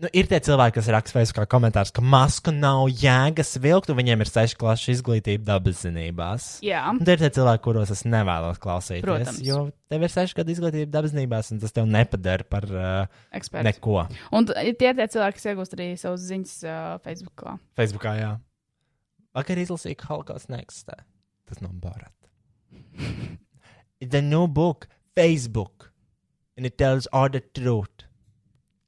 Speaker 2: Nu, ir tie cilvēki, kas raksta Facebookā komentārs, ka masku nav jēgas vilkt, un viņiem ir sešu klašu izglītība dabas zinībās.
Speaker 3: Jā.
Speaker 2: Un tie ir tie cilvēki, kuros es nevēlos klausīties.
Speaker 3: Protams.
Speaker 2: Jo tev ir sešu gadu izglītība dabas zinībās, un tas tev nepadara par uh,
Speaker 3: Eksperts.
Speaker 2: neko.
Speaker 3: Un t- tie ir tie cilvēki, kas iegūst arī savus ziņas uh, Facebookā.
Speaker 2: Facebookā, jā. Vakar izlasīju, ka holokausts neeksistē. Tas nav Borat. It's a new book, Facebook, and it tells all the truth.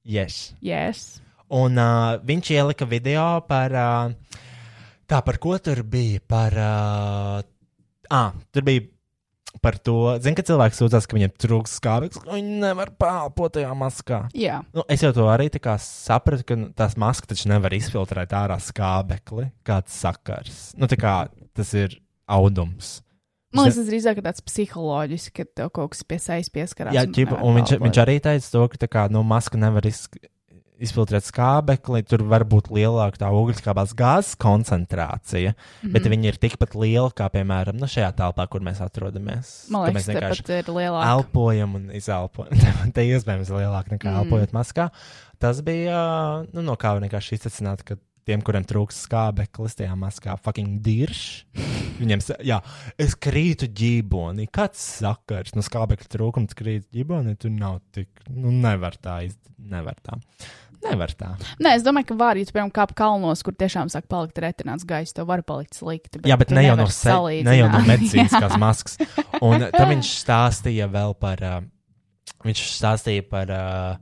Speaker 2: Yes.
Speaker 3: Yes.
Speaker 2: Un uh, viņš ielika video par uh, tā, par ko tur bija. Par, uh, ah, tur bija par to, zin, ka cilvēks sūdzas, ka viņam trūks skābeklis, ka viņi nevar pārpot tajā maskā.
Speaker 3: Jā.
Speaker 2: Nu, es jau to arī tā kā sapratu, ka nu, tās maskas taču nevar izfiltrēt ārā skābekli. Kāds sakars? Nu, tā kā tas ir audums.
Speaker 3: Man liekas, tas drīzāk ir tāds psiholoģisks, ka tev kaut kas piesaistīs pieskarās.
Speaker 2: Jā,
Speaker 3: un
Speaker 2: ķipa,
Speaker 3: nevar
Speaker 2: un viņš,
Speaker 3: pārbaudīt.
Speaker 2: viņš arī teica, to, ka tā kā, nu, maska nevar iz, izfiltrēt skābekli, tur var būt lielāka tā oglekļa gāzes koncentrācija, mm
Speaker 3: Mhm.
Speaker 2: -hmm. bet viņi ir tikpat liela kā, piemēram, nu, šajā telpā, kur mēs atrodamies.
Speaker 3: Man
Speaker 2: Ka
Speaker 3: liekas,
Speaker 2: mēs vienkārši
Speaker 3: tas ir lielāks.
Speaker 2: elpojam un izelpojam. Tā iespējams ir lielāka nekā mm. elpojot maskā. Tas bija nu, no kā vienkārši izsvecināt, ka tiem, kuriem trūks skābeklis, tajā maskā fucking dirž. Viņiem, sa- jā, es krītu ģībonī. Kāds sakars no skābekļa trūkums krīt ģībonī? Tur nav tik, nu nevar tā, iz... nevar tā. Nevar tā.
Speaker 3: Nē, es domāju, ka var, ja tu piemēram kāp kalnos, kur tiešām sāk palikt retināts gaiss, tev var palikt slikti.
Speaker 2: Jā, bet
Speaker 3: tu
Speaker 2: ne jau, no
Speaker 3: nevari
Speaker 2: se, ne jau no
Speaker 3: salīdzināt.
Speaker 2: medicīniskās maskas. Un tad viņš stāstīja vēl par, uh, viņš stāstīja par uh,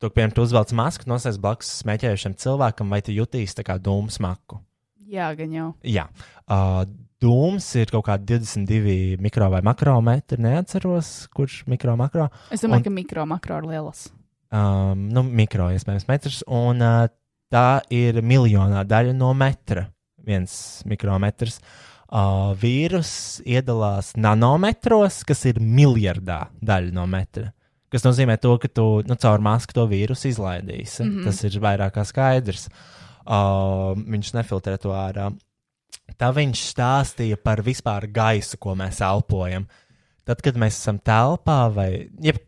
Speaker 2: to, ka, piemēram, tu uzvelc masku, nosēs blakus smēķējušam cilvēkam, vai tu jutīsi tā kā dūmu smaku.
Speaker 3: Jā, gan jau.
Speaker 2: Jā. Uh, Dūms ir kaut kādi 22 mikro vai makrometri. Neatceros, kurš mikro makro.
Speaker 3: Es domāju,
Speaker 2: Un-
Speaker 3: un... ka mikro, makro ir lielas.
Speaker 2: Um, nu, mikro iespējams metrs. Un uh, tā ir miljonā daļa no metra. Viens mikrometrs. Uh, vīrus iedalās nanometros, kas ir miljardā daļa no metra. Tas nozīmē, to, ka tu nu, caur masku to vīrusu izlaidīsi. Mm -hmm. Tas ir vairāk kā skaidrs. Uh, viņš nefiltrē to ārā. Tā viņš stāstīja par vispār gaisu, ko mēs elpojam. Tad, kad mēs esam telpā vai jeb,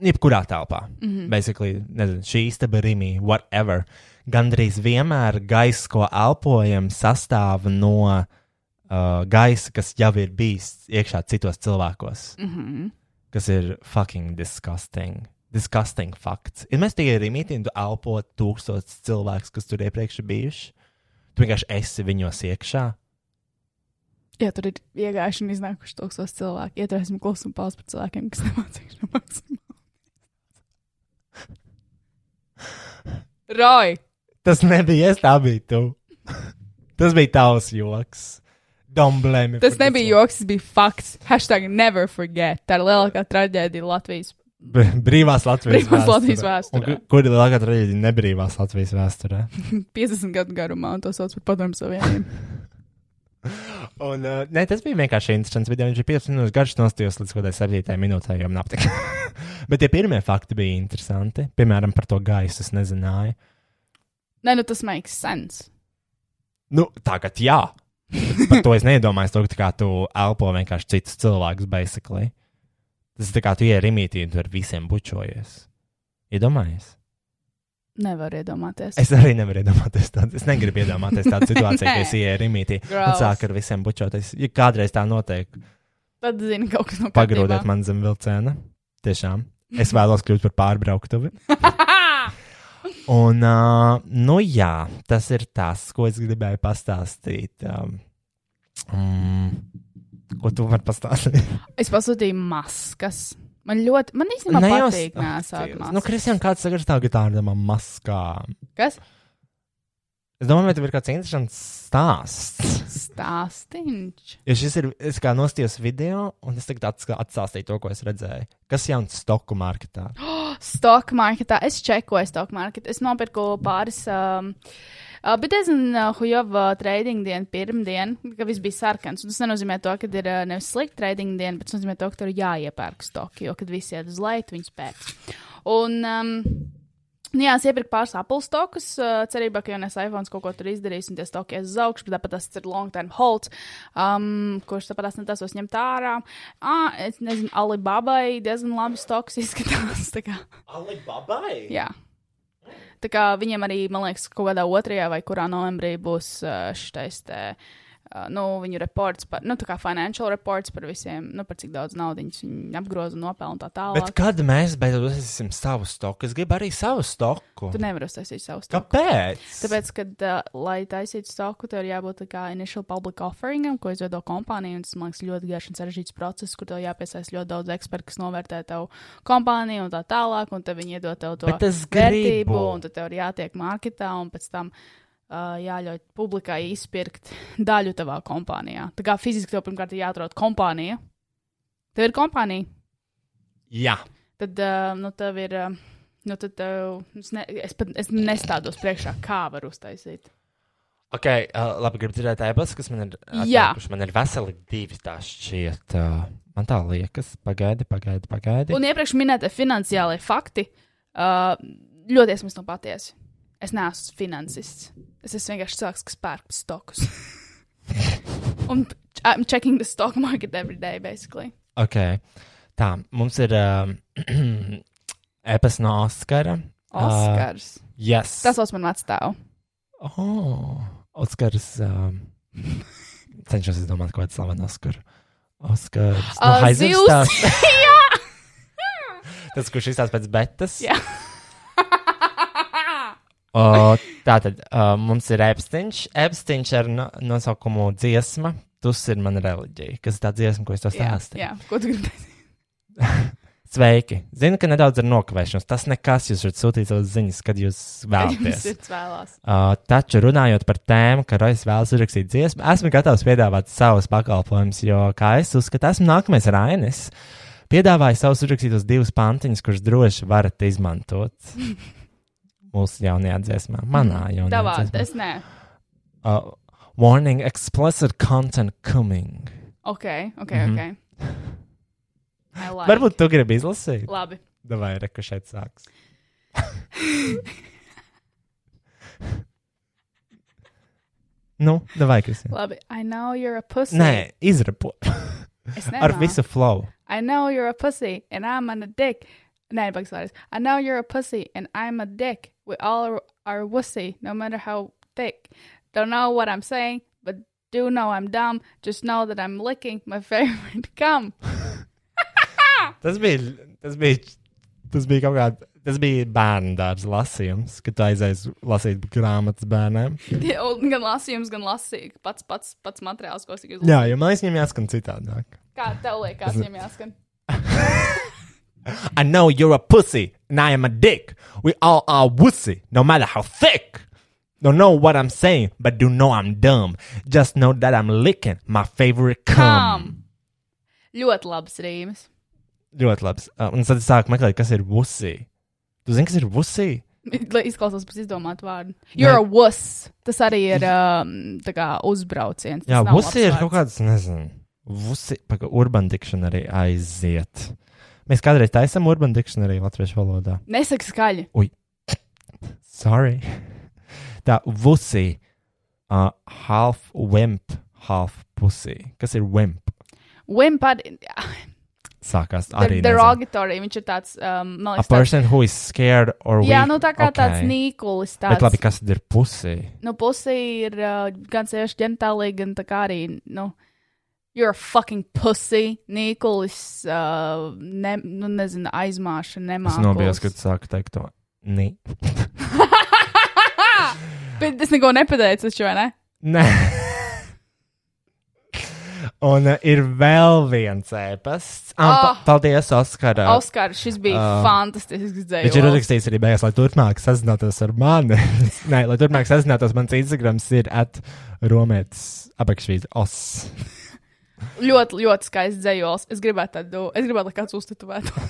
Speaker 2: jebkurā telpā, mm -hmm. basically, nezinu, šī istaba, rīmi, whatever, gandrīz vienmēr gaisa, ko elpojam, sastāv no uh, gaisa, kas jau ir bijis iekšā citos cilvēkos, mm -hmm. kas ir fucking disgusting. Disgusting fakts. Ir mēs tikai rīmītīgi elpot tūkstotis cilvēkus, kas tur iepriekš ir bijuši. Tu vienkārši esi viņos iekšā.
Speaker 3: Jā, tur ir iegājuši un iznākuši tūkstoši cilvēku. Ieturēsim klusumu pauzi par cilvēkiem, kas nemācīja šo maksimāli. Roj!
Speaker 2: Tas nebija es, tā bija tu. tas bija tavs joks. Don't blame me.
Speaker 3: Tas
Speaker 2: for this
Speaker 3: nebija joks, tas bija fakts. Hashtag never forget. Tā ir lielākā traģēdija Latvijas.
Speaker 2: one. B- Brīvās Latvijas
Speaker 3: Brīvās
Speaker 2: vēsturē.
Speaker 3: Latvijas vēsturē.
Speaker 2: Un ku- Kur ir lielākā traģēdija? Nebrīvās Latvijas vēsturē.
Speaker 3: 50 gadu garumā, un to sauc par padomu savienību.
Speaker 2: Un, uh, nē, tas bija vienkārši interesants video. Viņš ir 15 minūtes garš, nostājos līdz kaut kādai 7 minūtē, jau nav tik. Bet tie pirmie fakti bija interesanti. Piemēram, par to gaisu es nezināju.
Speaker 3: Nē, nu tas makes sense.
Speaker 2: Nu, tagad jā. Bet Par to es neiedomājos, to, ka tā kā tu elpo vienkārši citus cilvēkus, basically. Tas ir tā kā tu ieej rīmītī un tu ar visiem bučojies. Iedomājies?
Speaker 3: Nevar iedomāties.
Speaker 2: Es arī nevaru iedomāties tādu. Es negribu iedomāties tādu situāciju, ka es ieeju rīmītī un
Speaker 3: Gross.
Speaker 2: sāku ar visiem bučoties. Ja kādreiz tā notiek,
Speaker 3: Tad zini kaut kas no
Speaker 2: pagrūdiet man zem vilciena. Tiešām. Es vēlos kļūt par pārbrauktuvi. Un, uh, nu jā, tas ir tas, ko es gribēju pastāstīt. Um, mm, ko tu vari pastāstīt?
Speaker 3: Es pasūtīju maskas. Man ļoti, man īstenībā
Speaker 2: Ne jau-
Speaker 3: patīk nēsāt
Speaker 2: Nu,
Speaker 3: maskas.
Speaker 2: Kristian, kāds ir tā gitāra ar maskām?
Speaker 3: Kas?
Speaker 2: Es domāju, vai tev ir kāds interesants stāsts.
Speaker 3: Stāstīņš.
Speaker 2: Jo šis ir, es kā nostājos video, un es tagad atska- atstāstīju to, ko es redzēju. Kas jauns stoku marketā?
Speaker 3: Stock marketā. Es čekoju stock marketu. Es nopirku pāris. Um, Uh, bet es zinu, uh, Hujova trading dienu, pirmdien, ka viss bija sarkans. Un Tas nenozīmē to, ka ir uh, nevis slikta trading diena, bet tas nozīmē to, ka tur ir jāiepērk stoki, jo kad viss iet uz leju, tu viņus pērk. Un, um, nu jā, es iepirku pāris Apple stokus, uh, cerībā, ka jaunais iPhone kaut ko tur izdarīs, un tie stoki ies uz augšu, bet tāpat tas ir long term holds, um, kurš tāpat es netasos ņemt ārā. Ah, es nezinu, Alibabai diezgan labi stoks izskatās. tā kā.
Speaker 2: Alibabai!
Speaker 3: Jā. Tā kā viņiem arī, man liekas, kaut kādā otrajā vai kurā novembrī būs uh, šitais te. uh, Nu, viņu reports par, nu, tā kā financial reports par visiem, nu, par cik daudz naudas viņi apgroza, nopelna un tā tālāk.
Speaker 2: Bet kad mēs beidzot uzsāksim savu stoku, es gribu arī savu stoku.
Speaker 3: Tu nevari uztaisīt savu stoku.
Speaker 2: Kāpēc?
Speaker 3: Tāpēc, kad, uh, lai taisītu stoku, tev ir jābūt tā kā initial public offeringam, ko izveido kompānija. un Tas, man liekas, ļoti garš un sarežģīts process, kur tev jāpiesaist ļoti daudz ekspertu, kas novērtē tavu kompāniju un tā tālāk, un tad viņi iedod tev to
Speaker 2: Bet es
Speaker 3: vērtību,
Speaker 2: gribu.
Speaker 3: un tad tev ir jātiek marketā, un pēc tam uh, jāļauj publikai izpirkt daļu tavā kompānijā. Tā kā fiziski tev pirmkārt ir jāatrod kompānija. Tev ir kompānija,
Speaker 2: Jā,
Speaker 3: tad uh, nu, tev ir. Uh, Nu, tad, tev- es, ne, es pat es nestādos priekšā, kā var uztaisīt.
Speaker 2: ok, uh, labi, gribu dzirdēt ēbas, kas man ir.
Speaker 3: Jā.
Speaker 2: atnākuši. Man ir veseli divi tā šķiet. Uh, man tā liekas, pagaidi, pagaidi, pagaidi.
Speaker 3: Un iepriekš minētie finansiālie fakti uh, ļoti iesmas no patiesi. Es neesmu finansists. Es esmu vienkārši cilvēks, kas pērk stokus. Un ch- I'm checking the stock market every day, basically.
Speaker 2: Ok, tā, mums ir um, ēpas no Oskara.
Speaker 3: Oskars. Uh,
Speaker 2: Yes.
Speaker 3: Tas sauc man vecstāvu.
Speaker 2: Oh, Oskars. Um, cenšos izdomāt, ko tādu slavenu Oskaru. Oskars.
Speaker 3: Ā,
Speaker 2: Uh,
Speaker 3: zivs.
Speaker 2: Jā! Tas, kurš izstāsta pēc betas.
Speaker 3: Jā.
Speaker 2: O, tātad uh, mums ir epsteņš. Epsteņš ar no, nosaukumu dziesma. Tas ir mana reliģija, kas ir tā dziesma, ko es tev
Speaker 3: Jā,
Speaker 2: stāstīju.
Speaker 3: jā, ko tu gribēji?
Speaker 2: Sveiki! Zinu, ka nedaudz ir nokavēšanās. Tas nekas, jūs varat sūtīt savas ziņas, kad jūs
Speaker 3: Jums
Speaker 2: vēlaties.
Speaker 3: ir vēlās.
Speaker 2: Uh, taču runājot par tēmu, ka Roisas vēlas uzrakstīt dziesmu, esmu gatavs piedāvāt savus pakalpojumus, jo, kā es uzskatu, esmu nākamais Rainis. Piedāvāju savus uzrakstītos divus pantiņus, kurus droši varat izmantot mūsu jaunajā dziesmā, manā jaunajā
Speaker 3: Mm, Tavā,
Speaker 2: dziesmā.
Speaker 3: es nē.
Speaker 2: Uh, warning, explicit content coming.
Speaker 3: Ok, ok,
Speaker 2: Mhm.
Speaker 3: ok. I like.
Speaker 2: Varbūt tu gribi izlasīt?
Speaker 3: Labi.
Speaker 2: Davai, re, ka šeit sāks. nu, davai, Kristīna.
Speaker 3: Labi. I know you're a pussy.
Speaker 2: Nē, izrapo.
Speaker 3: es
Speaker 2: Ar
Speaker 3: nemā.
Speaker 2: visu flow.
Speaker 3: I know you're a pussy and I'm on a dick. Nē, bugs vairs. I know you're a pussy and I'm a dick. We all are wussy, no matter how thick. Don't know what I'm saying, but do know I'm dumb. Just know that I'm licking my favorite gum.
Speaker 2: Tas bija, tas bija, tas bija kaut kāds, tas bija bērnu dārza lasījums, kad tu aizies lasīt grāmatas bērniem.
Speaker 3: Tie- un gan lasījums, gan lasīja. Pats, pats, pats materiāls, ko es tikai uzlasīju.
Speaker 2: Jā, jo man liekas, viņam jāskan citādāk.
Speaker 3: Kā tev liekas, viņam jāskan?
Speaker 2: I know you're a pussy, and I am a dick. We all are wussy, no matter how thick. Don't know what I'm saying, but do know I'm dumb. Just know that I'm licking my favorite cum.
Speaker 3: Kam? Ļoti labs rīmes.
Speaker 2: Ļoti labi. Un tad es sāku meklēt, kas ir wussy. Tu zini, kas ir wussy?
Speaker 3: Lai izklausās pēc izdomātu vārdu. You're a wuss. Tas arī ir um, tā kā uzbrauciens.
Speaker 2: Jā,
Speaker 3: Tas nav
Speaker 2: wussy ir
Speaker 3: labs
Speaker 2: kaut
Speaker 3: vārds.
Speaker 2: kāds, nezinu, wussy, paka, urban dictionary aiziet. Mēs kādreiz taisam urban dictionary latviešu valodā.
Speaker 3: Nesaki skaļi.
Speaker 2: Sorry. Tā wussy, uh, half wimp, half pussy. Kas ir wimp?
Speaker 3: Wimpad,
Speaker 2: sākās arī
Speaker 3: der- derogatory, viņš ir tāds, um, man
Speaker 2: A
Speaker 3: liekas, tāds,
Speaker 2: person who is scared or weak.
Speaker 3: jā, nu tā kā
Speaker 2: Ok.
Speaker 3: tāds nīkulis, tāds,
Speaker 2: Bet labi, kas tad ir pusi?
Speaker 3: nu pussy ir uh, gan sieviešu ģenitālija, gan tā kā arī, nu, you're a fucking pussy, nīkulis, uh, ne, nu nezinu, aizmāša,
Speaker 2: Es
Speaker 3: nemākulis.
Speaker 2: nobijos, kad sāku teikt to. Nī.
Speaker 3: Bet es neko nepateicu, taču, vai ne?
Speaker 2: Nē. Un uh, ir vēl viens ēpasts. Ah,
Speaker 3: Ah.
Speaker 2: pa paldies, Oskar.
Speaker 3: Oskar, šis bija
Speaker 2: Ah.
Speaker 3: fantastisks dzējums.
Speaker 2: Viņš ir uzrakstījis arī beigās, lai turpmāk sazinātos ar mani. Nē, lai turpmāk sazinātos, mans Instagram ir at romētas apakšvīds os.
Speaker 3: Ļoti, ļoti skaists dzējums. Es gribētu tādu, es gribētu, lai kāds uztatuvētu.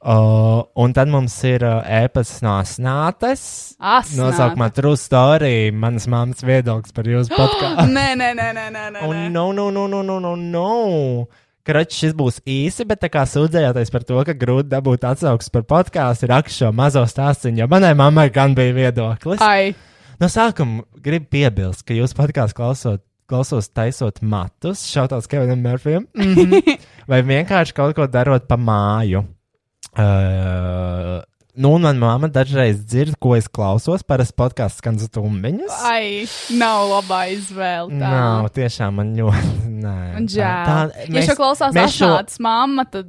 Speaker 2: Uh, un tad mums ir uh, ēpasts no snātes.
Speaker 3: Asnā.
Speaker 2: Nosaukumā True Story, manas mammas viedoklis par jūsu podkāstu.
Speaker 3: Nē, nē, nē, nē, nē, nē.
Speaker 2: Un
Speaker 3: nē.
Speaker 2: no, no, no, no, no, no, no. Kraķis šis būs īsi, bet tā kā sūdzējāties par to, ka grūti dabūt atsauksmes par podkāstu, ir akšo mazo stāstu, jo manai mammai gan bija viedoklis.
Speaker 3: Ai,
Speaker 2: No sākuma gribu piebilst, ka jūsu podkāstu klausot. Klausos, taisot matus, šautās Kevinam Mārfijam, mm -hmm. vai vienkārši kaut ko darot pa māju. Uh, Nu, un mana mamma dažreiz dzird, ko es klausos. Parasti podkāsts skan zvaigznes.
Speaker 3: Ai, nav labā izvēle. Tā.
Speaker 2: Nav, tiešām man ļoti. Nē,
Speaker 3: Un Žēl.
Speaker 2: tā-
Speaker 3: Ja šo klausās
Speaker 2: mēs šo-
Speaker 3: Asnāts mamma, tad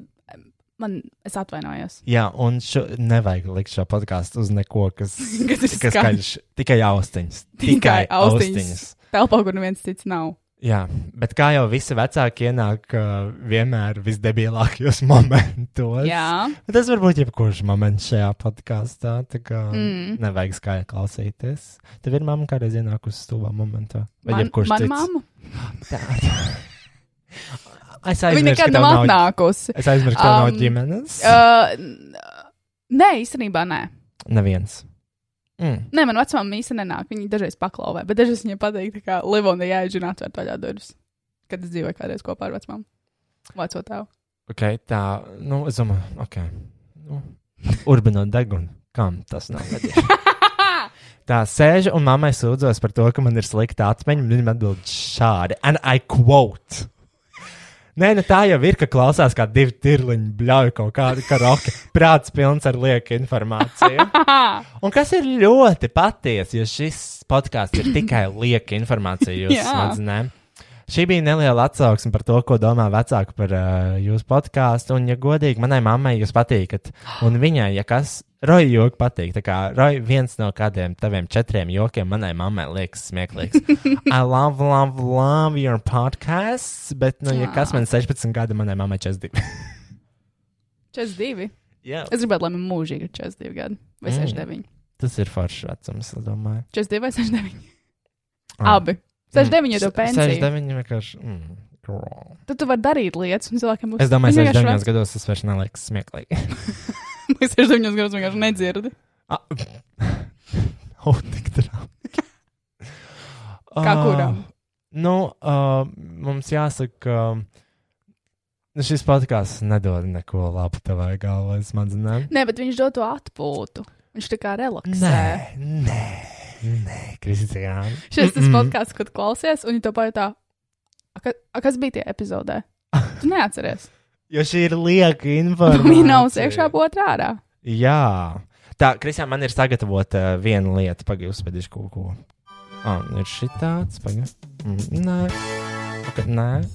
Speaker 3: man, es atvainojos.
Speaker 2: Jā, un šo, nevajag likt šo podkāstu uz neko, kas,
Speaker 3: Kad ir
Speaker 2: kas
Speaker 3: skaļš.
Speaker 2: skaļš. Tikai austiņas.
Speaker 3: Tikai austiņas. Telpā, kur neviens cits nav.
Speaker 2: Jā, bet kā jau visi vecāki ienāk uh, vienmēr visdebilākajos momentos.
Speaker 3: Jā,
Speaker 2: Bet Tas var būt jebkurš moments šajā podkāstā. Tā kā mm.
Speaker 3: Mm.
Speaker 2: nevajag skaļi klausīties. Tev ir mamma kādreiz ienākusi stulbā momentā. Vai
Speaker 3: man,
Speaker 2: jebkurš
Speaker 3: man
Speaker 2: cits?
Speaker 3: mamma.
Speaker 2: Es
Speaker 3: Viņa
Speaker 2: aizmirsu,
Speaker 3: nekad
Speaker 2: ka tev
Speaker 3: nav
Speaker 2: nav ģi-
Speaker 3: atnākusi.
Speaker 2: Es aizmirsu, ka tev um,
Speaker 3: Um,
Speaker 2: nav ģimenes. Uh,
Speaker 3: Uh, n- nē, īstenībā nē.
Speaker 2: Neviens. Mm.
Speaker 3: Nē, man vecumam īstenībā nenāk. Viņa dažreiz paklauvē, bet dažreiz viņa patīk, ka Livona jāizdzīvo un atver vaļā durvis. Kad es dzīvoju kādreiz kopā ar vecumam. Veco tevu.
Speaker 2: Okay, tā, nu, es domāju, ok. Nu, Urbino degunu. Kam tas nav? vajadzīgs? tā sēž un mammai sūdzos par to, ka man ir slikta atmiņa. un Viņa atbild šādi. And I quote. Nē, nu tā jau ir, ka klausās kā divi tirliņi, bļauj kaut kādu karaoke. Prāts pilns ar lieku informāciju. Un kas ir ļoti patiesi, jo šis podkāsts ir tikai lieka informācija jūsu
Speaker 3: Jā.
Speaker 2: smadzenēm. Šī bija neliela atsauksme par to, ko domā vecāki par uh, jūsu podkāstu. Un, ja godīgi, manai mammai jūs patīkat. Un viņai, ja kas, roja joki patīk. Tā kā roja viens no kādiem taviem četriem jokiem manai mammai liekas smieklīgs. I love, love, love your podcasts. Bet, nu, ja
Speaker 3: Jā.
Speaker 2: kas man 16 gadi, manai mammai 42.
Speaker 3: 42.
Speaker 2: Jā,
Speaker 3: Es gribētu, lai man mūžīgi ir 42 gadi. Vai
Speaker 2: Mm.
Speaker 3: 69.
Speaker 2: tas ir foršs vecums, es domāju.
Speaker 3: 42 vai 69.
Speaker 2: Ah.
Speaker 3: Abi. 69 jau tev pensija.
Speaker 2: 69 vienkārši. Mm, girl.
Speaker 3: Tad tu vari darīt lietas, un cilvēkiem būs.
Speaker 2: Es domāju,
Speaker 3: Viņi
Speaker 2: ka
Speaker 3: vienkārši
Speaker 2: 69 gados tas vairs neliekas smieklīgi.
Speaker 3: vai 69 gadus vienkārši nedzirdi.
Speaker 2: Ah, oh, tik traki.
Speaker 3: Kā
Speaker 2: Ah,
Speaker 3: kuram?
Speaker 2: Nu, uh, mums jāsaka, ka nu, šis podkāsts nedod neko labu tavai galvai smadzenēm.
Speaker 3: Nē, bet viņš dod to atpūtu. Viņš tā kā relaksē.
Speaker 2: Nē, nē, nē, Kristija.
Speaker 3: Šis tas
Speaker 2: Mm-mm.
Speaker 3: podkāsts, kad klausies, un viņi to pajautā, "A ka- a kas bija tie epizodē? Tu neatceries.
Speaker 2: Jo šī ir lieka informācija.
Speaker 3: Viņa nav uz iekšā, pa otrā ārā.
Speaker 2: Jā, tā, Kristija, man ir sagatavota eh, viena lieta, pagaidi, uzspēdīšu kaut ko. Ah, ir šī tāds, pagaidi. Mm, nē, okay, nē.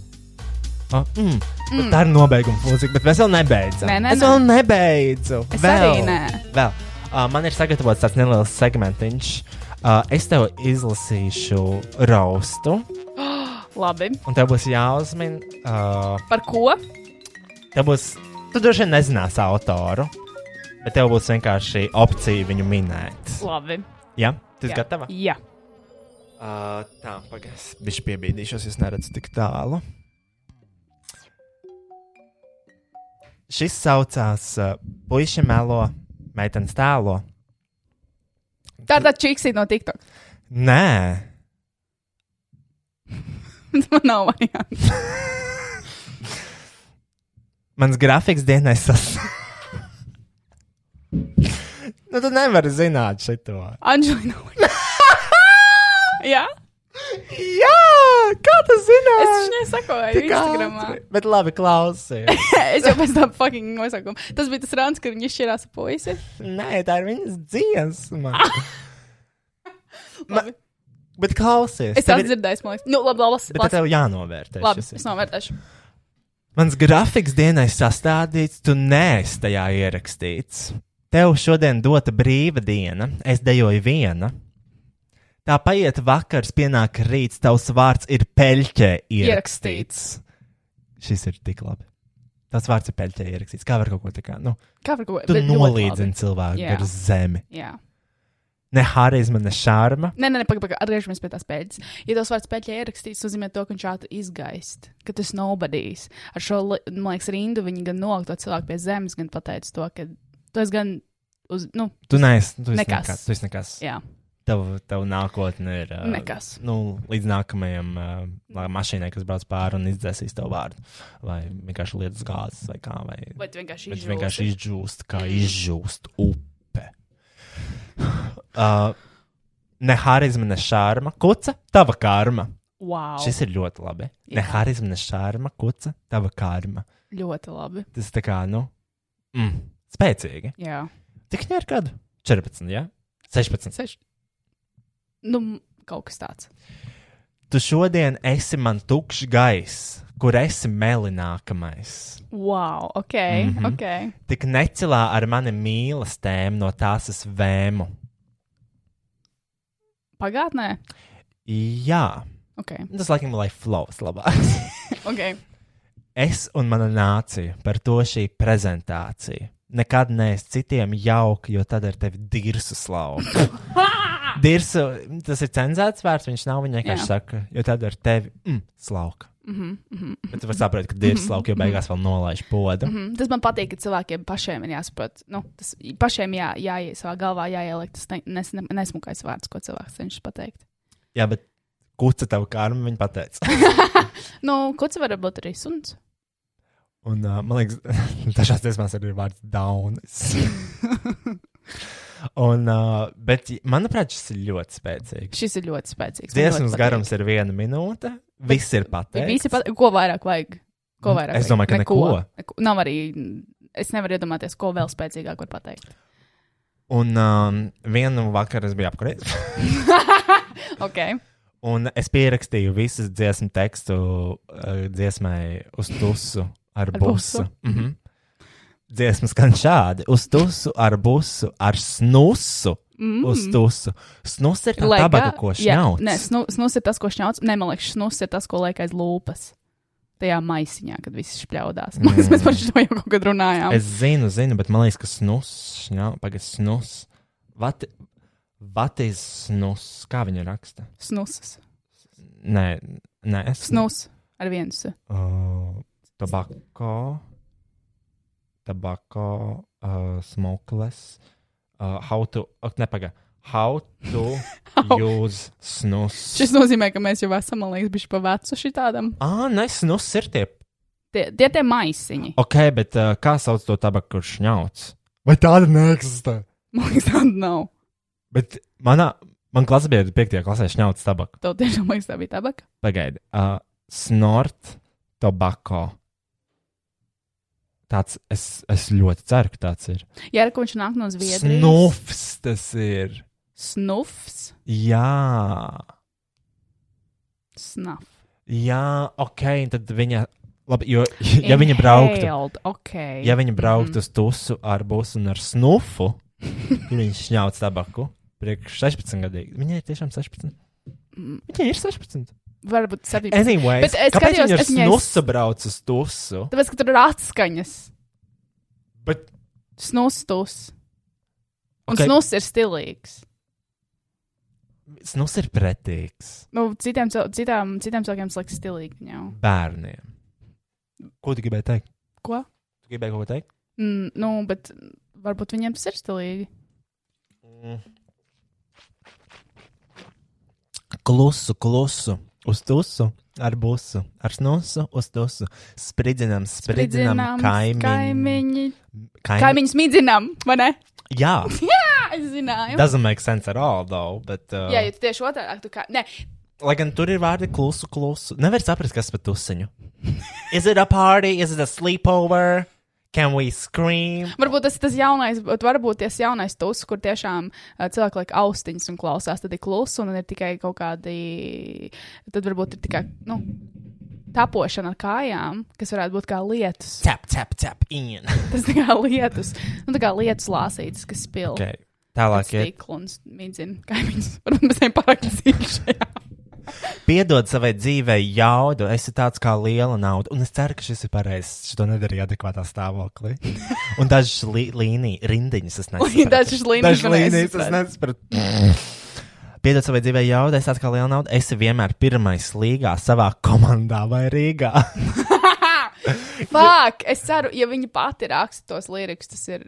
Speaker 2: Ah, mm. Mm. Tā ir nobeiguma mūzika, bet mēs vēl nebeidzam.
Speaker 3: Nē, nē,
Speaker 2: es vēl nebeidzu.
Speaker 3: Es
Speaker 2: vēl.
Speaker 3: arī nē.
Speaker 2: Vēl. Uh, man ir sagatavots tāds neliels segmentiņš. Uh, es tev izlasīšu raustu,
Speaker 3: Labi.
Speaker 2: un tev būs jāuzmina. Uh,
Speaker 3: Par ko?
Speaker 2: tev būs, tu droši vien nezinās autoru, bet tev būs vienkārši opcija viņu minēt.
Speaker 3: Labi.
Speaker 2: Jā,
Speaker 3: Jā.
Speaker 2: tas ir gatavs.
Speaker 3: Jā.
Speaker 2: Uh, tā, pagaidi. Viņš piebīdīšos, es neredzu tik tālu. Šis saucās uh, Puisā melo, meitene tēlo.
Speaker 3: Tā ir tā čiksīta no TikTok.
Speaker 2: Nē,
Speaker 3: Man nav variants.
Speaker 2: mans grafiks dienai sas. nu, tu nevari zināt šito.
Speaker 3: Anģelina. Jā?
Speaker 2: Jā, kā tu
Speaker 3: Es
Speaker 2: zināji?
Speaker 3: viņai sekoju Instagramā.
Speaker 2: Bet labi, klausies.
Speaker 3: Es jau pēc tam fucking nosaukumu. Tas bija tas rāns, kad viņi izšķirās ar puisi.
Speaker 2: Nē, tā ir viņas dziesma.
Speaker 3: Labi.
Speaker 2: Ah! Bet klausies.
Speaker 3: Es
Speaker 2: tev
Speaker 3: tā
Speaker 2: ir-
Speaker 3: dzirdēju, man liekas. Nu, labi, labi.
Speaker 2: Bet tad
Speaker 3: labi.
Speaker 2: tev jānovērtē.
Speaker 3: Labi,
Speaker 2: šis
Speaker 3: es novērtēšu.
Speaker 2: Mans grafiks dienai sastādīts, tu neesi tajā ierakstīts. Tev šodien dota brīva diena, es dejoju viena. Tā paiet vakars, pienāk rīts, tavs vārds ir peļķē ierakstīts. Šis ir tik labi. Tas vārds ir peļķē ierakstīts. Kā var kaut ko tādu? Nu,
Speaker 3: Kā var ko?
Speaker 2: tu
Speaker 3: bet ļoti
Speaker 2: nolīdzini cilvēku
Speaker 3: Jā.
Speaker 2: yeah. ar zemi.
Speaker 3: labi. Jā.
Speaker 2: Ne harizma, ne šārma.
Speaker 3: Nē, nē, nē, pagaidi, pagaidi, atgriežamies pie tās pēdas. Ja tos vārds pēdējā ierakstīts, tas nozīmē to, ka viņš ātri izgaist, ka tas nobadīs. Ar šo, li- man liekas, rindu viņi gan nolikt to cilvēku pie zemes, gan pateica to, ka tu esi gan uz, nu,
Speaker 2: Tu neesi tu esi
Speaker 3: Nekas.
Speaker 2: nekas. Tu esi nekas.
Speaker 3: jā,
Speaker 2: Tev, tev nākotne ir. Uh,
Speaker 3: nekas.
Speaker 2: nu, līdz nākamajam uh, lai mašīnai, kas brauc pāri un izdzēsīs tev vārdu. Vai vienkārši lietas gāzes, vai kā. Vai,
Speaker 3: Vai Mm. tu vienkārši
Speaker 2: bet
Speaker 3: izžūsi?
Speaker 2: vienkārši izžūst, kā izžūst upe. uh, ne harizma, ne šārma, kuca, tava karma.
Speaker 3: Wow,
Speaker 2: Šis ir ļoti labi.
Speaker 3: Jā.
Speaker 2: Ne harizma, ne šārma, kuca, tava karma.
Speaker 3: ļoti labi.
Speaker 2: Tas tā kā, nu, mm, spēcīgi.
Speaker 3: Jā.
Speaker 2: Tik viņai ir gadu? 14, jā. 16, 6.
Speaker 3: Nu, kaut kas tāds.
Speaker 2: Tu šodien esi man tukšs gaiss, kur esi melinākamais.
Speaker 3: Wow, ok, mm
Speaker 2: Mhm.
Speaker 3: -hmm. ok.
Speaker 2: Tik necilā ar mani mīlestēm no tās es vēmu.
Speaker 3: Pagātnē?
Speaker 2: Jā,
Speaker 3: Ok,
Speaker 2: tas laikam, lai flows labāk.
Speaker 3: ok.
Speaker 2: Es un mana nācija par to šī prezentācija. Nekad neesi citiem jauki, jo tad ar tevi dirsu slauka. Dirsu, tas ir cenzēts vārds, viņš nav viņa
Speaker 3: Jā.
Speaker 2: vienkārši saka, jo tad ar tevi mm, slauka.
Speaker 3: Mhm,
Speaker 2: Bet tu vari saprast, ka dirsu slauka jau beigās vēl nolaiž podu.
Speaker 3: Mm, tas man patīk, ka cilvēkiem pašiem ir jāsaprot. Nu, tas pašiem jā, jāiet savā galvā, jāieliek tas ne, nes, ne, nesmukais vārds, ko cilvēks cenšas pateikt.
Speaker 2: Jā, bet kuca tev karma, viņa pateica.
Speaker 3: Nu, ko tas var būt arī suns?
Speaker 2: Un uh, man liekas, dažās dziesmās arī ir vārds daunis. Un, uh, bet, manuprāt, šis ir ļoti spēcīgs.
Speaker 3: Šis ir ļoti spēcīgs. man ļoti
Speaker 2: Dziesmas
Speaker 3: patīk.
Speaker 2: garums ir viena minūte. Viss ir pateikts.
Speaker 3: Visi pat, ko vairāk vajag? Ko vairāk
Speaker 2: Nu, Es
Speaker 3: vajag?
Speaker 2: domāju, ka neko.
Speaker 3: neko. Nav arī. Es nevaru iedomāties, ko vēl spēcīgāk var pateikt.
Speaker 2: Un um, vienu vakaru es biju apkurējis.
Speaker 3: Ok,
Speaker 2: Un es pierakstīju visas dziesmu tekstu uh, dziesmai uz tusu ar busu.
Speaker 3: busu?
Speaker 2: Mm -hmm. Dziesmas skan šādi. Uz tusu ar busu, ar snusu. Mm. Uz tusu. Snus ir tā
Speaker 3: Lai
Speaker 2: tabaka,
Speaker 3: gan-
Speaker 2: ko
Speaker 3: Jā,
Speaker 2: šņauc.
Speaker 3: Nē, snu, snus ir tas, ko šņauc. Nē, man liekas, snus ir tas, ko liek aiz lūpas. Tajā maisiņā, kad viss špļaudās. Mm. Mēs par šo jau kaut kad runājām.
Speaker 2: Es zinu, zinu, bet man liekas, ka snus, šņau, pagaid, snus. Vati, vatis snus, kā viņa raksta?
Speaker 3: Snusas.
Speaker 2: Nē, nē, es.
Speaker 3: Snus ar vienu. s.
Speaker 2: Uh, tobacco, tobacco, uh, smokeless. Uh, how to, ok, nepaga. How to
Speaker 3: How-
Speaker 2: use snus.
Speaker 3: Šis nozīmē, ka mēs jau esam, man liekas, bijuši pa vecu šitādam.
Speaker 2: Ah, nē, snus ir tie.
Speaker 3: Tie tie tie maisiņi.
Speaker 2: Ok, bet uh, kā sauc to tabaku, kurš ņauts? Vai tāda neeksistē?
Speaker 3: Man liekas, tāda nav.
Speaker 2: Bet manā, man klasē bija 5. klasē šņauts tabaku.
Speaker 3: Tev tiešām liekas, tā bija tabaka.
Speaker 2: Pagaidi, uh, snort tobacco. Tāds, es, es ļoti ceru, ka tāds ir.
Speaker 3: Jā, ka viņš nāk no Zviedrijas.
Speaker 2: Snufs tas ir.
Speaker 3: Snufs.
Speaker 2: Jā,
Speaker 3: Snaf.
Speaker 2: jā ok. un Tad viņa, labi, jo, ja viņa brauktu,
Speaker 3: Inhaled, Okay.
Speaker 2: ja viņa brauktu
Speaker 3: Mhm.
Speaker 2: uz tusu ar busu un ar snufu, ja viņš ņauts tabaku. Priekš 16 gadīgi. Viņai ir tiešām 16. Viņai ir 16.
Speaker 3: Mm. Varbūt 17.
Speaker 2: Anyway,
Speaker 3: Bet es
Speaker 2: kāpēc
Speaker 3: skatījos,
Speaker 2: viņi ar
Speaker 3: es viņai-
Speaker 2: snusu brauc uz tusu?
Speaker 3: Tāpēc, ka tur ir atskaņas.
Speaker 2: Bet
Speaker 3: Snustus. Un
Speaker 2: Ok.
Speaker 3: okay. snus ir stilīgs.
Speaker 2: snus ir pretīgs
Speaker 3: Nu, citiem, cil- citām, citiem cilvēkiem tas liekas stilīgi. Jau.
Speaker 2: bērniem. Ko tu gribēji teikt?
Speaker 3: Ko?
Speaker 2: Tu gribēji kaut ko teikt?
Speaker 3: Mm, nu, bet varbūt viņiem tas ir stilīgi.
Speaker 2: Klusu, klusu, uz tusu, ar busu, ar snusu, uz tusu. Spridzinām, spridzinām,
Speaker 3: Spridzinām
Speaker 2: kaimiņu.
Speaker 3: kaimiņi.
Speaker 2: Kaimiņ...
Speaker 3: Kaimiņus midzinām, vai ne?
Speaker 2: Jā,
Speaker 3: Jā, es zināju.
Speaker 2: doesn't make sense at all, though. But, uh,
Speaker 3: Jā, jo tu tieši otrādi. tu Kā... Nē,
Speaker 2: Lai gan tur ir vārdi klusu, klusu. Nevar saprast, kas par tusiņu. Is it a party? Is it a sleepover? Can we scream?
Speaker 3: varbūt tas ir tas jaunais, bet varbūt tas jaunais tūs, kur tiešām ā, cilvēki liek austiņas un klausās. Tad ir klusa un ir tikai kaut kādi. Tad varbūt ir tikai nu, tapošana ar kājām, kas varētu būt kā lietus.
Speaker 2: Tap, tap, tap, in.
Speaker 3: Tas tā kā lietus, nu, tā kā lietus lāsītas, kas spilg.
Speaker 2: Okay. Tālāk, ir.
Speaker 3: Stikla un mīdzina kaimiņus. Varbūt mēs neesam pārāk dzīvi šajā.
Speaker 2: piedod savai dzīvei jaudu, esi tāds kā liela nauda. Un es ceru, ka šis ir pareizs. Šo nedarīju adekvātā stāvoklī. Un dažas li līnijas, rindiņas es nesapratu.
Speaker 3: Dažas līnijas
Speaker 2: Dažas
Speaker 3: tu
Speaker 2: līnijas es
Speaker 3: nesaprati.
Speaker 2: nesapratu. Piedod savai dzīvei jaudu, es tāds kā liela nauda. Esi vienmēr pirmais līgā savā komandā vai Rīgā.
Speaker 3: Fāk! Es ceru, ja viņa pati raksta tos līrikus, tas ir.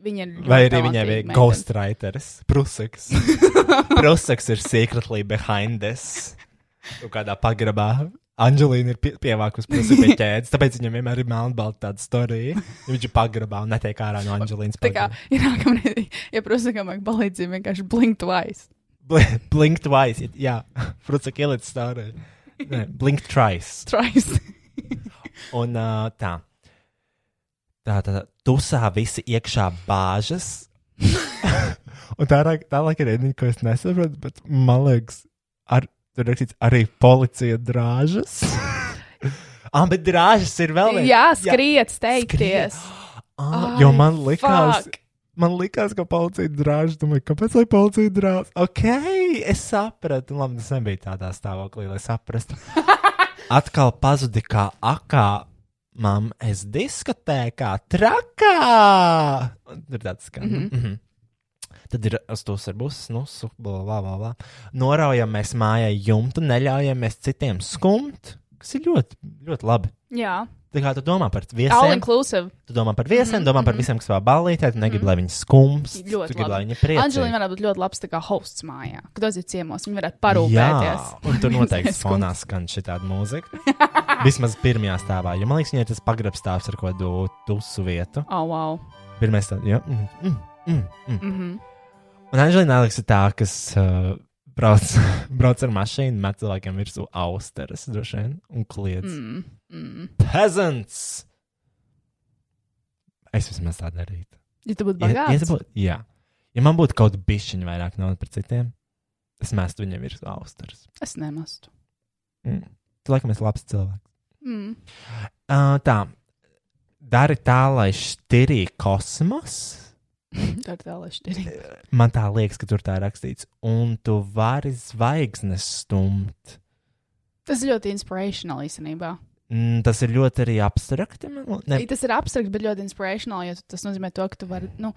Speaker 3: Viņa ir.
Speaker 2: Vai
Speaker 3: ļoti
Speaker 2: arī viņai
Speaker 3: talantīga
Speaker 2: bija
Speaker 3: meitene.
Speaker 2: ghostwriters, prusaks. prusaks ir secretly behind this. Kaut Kādā pagrabā. Anģelīna ir pie, pievākusi pusi pie ķēdes, tāpēc viņam vienmēr ir melnbalta tāda storija. Ja Viņš ir pagrabā un netiek ārā no Anģelīnas.
Speaker 3: Tā kā, ja nākamreiz, ja prasakām, vajag palīdzību, vienkārši blink twice.
Speaker 2: Blink twice. it- Jā, prusaka ielic storiju. Nē, Blink twice.
Speaker 3: Twice.
Speaker 2: Un uh, tā. Tā, tā, tā. Tusā visi iekšā bāžas, Un tā ir tā laika rēniņa, ko es nesaprotu, bet man liekas, ar, tur rakstīts arī policija drāžas. ah, bet drāžas ir vēl viena.
Speaker 3: Jā, skriet, steigties.
Speaker 2: Ah,
Speaker 3: Ai,
Speaker 2: jo man likās,
Speaker 3: fuck.
Speaker 2: man likās, ka policija drāž. Domāju, kāpēc lai policija drāž? Ok, es sapratu. Labi, tas nebija tādā stāvoklī, lai saprastu. Atkal pazudi kā akā. Mam, es diskotēkā, trakā! Tur tāds skan. Mm -hmm. Mm -hmm. Tad ir stūs ar busu, nu, sublā, bla, bla, bla. Noraujamies mājai jumtu, neļaujamies citiem skumt, kas ir ļoti, ļoti labi.
Speaker 3: Jā,
Speaker 2: Tā kā tu domā par
Speaker 3: all
Speaker 2: viesiem,
Speaker 3: inclusive.
Speaker 2: Tu domā par viesiem, domā par visiem, kas vēl ballītē. Tu negribi, lai viņi skumst.
Speaker 3: Mhm, Ļoti
Speaker 2: tu gribi, lai
Speaker 3: labi.
Speaker 2: viņi priecīgi.
Speaker 3: Anģelīna varētu būt ļoti labs tā kā hosts mājā. Kad aiziet ciemos, viņa varētu parūpēties.
Speaker 2: Jā, un tur noteikti fonā skan šī tāda mūzika. Vismaz pirmajā stāvā. Jo man liekas, viņai ir tas pagrabstāvs ar ko dūsu vietu.
Speaker 3: Oh, wow.
Speaker 2: Pirmais stāvs. Jā. Mm, mm, mm, mm.
Speaker 3: Mm -hmm.
Speaker 2: Un Anģelīna Aleks ir tā, kas uh, brauc, brauc ar mašīnu, met cilvēkiem virsū austeres droši vien un kliedz. Mm.
Speaker 3: mm, mm.
Speaker 2: Peasants! Es vismaz tā darītu.
Speaker 3: Ja tu būtu
Speaker 2: Ja- ja
Speaker 3: bagāts,
Speaker 2: es būtu- Jā, ja man būtu kaut bišķiņa vairāk naudas par citiem, es mēstu viņam virsū austeres.
Speaker 3: es nemestu.
Speaker 2: Mm. Tu laikam esi labs cilvēks.
Speaker 3: Mm.
Speaker 2: Uh, tā, dari tā, lai šķirī kosmos.
Speaker 3: Tā ir tā līnija.
Speaker 2: Man tā liekas, ka tur tā ir rakstīts. Un tu vari zvaigznes stumt.
Speaker 3: Tas ir ļoti inspirational īstenībā.
Speaker 2: Mm, tas ir ļoti arī abstrakti. man li-
Speaker 3: Ne.
Speaker 2: Ne,
Speaker 3: Tas ir abstrakts, bet ļoti inspirational, jo tas nozīmē to, ka tu vari. Nu,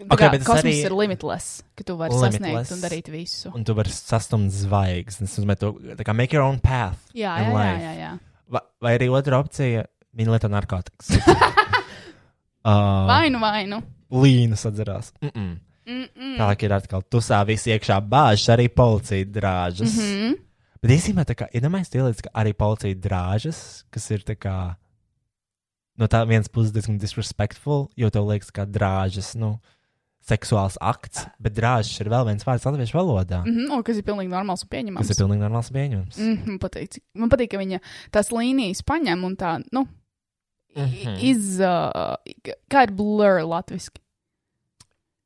Speaker 3: tā
Speaker 2: Ok,
Speaker 3: kā
Speaker 2: bet es
Speaker 3: kosmos
Speaker 2: arī-
Speaker 3: ir limitless, ka tu vari
Speaker 2: Limitless.
Speaker 3: sasniegt un darīt visu.
Speaker 2: un tu vari sastumt zvaigznes. Tas nozīmē, to- tā kā make your own path.
Speaker 3: Jā,
Speaker 2: in
Speaker 3: jā, jā,
Speaker 2: life.
Speaker 3: jā, jā.
Speaker 2: Vai, vai arī otra opcija - viņa lieto narkotikas.
Speaker 3: Oh.
Speaker 2: uh,
Speaker 3: Vainu, vainu.
Speaker 2: Līnas atcerās. Mm -mm.
Speaker 3: Mm -mm.
Speaker 2: Tālāk ir atkal tusā visi iekšā bāžas, arī policija drāžas.
Speaker 3: Mm -hmm.
Speaker 2: Bet īstenībā tā kā iedomājieties, tie lietas, ka arī policija drāžas, kas ir tā kā. No tā vienas puses diezgan disrespectful, jo tev liekas, ka drāžas, nu, seksuāls akts, bet drāžas ir vēl viens vārds latviešu valodā,
Speaker 3: Mm -hmm. O, kas ir pilnīgi normāls un pieņemams.
Speaker 2: kas ir pilnīgi normāls pieņemums.
Speaker 3: Mm, man, patīk, cik- man patīk, ka viņa tās līnijas paņem un tā, nu, mm -hmm.
Speaker 2: Mhm.
Speaker 3: iz. Uh, kā ir blur latviešu?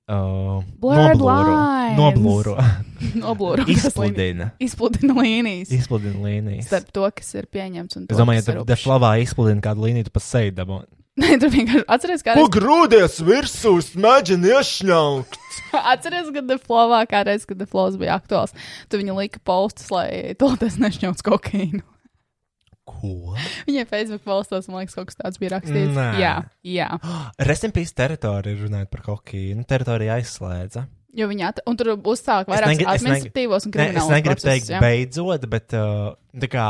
Speaker 2: Uh,
Speaker 3: Blurred
Speaker 2: noblūro.
Speaker 3: lines.
Speaker 2: Noblūro.
Speaker 3: Noblūro.
Speaker 2: Izpludina.
Speaker 3: Izpludina līnijas.
Speaker 2: Izpludina līnijas.
Speaker 3: Starp to, kas ir pieņemts un to,
Speaker 2: Es domāju,
Speaker 3: kas ir
Speaker 2: ja tu
Speaker 3: rupšs.
Speaker 2: deflavā izpludini kādu līniju, tu pa seju dabū.
Speaker 3: Nē, tur vienkārši atceries, kā reiz,
Speaker 2: grūties virsū, smēģini iešņaukt!
Speaker 3: atceries, kad deflovā, kā reiz, kad deflovs bija aktuāls, tu viņa lika postus, lai to tas nešņauts kokainu.
Speaker 2: Ko?
Speaker 3: Viņai Facebook postos, man liekas, kaut kas tāds bija rakstīts.
Speaker 2: Nē.
Speaker 3: Jā, jā.
Speaker 2: Resimpīs teritorija runājot par kokainu. Teritorija aizslēdza.
Speaker 3: Jo viņa at... un tur uzsāk vairākus
Speaker 2: negri- es negri-
Speaker 3: administratīvos un
Speaker 2: Ne, es
Speaker 3: kriminālus
Speaker 2: negribu
Speaker 3: procesus,
Speaker 2: teikt,
Speaker 3: jā.
Speaker 2: beidzot, bet uh, tā kā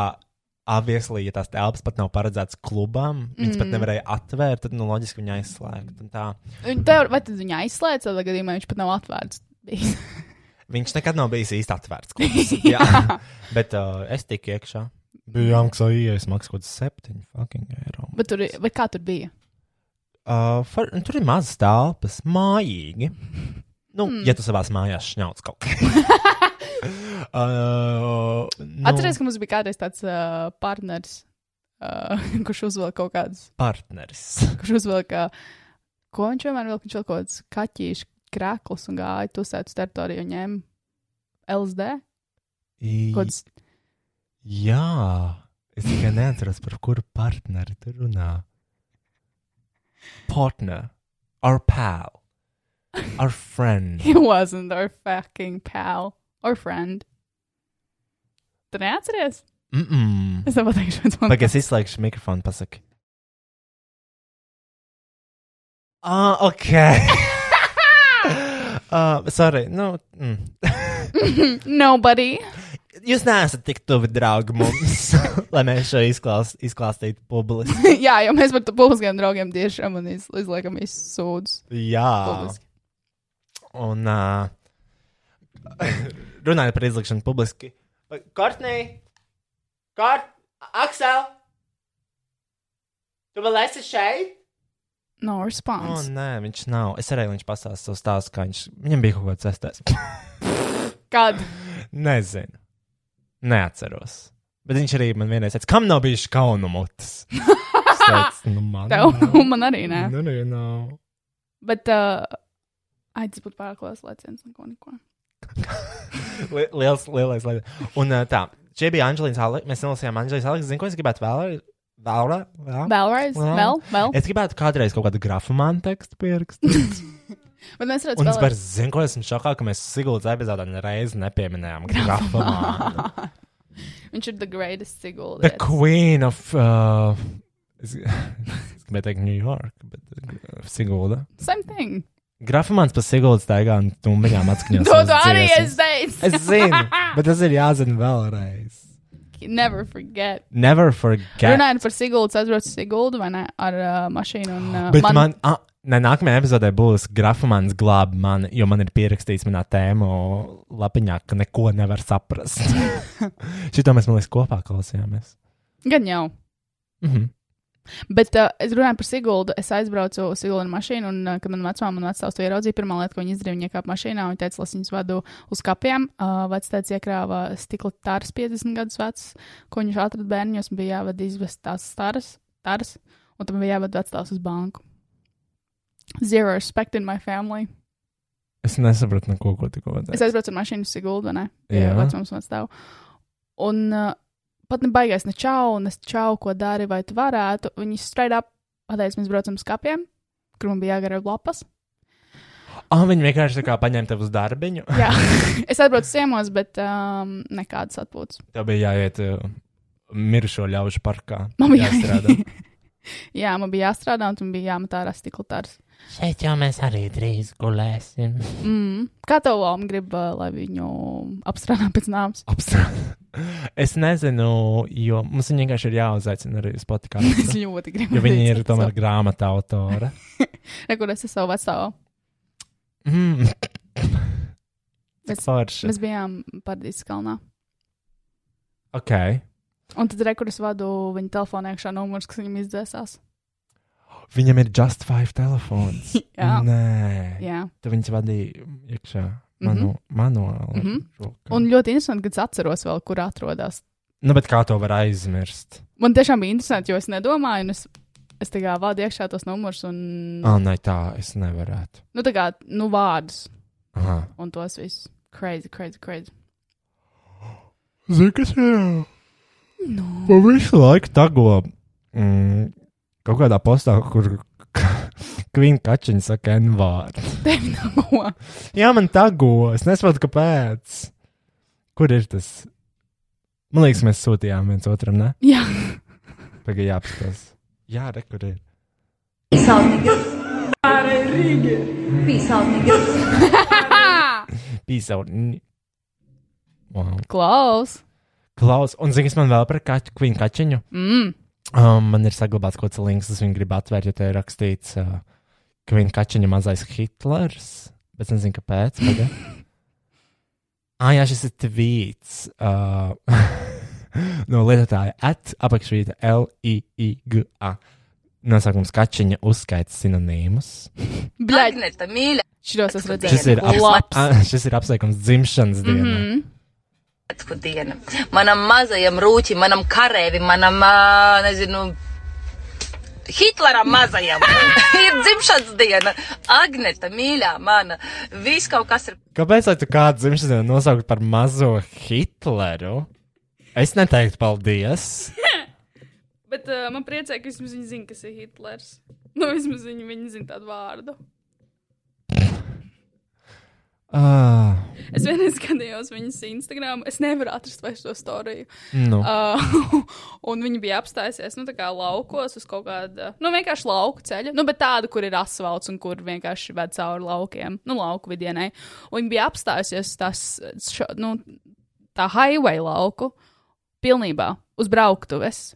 Speaker 2: aviesli, ja tās telpas pat nav paredzētas klubam, viņas mm. pat nevarēja atvērt, tad nu, loģiski viņa aizslēgt. Un tā.
Speaker 3: Un tev- Vai tad viņa aizslēdz, tad gadījumā viņš pat nav atvērts. bijis.
Speaker 2: Viņš nekad nav bijis īsti atvērts. klubs. Jā. bet uh, es tiku iekšā. Bija jāmaksā ielas maksa kaut kas septiņi fucking eiro.
Speaker 3: Bet tur, ir- vai kā tur bija?
Speaker 2: Uh, far, nu, tur ir mazas telpas, mājīgi. Nu, mm. Ja tu savā mājā šņauc kaut ko. Eh, uh, nu,
Speaker 3: Atceries, ka mums bija kādreiz tāds uh, partners, uh, kurš uzvilka kaut kādus
Speaker 2: partneris.
Speaker 3: kurš uzvilka, ko viņš vienmēr vilka, viņš vilka kaut kāds kaķīšu krēklus un gāja tusēt uz teritoriju un ņēma LSD.
Speaker 2: I-
Speaker 3: Kaut kāds,
Speaker 2: Jā, es tikai neatceros, par kuru partneri tu runā. Partner, our pal, our friend.
Speaker 3: he wasn't our fucking pal or friend. Tu neatceries?
Speaker 2: Mm -mm.
Speaker 3: Es tev pateikšu, pēc man.
Speaker 2: Pagaid, es izslēgšu mikrofonu, pasaki. Ah, ok. uh, sorry, nu. Mm.
Speaker 3: Nobody.
Speaker 2: Jūs neesat tik tuvi draugi mums, lai mēs šo izklās, izklāstītu publiski.
Speaker 3: Jā, jo mēs par to publiskiem draugiem tiešām un iz, izliekam visus sūdus.
Speaker 2: Jā.
Speaker 3: publiski.
Speaker 2: Un uh, runājot par izlikšanu publiski. Kortnī, Kort, Aksel, tu vēl esi šeit?
Speaker 3: No
Speaker 2: O, oh,
Speaker 3: response.
Speaker 2: nē, viņš nav. Es arī viņš pastāstīju savu stāstu, kā viņš. Viņam bija kaut kas sestais.
Speaker 3: Kad?
Speaker 2: Nezinu. Neatceros. Bet viņš arī man vienreiz teica, kam nav bijuši kaunu mutes? Es teicu, nu, man.
Speaker 3: Tev un man arī nē.
Speaker 2: Nē, nē, nē.
Speaker 3: Bet uh, Ai, tas būtu pārāk liels lēciens, neko, neko.
Speaker 2: Li- Liels, lielais lēciens. Un ā, tā, šeit bija Anģelīna Aleksa. Mēs nolasījām Anģelīnas Aleksa. Zinu, ko es gribētu vēlreiz? Vēlreiz? Vēl?
Speaker 3: Vēlreiz,
Speaker 2: Jā.
Speaker 3: vēl, vēl.
Speaker 2: Es gribētu kādreiz kaut kādu grafamānu tekstu pierakstīt.
Speaker 3: Bet mēs
Speaker 2: Un
Speaker 3: redzam,
Speaker 2: es par zinu, ko esmu šokā, ka mēs Siguldas epizodē reizi nepieminējām grafamānu.
Speaker 3: viņš ir the greatest sigula.
Speaker 2: The queen of... Uh, es, es gribēju teikt New York, bet uh, Sigulda.
Speaker 3: Same thing.
Speaker 2: Grafamāns par Siguldas taigā un tumbiņām Oh, atskaņos.
Speaker 3: To
Speaker 2: savas
Speaker 3: tu arī
Speaker 2: dziesmas.
Speaker 3: esi teicis.
Speaker 2: Es zinu, bet tas ir jāzina vēlreiz.
Speaker 3: Never forget.
Speaker 2: Never forget.
Speaker 3: Runājot par Siguldu, es aizbraucu uz Siguldu vai ne ar uh, mašīnu. Un, uh,
Speaker 2: Bet man, man ah, ne, nākamajā epizodē būs grafamāns glāb mani, jo man ir pierakstīts manā tēmu lapiņā, ka neko nevar saprast. Šito mēs, man liekas, kopā klausījāmies.
Speaker 3: Gan jau.
Speaker 2: Mhm.
Speaker 3: Bet uh, es runāju par Siguldu. Es aizbraucu uz Siguldu mašīnu, un, uh, kad man vecmāmiņa un vecāks to ieraudzīja, pirmā lieta, ko viņi izdarīja, viņi iekāpa mašīnā un teica, lai es viņus vadu uz kapiem. Uh, Vecāks iekrāva stikla tāras 50 gadus vecs, ko viņš atrada bērniņos, un bija jāved izvest tās staras, taras, un tam bija jāved vecāks uz banku. Zero respect in my family.
Speaker 2: Es nesapratu neko, ko tikko
Speaker 3: Es
Speaker 2: redzēju.
Speaker 3: aizbraucu ar mašīnu uz Siguldu, vai ne?
Speaker 2: Jā.
Speaker 3: Jā, vecums man stāv. Un uh, pat ne baigais ne čau, ne čau, ko dari, vai tu varētu. Viņi straidā pateica, mēs braucam uz kapiem, kur man bija jāgaro lapas.
Speaker 2: Ah, viņi vienkārši tā kā paņēma tev uz darbiņu.
Speaker 3: Jā, es atbraucu ciemos, bet um, nekādas atpūtas.
Speaker 2: Tev bija jāiet uh, mirušo ļaužu parkā.
Speaker 3: Man bija
Speaker 2: jāstrādā.
Speaker 3: Jā, man bija jāstrādā, un tam bija jāmet ārā stikla tārs.
Speaker 6: Šeit jau mēs arī drīz gulēsim.
Speaker 3: Mm. Kā tev Lapa grib, uh, lai viņu apstrādā pēc nāves?
Speaker 2: Apstrādā. Es nezinu, jo mums viņi vienkārši ir jāuzaicina arī uz
Speaker 3: Es
Speaker 2: podkāstu.
Speaker 3: ļoti gribu.
Speaker 2: Jo viņi ir tomēr grāmatā autora.
Speaker 3: Nekur es esmu savu vecāku.
Speaker 2: Mm.
Speaker 3: Mēs-
Speaker 2: Forši.
Speaker 3: Mēs bijām Paradīzes kalnā.
Speaker 2: Ok.
Speaker 3: Un tad rekurors vadu viņa telefonā iekšā numurs, kas viņam izdzēsās.
Speaker 2: Viņam ir just five telefons.
Speaker 3: Jā.
Speaker 2: Mm. Nē,
Speaker 3: Jā.
Speaker 2: tad viņas vadīja iekšā manu, manuāli.
Speaker 3: Mhm.
Speaker 2: roku.
Speaker 3: Un ļoti interesanti, ka es atceros vēl, kur atrodas.
Speaker 2: Nu, bet kā to var aizmirst?
Speaker 3: Man tiešām bija interesanti, jo es nedomāju, un es, es tā kā vādu iekšā tos numurus un
Speaker 2: Ā, oh, nē, tā es nevarētu.
Speaker 3: nu, tā kā, nu, vārdus
Speaker 2: Aha.
Speaker 3: un tos visus. Crazy, crazy, crazy.
Speaker 2: Zini, kas ir? Man visu laiku tago mm, kaut kādā postā, kur Kvina Kačina saka N-vārdu.
Speaker 3: Tev nav ko.
Speaker 2: Jā, man tago, es nesaprotu, kāpēc. Kur ir tas? Man liekas, mēs sūtījām viens otram, ne?
Speaker 3: Jā,
Speaker 2: Pagaidām, jāapskatās. Jā, re, kur ir. Pīsautīgi. Wow.
Speaker 3: klaus.
Speaker 2: Klaus, un zini, kas man vēl par kaķu, kvīnu kaķiņu?
Speaker 3: Mm.
Speaker 2: Um, man ir saglabāts kaut kāds links, es viņu gribu atvērt, jo te ir rakstīts, uh, ka viņa kaķiņa mazais Hitlers. Bet es nezinu, kāpēc. pagaid. ah, jā, šis ir tvīts uh, no lietotāja at apakšvīta L-I-I-G-A. Nosaukums kaķiņa uzskaita sinonīmus.
Speaker 3: Bļaigi,
Speaker 7: Agneta, mīļa,
Speaker 3: šitos es redzēju.
Speaker 2: Šis ir, aps,
Speaker 3: labs.
Speaker 2: a, šis ir apsveikums dzimšanas dienā. Mm -hmm.
Speaker 3: Mm.
Speaker 7: atsku diena. Manam mazajam rūķim, manam karēvim, manam, ā, nezinu, Hitleram mazajam ir dzimšanas diena. Agneta, mīļā mana, viss kaut kas ir.
Speaker 2: Kāpēc lai tu kādu dzimšanas dienu nosaukt par mazo Hitleru? Es neteiktu paldies.
Speaker 3: Bet uh, man priecē, ka vismaz viņi zina, kas ir Hitlers. Nu, vismaz viņi, viņi zina tādu vārdu.
Speaker 2: Ah,
Speaker 3: Es vienreiz skatījos viņas Instagram, es nevaru atrast vairs to storiju.
Speaker 2: nu.
Speaker 8: Ah,
Speaker 3: Uh, un viņi bija apstājusies, nu, tā kā laukos uz kaut kāda, nu, vienkārši lauka ceļa. Nu, bet tāda, kur ir asfalts un kur vienkārši ved cauri laukiem, nu, lauku vidienai. Un viņi bija apstājusies uz tās, šo, nu, tā highway lauku pilnībā uz brauktuves.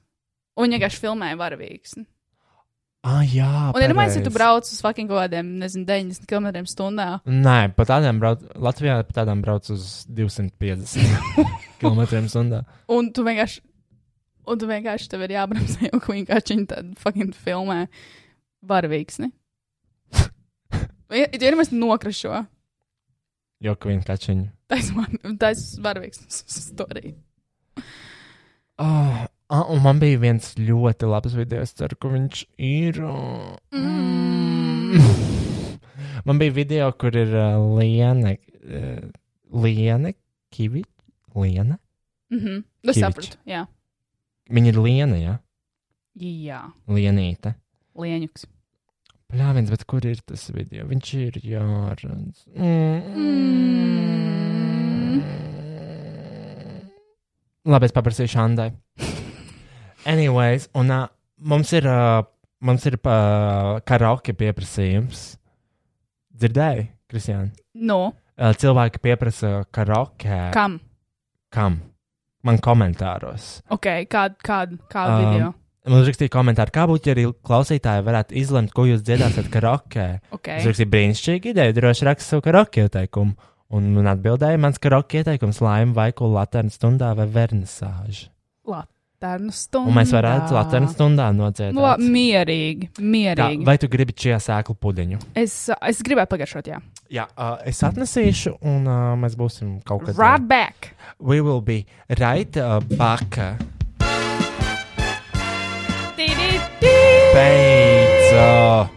Speaker 3: Un viņi vienkārši filmēja varavīksni.
Speaker 2: Ah, jā,
Speaker 3: Un ir maisi, ja
Speaker 2: pareizi.
Speaker 3: tu brauc uz fucking kaut kādiem, nezinu, 90 km stundā.
Speaker 2: Nē, pa tādām brauc, Latvijā pa tādām brauc uz 250 km/h.
Speaker 3: Un tu vienkārši, un tu vienkārši tev ir jābremzē, jo viņi vienkārši viņu tādu fucking filmē varavīksni. Ja ja tu vienmēr nokrašo,
Speaker 2: Jo kvīna kaķiņa.
Speaker 3: tas ir varavīksnis storija.
Speaker 2: Ah, ah, un man bija viens ļoti labs video, es ceru, ka viņš ir. ah, Mm.
Speaker 8: uh, Man bija video, kur ir uh, Liena, uh, Liena Kivi, Liena.
Speaker 3: Mhm. Es
Speaker 8: Kiviči.
Speaker 3: sapratu. Jā,
Speaker 8: Viņa ir Liena, jā,
Speaker 3: jā.
Speaker 8: Lienīte.
Speaker 3: Lieņuks.
Speaker 8: Pļāvins, bet kur ir tas video? Viņš ir jāredz.
Speaker 3: Mm.
Speaker 8: Labi, es paprasīšu Andai. Anyways, un uh, mums ir, uh, mums ir uh, karaoke pieprasījums. Dzirdēji, Kristiāna?
Speaker 3: Nu,
Speaker 8: Uh, Cilvēki pieprasa karaoke.
Speaker 3: kam?
Speaker 8: Kam? Man komentāros.
Speaker 3: Ok, kādu kād, kād
Speaker 8: Um,
Speaker 3: video?
Speaker 8: Man rakstīja komentāru, kā būtu, ja arī klausītāji varētu izlemt, ko jūs dziedāsiat karaoke. Es
Speaker 3: Okay.
Speaker 8: rakstīju brīnišķīgu ideju, droši rakstu savu karaoke ieteikumu. Un man atbildēja, mans karaoke ieteikums laima vai ko Latvijas stundā vai vernisāžu.
Speaker 3: Latvijas nu stundā.
Speaker 8: Un mēs varētu Latvijas stundā nodziedāt.
Speaker 3: Nu, la- mierīgi,
Speaker 8: Kā-
Speaker 3: mierīgi.
Speaker 8: vai tu gribi šajā sēklu pudiņu?
Speaker 3: Es, uh, es gribēju pagaršot, jā.
Speaker 8: Jā, uh, es atnesīšu, un uh, mēs būsim kaut kad.
Speaker 3: Right back!
Speaker 8: We will be right uh, back.
Speaker 3: Tī-tī-tī!
Speaker 8: Beidz! Uh,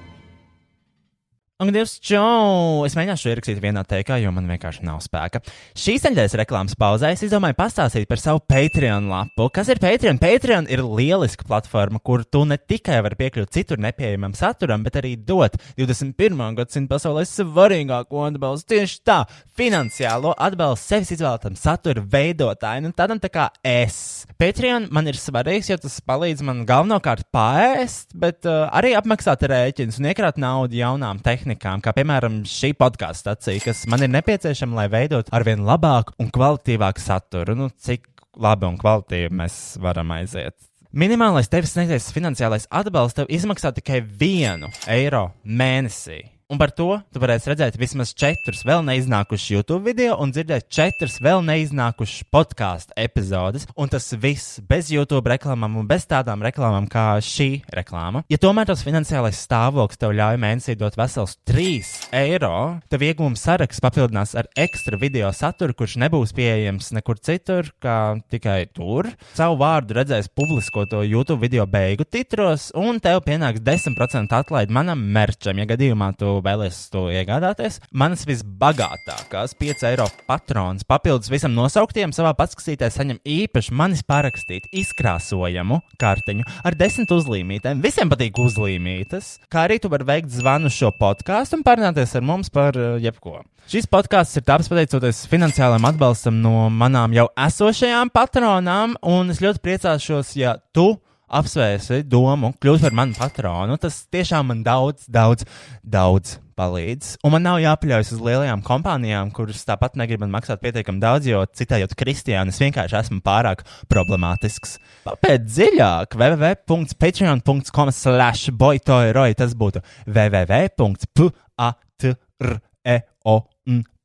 Speaker 2: Un, Dievs, čau! Es mēģināšu ierakstīt vienā teikā, jo man vienkārši nav spēka. Šīs nedēļas reklāmas pauzē es izdomāju pastāstīt par savu Patreon lapu. Kas ir Patreon? Patreon ir lieliska platforma, kur tu ne tikai vari piekļūt citur nepieejamam saturam, bet arī dot 21. gadsimta pasaulē svarīgāko atbalstu tieši tā - finansiālo atbalstu sevis izvēlētam satura veidotājam, un tādam nu, tā kā es. Patreon man ir svarīgs, jo tas palīdz man galvenokārt pāriest, bet uh, arī apmaksāt rēķinus un iekrāt naudu jaunām tehnikām, kā piemēram šī podkāstu stācija, kas man ir nepieciešama, lai veidotu arvien labāku un kvalitīvāku saturu. Nu, cik labi un kvalitīvi mēs varam aiziet. Minimālais tevis sniegtais finansiālais atbalsts tev izmaksā tikai vienu eiro mēnesī. Un par to tu varēsi redzēt vismaz četrus vēl neiznākušus YouTube video un dzirdēt četrus vēl neiznākušus podkāstu epizodes. Un tas viss bez YouTube reklāmām un bez tādām reklāmām kā šī reklāma. Ja tomēr tas finansiālais stāvoklis tev ļauj mēnesī dot vesels 3 eiro, tev iegūms saraksts papildinās ar ekstra video saturu, kurš nebūs pieejams nekur citur, kā tikai tur. Savu vārdu redzēs publiskoto YouTube video beigu titros, un tev pienāks 10% atlaide manam merčam, ja gadījumā tu vēlēsies to iegādāties. Manas visbagātākās 5 eiro patronas papildus visam nosauktiem savā paskatītē saņem īpaši manis parakstītu izkrāsojamu kartiņu ar desmit uzlīmītēm. Visiem patīk uzlīmītas, kā arī tu vari veikt zvanu šo podkāstu un parunāties ar mums par eh, jebko. Šis podkāsts ir tāds pateicoties finansiālajam atbalstam no manām jau esošajām patronām, un es ļoti priecāšos, ja tu apsvērsi domu kļūt par manu patronu. Nu, Tas tiešām man daudz, daudz, daudz palīdz. Un man nav jāpaļaujas uz lielajām kompānijām, kuras tāpat negrib man maksāt pietiekami daudz, jo citējot Kristiānu, es vienkārši esmu pārāk problemātisks. Pēc dziļāk, www.patreon.com slash boytoiroi tas būtu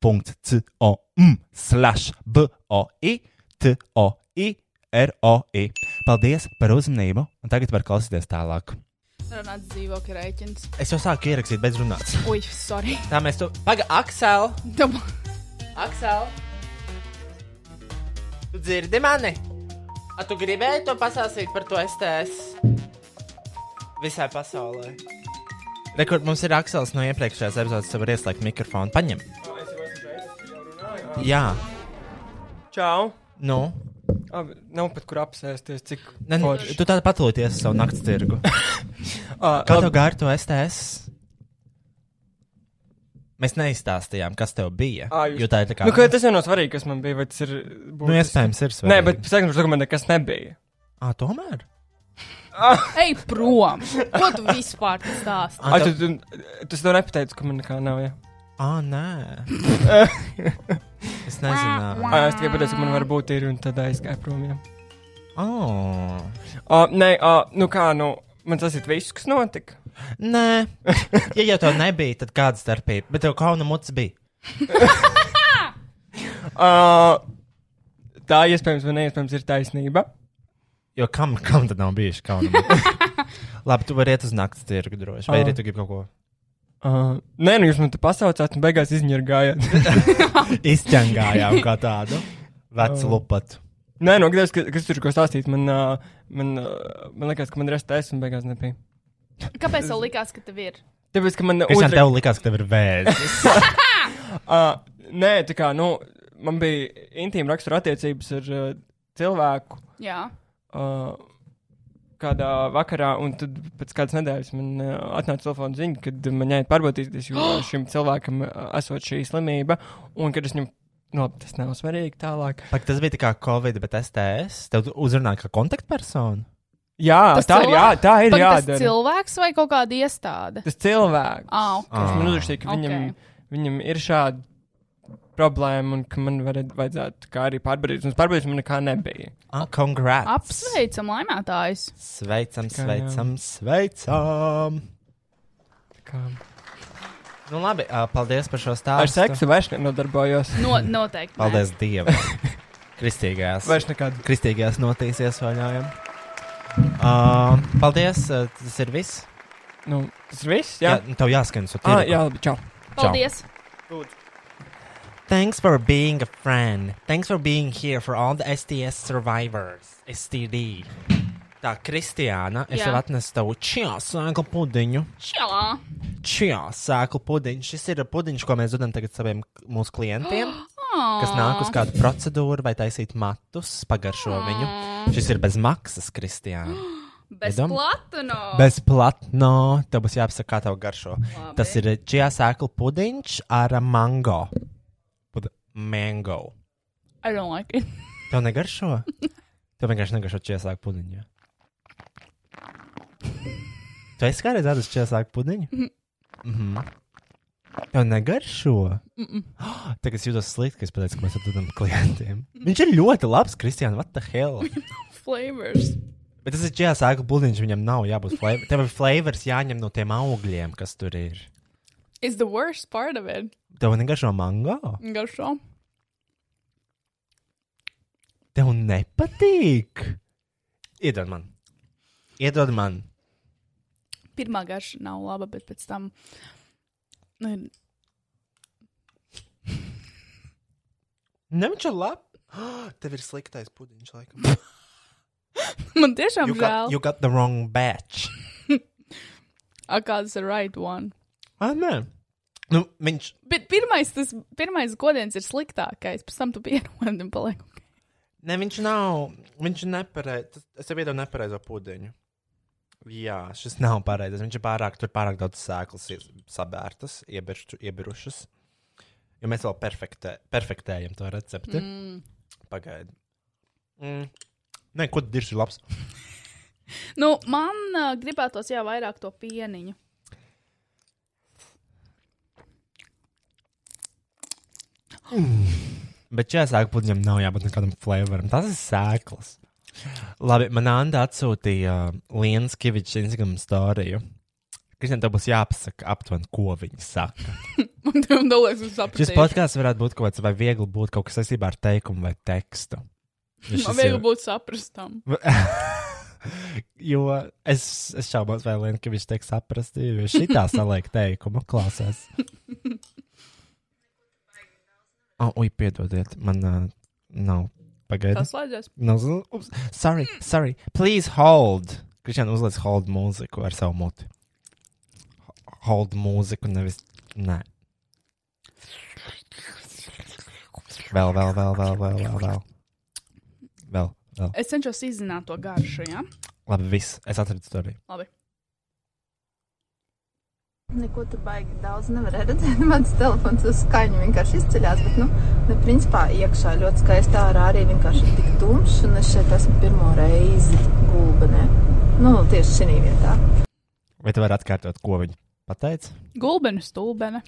Speaker 2: www.patreon.com slash boitoi. ROI. Paldies par uzmanību, un tagad var klausīties tālāk.
Speaker 3: Runāt dzīvokļa rēķins.
Speaker 2: Es jau sāku ierakstīt bez runāts.
Speaker 3: Ui, sorry.
Speaker 2: Tā mēs to. Paga, Aksel,
Speaker 3: Tam
Speaker 9: Aksel! Tu dzirdi mani? A tu gribēji to pasāstīt par to STS?
Speaker 2: visai pasaulē. Rekord, mums ir Aksels no iepriekšējās epizodes, tev ir ieslēgt mikrofonu. Paņem. Jā,
Speaker 10: Čau!
Speaker 2: nu.
Speaker 10: Abi, nav pat kur apsēsties, cik
Speaker 2: Ne, nu,
Speaker 10: forši.
Speaker 2: tu tādu patūties savu naktas tirgu.
Speaker 10: Ā,
Speaker 2: Kā tev
Speaker 10: labi.
Speaker 2: gāja ar to STS? Mēs neizstāstījām, kas tev bija.
Speaker 10: Ā, jūs-
Speaker 2: Jo tā ir tā kā.
Speaker 10: Nu, ka tas jau nav svarīgi, kas man bija, vai tas ir.
Speaker 2: nu iespējams, ir svarīgi.
Speaker 10: Nē, bet sekmes dokumentā nekas nebija.
Speaker 2: Ā, tomēr.
Speaker 3: Ej prom! Ko tu vispār te stāsti?
Speaker 10: Ai, tu, tu, tu to nepateici, ka man nekā nav. Jā,
Speaker 2: Ah, nē. es nezinu.
Speaker 10: Ai, es tikai pateicu, ka man var būt īri, un tad aizgāju prom. Jā.
Speaker 2: Oh.
Speaker 10: O, nē, o, nu kā, nu, man tas ir viss, kas notika.
Speaker 2: Nē, ja jau tā nebija, tad kāda starpība? Bet tev kauna mutes bija.
Speaker 10: O, tā iespējams, vai neiespējams, ir taisnība.
Speaker 2: Jo kam, kam tad nav bijuši kauna mutes? Labi, tu vari iet uz naktas tirgu droši. Vai
Speaker 10: Ā.
Speaker 2: arī tu gribi kaut ko
Speaker 10: O, nē, nu jūs man te pasaucāt, un beigās izņirgājāt.
Speaker 2: izķengājām kā tādu? Vecu lupatu.
Speaker 10: nē, nu, gadās, ka- kas tur ko stāstīt, man, ā, man, ā, man liekas, ka man ir STS, un beigās nebija.
Speaker 3: Kāpēc tev likās, ka tev ir?
Speaker 10: Tāpēc, ka man
Speaker 2: Kristian,
Speaker 10: otra...
Speaker 2: tev likās, ka tev ir vēzis.
Speaker 10: uh, nē, tā kā, nu, man bija intīma rakstura attiecības ar uh, cilvēku
Speaker 3: Jā,
Speaker 10: uh, kādā vakarā, un tad pēc kādas nedēļas man uh, atnāca telefona ziņa, kad man jāiet pārbaudīties, jo šim cilvēkam uh, esot šī slimība, un kad es viņam, nu, labi, tas nav svarīgi tālāk.
Speaker 2: Pak, tas bija tā kā Covid, bet STS. Tev uzrunāja kā kontaktpersonu.
Speaker 10: Jā,
Speaker 3: Tas
Speaker 10: tā ir, jā,
Speaker 3: cilvēks-
Speaker 10: tā ir
Speaker 3: Pagaid, tas
Speaker 10: jādara.
Speaker 3: cilvēks vai kaut kāda iestāde?
Speaker 10: Tas cilvēks.
Speaker 3: Ah, ok.
Speaker 10: Kurš man uzrakstīja, ka
Speaker 3: Ok.
Speaker 10: viņam, viņam ir šāda problēma un ka man varētu, vajadzētu kā arī pārbaudīt. Un pārbaudīt man nekā nebija.
Speaker 2: Ah, congrats!
Speaker 3: Apsveicam, laimētājs.
Speaker 2: Sveicam,
Speaker 10: Tikai,
Speaker 2: sveicam, sveicam!
Speaker 10: Tā Kā...
Speaker 2: Nu, labi, ā, paldies par šo stāstu.
Speaker 10: Ar seksu vairs nenodarbojos.
Speaker 3: No, noteikti. nē.
Speaker 2: Paldies Dievam! Kristīgajās.
Speaker 10: Vairs nekādu.
Speaker 2: Kristīgajās notīs iesvaļājam. Uh, paldies, ā, tas ir viss.
Speaker 10: Nu, tas viss, jā.
Speaker 2: jā tev jāskan
Speaker 10: Jā, ah,
Speaker 2: sūtīt.
Speaker 10: jā labi, čau.
Speaker 3: Paldies.
Speaker 2: Thanks for being a friend. Thanks for being here for all the STS survivors. STD. Tā, Kristiāna, es
Speaker 3: Jā.
Speaker 2: tev atnesu tavu čijā sēklu pudiņu.
Speaker 3: Čau.
Speaker 2: Čijā sēklu pudiņš. Šis ir pudiņš, ko mēs dodam tagad saviem k- mūsu klientiem, kas nāk uz kādu procedūru vai taisīt matus, pagaršo viņu. Šis ir bez maksas, Kristiāna.
Speaker 3: Bez
Speaker 2: Idam?
Speaker 3: platuma.
Speaker 2: Bez platno, tev būs jāapsaka, kā tev garšo. Labi. Tas ir čijā sēklu pudiņš ar ā, mango. Pud mango.
Speaker 3: I don't like it.
Speaker 2: Tev negaršo? Tev vienkārši negaršo čiesāku pudiņu. Tu esi kādreiz ēdis čiesāku pudiņu? Mhm. Tev negaršo? Oh, Tagad es jūtos slikti, ka es pateicu, ka mēs atdodam klientiem. Viņš ir ļoti labs, Kristiāna, what the hell?
Speaker 3: Flavors.
Speaker 2: Bet tas ir čiesāku pudiņš, viņam nav jābūt flavor. Tev ir flavors jāņem no tiem augļiem, kas tur ir.
Speaker 3: It's the worst part of it.
Speaker 2: Tev negaršo mango?
Speaker 3: Garšo.
Speaker 2: Tev nepatīk? Iedod man. Iedod man.
Speaker 3: Pirmā garša nav laba, bet pēc tam. Nu, ir-
Speaker 2: Nē, viņš ir labs. Tev ir sliktais pudiņš, laikam.
Speaker 3: Man tiešām
Speaker 2: You got,
Speaker 3: žēl.
Speaker 2: you got the wrong batch.
Speaker 3: A, Kāds ir right one?
Speaker 2: Ah, nē. Nu, viņš,
Speaker 3: Bet pirmais, tas pirmais godiens ir sliktākais. Pēc tam tu pierodi un paliek.
Speaker 2: ne, viņš nav. Viņš ir nepareizs. Es tev iedodu nepareizo pudiņu. Jā, šis nav pareizs. Viņš ir pārāk, tur pārāk daudz sēklas ir sabērtas, iebiršķu- iebirušas. Jo mēs vēl perfektē, perfektējam to recepti. Mm. Pagaidi. Mm. Nē, ko tad ir labs?
Speaker 3: Nu, man uh, gribētos jau vairāk to pieniņu.
Speaker 2: Bet šajā sēklu pudiņam nav jābūt nekādam flavoram. Tas ir sēklas. Labi, man Anna atsūtīja Lienas Kavičs Instagram storiju. Kristian, tev būs jāpasaka aptuveni, ko viņa saka.
Speaker 3: Man tam dolēs uz saprātu.
Speaker 2: Šis podkāsts varētu būt kaut kāds, vai viegli būt kaut kas saistībā ar teikumu vai tekstu. Jo šis
Speaker 3: Man vajag
Speaker 2: ir-
Speaker 3: būt saprastam.
Speaker 2: Jo es, es šaubos, vai Lienas Kavičs tiek saprasti, jo šī tā saliek teikumu klausās. Oh, ui, piedodiet, man uh, nav pagaidām.
Speaker 3: Tas slēdzas.
Speaker 2: No, z- ups, sorry, sorry. Please hold. Kristiāna uzliek hold mūziku ar savu muti. H- Hold mūziku, nevis. Nē. Vēl, vēl, vēl, vēl, vēl, vēl. Vēl, vēl. vēl.
Speaker 3: Es cenšos izzināt to garšu, jā? Ja?
Speaker 2: Labi, viss. Es atradu to arī.
Speaker 3: Labi.
Speaker 11: Neko tur baigi daudz nevarēja redzēt. Mans telefons uz skaņu vienkārši izceļās. Bet, nu, ne, principā iekšā ļoti skaisti ārā arī vienkārši tik tumšs. Un es šeit esmu pirmo reizi gulbenē. Nu, tieši šī vietā.
Speaker 2: Vai tu vari atkārtot, ko viņi pateica?
Speaker 3: Gulbena stulbena.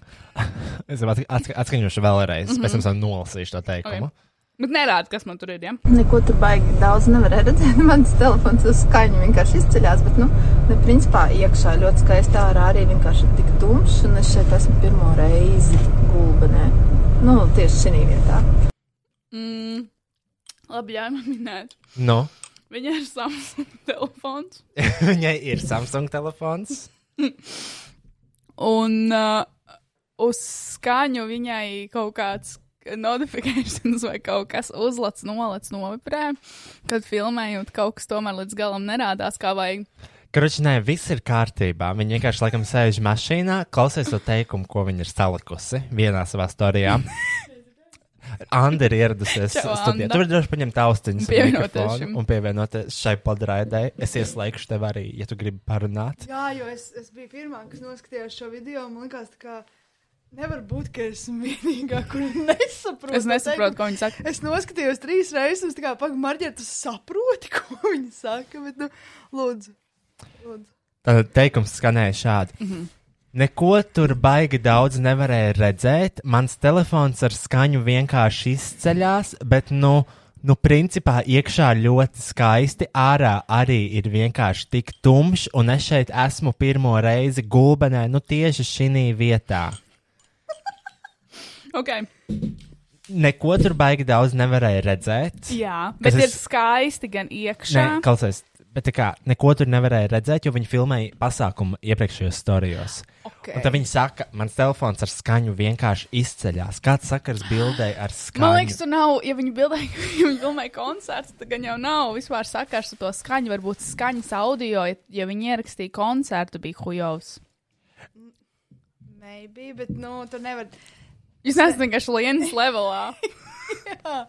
Speaker 2: Es atska atska atskaņošu vēlreiz. Mm -hmm.
Speaker 3: Mhm.
Speaker 2: Pēc tam savu nolasīšu to teikumu. Okay.
Speaker 3: Bet nerāda, kas man tur ir, jā? Ja?
Speaker 11: Neko tur baigi daudz nevarēja redzēt. Mans telefons uz skaņu vienkārši izceļās. Bet, nu, ne, principā iekšā ļoti skaisti ārā arī vienkārši tik tumšs. Un es šeit esmu pirmo reizi gulbenē. Nu, tieši šī vietā.
Speaker 3: Mm. Labi, ļauj man minēt.
Speaker 2: Nu,
Speaker 3: Viņa ir Samsung telefons.
Speaker 2: viņai ir Samsung telefons.
Speaker 3: Un uh, uz skaņu viņai kaut kāds notifikācijas vai kaut kas uzlats, nolats, novibrē. Kad filmējot, kaut kas tomēr līdz galam nerādās, kā vajag.
Speaker 2: Kruķis, nē, viss ir kārtībā. Viņa vienkārši laikam sēž mašīnā, klausās to teikumu, ko viņa ir salikusi vienā savā storijā. Anna ir ieradusies
Speaker 3: Čau,
Speaker 2: studijā.
Speaker 3: Anda.
Speaker 2: Tu vari droši paņemt austiņas un
Speaker 3: Pievienoties
Speaker 2: mikrofonu
Speaker 3: šim.
Speaker 2: un pievienoties šai podraidai. Es ieslēgšu tev arī, ja tu gribi parunāt.
Speaker 12: Jā, jo es, es biju pirmā, kas noskatījās šo video. Man liekas, tā kā nevar būt, ka es esmu vienīgā, kur nesaprotu.
Speaker 3: Es nesaprotu, ko viņi saka.
Speaker 12: Es noskatījos trīs reizes, un tā kā pagaidi, Marģer, tu saproti, ko viņi saka. Bet, nu, lūdzu, lūdzu.
Speaker 2: Tad teikums skanēja šādi. Mm
Speaker 12: Mhm.
Speaker 2: -hmm. Neko tur baigi daudz nevarēja redzēt. Mans telefons ar skaņu vienkārši izceļās, bet, nu, nu principā iekšā ļoti skaisti. Ārā arī ir vienkārši tik tumšs, un es šeit esmu pirmo reizi gulbenē, nu tieši šī vietā.
Speaker 3: Okay.
Speaker 2: Neko tur baigi daudz nevarēja redzēt.
Speaker 3: Jā,
Speaker 2: Es
Speaker 3: bet es... ir
Speaker 2: esmu-
Speaker 3: skaisti gan iekšā.
Speaker 2: Nē, klausies, bet tā kā neko tur nevarēja redzēt, jo viņi filmēja pasākumu iepriekšējos storijos.
Speaker 3: Okay.
Speaker 2: Un tad viņi saka, mans telefons ar skaņu vienkārši izceļas. Kāds sakars bildē ar skaņu?
Speaker 3: Man liekas, tur nav, ja viņi bildēja, ja viņi filmēja koncertu, tad gan jau nav vispār sakars ar to skaņu. Varbūt skaņas audio, ja, ja viņi ierakstīja koncertu, bija hujovs.
Speaker 12: Maybe, bet, nu, tur nevar.
Speaker 3: Jūs neesat vienkārši lienas levelā.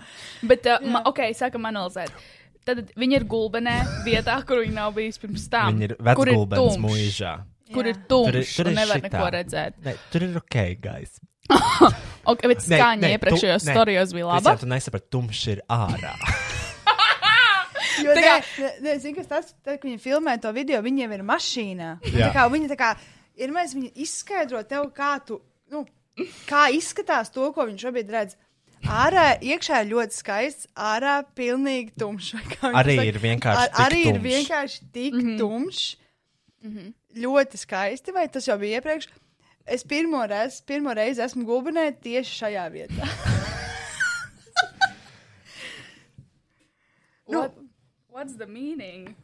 Speaker 3: Bet, uh, ma, ok, sākam analizēt. Tad viņi ir gulbenē, vietā, kur viņi nav bijusi pirms tam.
Speaker 2: Viņi ir
Speaker 3: Kur
Speaker 2: vecgulbenes
Speaker 3: tumšs,
Speaker 2: mūžā.
Speaker 3: Kur ir
Speaker 2: Tur ir-
Speaker 3: tumšs,
Speaker 2: tur
Speaker 3: tur
Speaker 2: ir
Speaker 3: nevar
Speaker 2: šitā.
Speaker 3: neko redzēt.
Speaker 2: Nē, tur ir ok, guys.
Speaker 3: Ok, bet
Speaker 2: Nē,
Speaker 3: skaņa
Speaker 2: nē,
Speaker 3: iepriekšējos
Speaker 2: tu- nē,
Speaker 3: storijos bija
Speaker 2: Es jau
Speaker 3: laba.
Speaker 2: tu nesapratu, tumšs ir ārā.
Speaker 12: Jo, tā kā, ne, ne, zini, kas tas, tad, kad viņi filmē to video, viņiem ir mašīna. Un
Speaker 2: Jā.
Speaker 12: Tā kā viņi tā kā, ir mēs viņi izskaidro tev, kā tu, nu, kā izskatās to, ko viņš šobrīd redz. Ārā, iekšā ir ļoti skaists, ārā pilnīgi tumšs. vai kā viņi
Speaker 2: Arī
Speaker 12: saka.
Speaker 2: ir vienkārši tik
Speaker 12: arī ir
Speaker 2: tumšs.
Speaker 12: vienkārši tik mm -hmm. tumšs. Mm -hmm. Ļoti skaisti, vai tas jau bija iepriekš? Es pirmo reizi, pirmo reizi esmu gulbinē tieši šajā vietā.
Speaker 3: Nu, What's the meaning?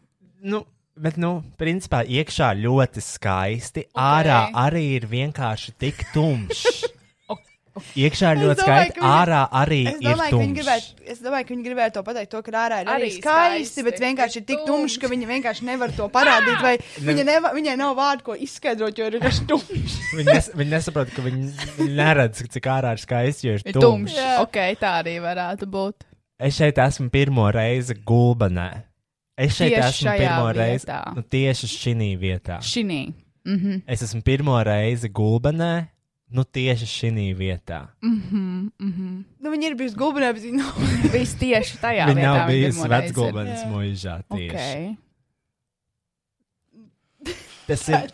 Speaker 2: nu, bet, nu, principā iekšā ļoti skaisti. Okay. Ārā arī ir vienkārši tik tumšs. Iekšā ir
Speaker 12: Es
Speaker 2: ļoti
Speaker 12: domāju,
Speaker 2: skaisti,
Speaker 12: ka viņi-
Speaker 2: ārā arī
Speaker 12: Es
Speaker 2: ir
Speaker 12: domāju, ka viņi
Speaker 2: tumšs.
Speaker 12: gribētu, es domāju, ka viņi gribētu to pateikt, to, ka ārā ir arī
Speaker 3: Arī
Speaker 12: skaisti,
Speaker 3: skaisti,
Speaker 12: bet vienkārši ir tik tumšs, ka viņi vienkārši nevar to parādīt. Vai
Speaker 2: Ne-
Speaker 12: viņa neva, viņai nav vārdu, ko izskaidrot, jo ir vienkārši tumšs.
Speaker 2: Viņi, nes, viņi nesaprot, ka viņi viņi neredz, cik ārā ir skaisti, jo ir
Speaker 3: Ir
Speaker 2: tumšs.
Speaker 3: tumšs. Ok, tā arī varētu būt.
Speaker 2: Es šeit esmu pirmo reizi gulbanē. Es šeit
Speaker 3: Tieši
Speaker 2: esmu
Speaker 3: šajā
Speaker 2: pirmo reizi
Speaker 3: vietā.
Speaker 2: nu, tieši šī vietā.
Speaker 3: Šinī. Mhm.
Speaker 2: Es esmu pirmo reizi gulbanē, nu tieši šī vietā.
Speaker 3: Mhm, mhm.
Speaker 12: Nu, viņi ir bijusi gulbinē, bet viņi nav.
Speaker 3: Viss tieši tajā
Speaker 2: Viņa
Speaker 3: vietā.
Speaker 2: nav bijusi
Speaker 3: pirmo reizi ir.
Speaker 2: vecgulbenes mūžā tieši.
Speaker 3: Okay.
Speaker 2: Tas ir,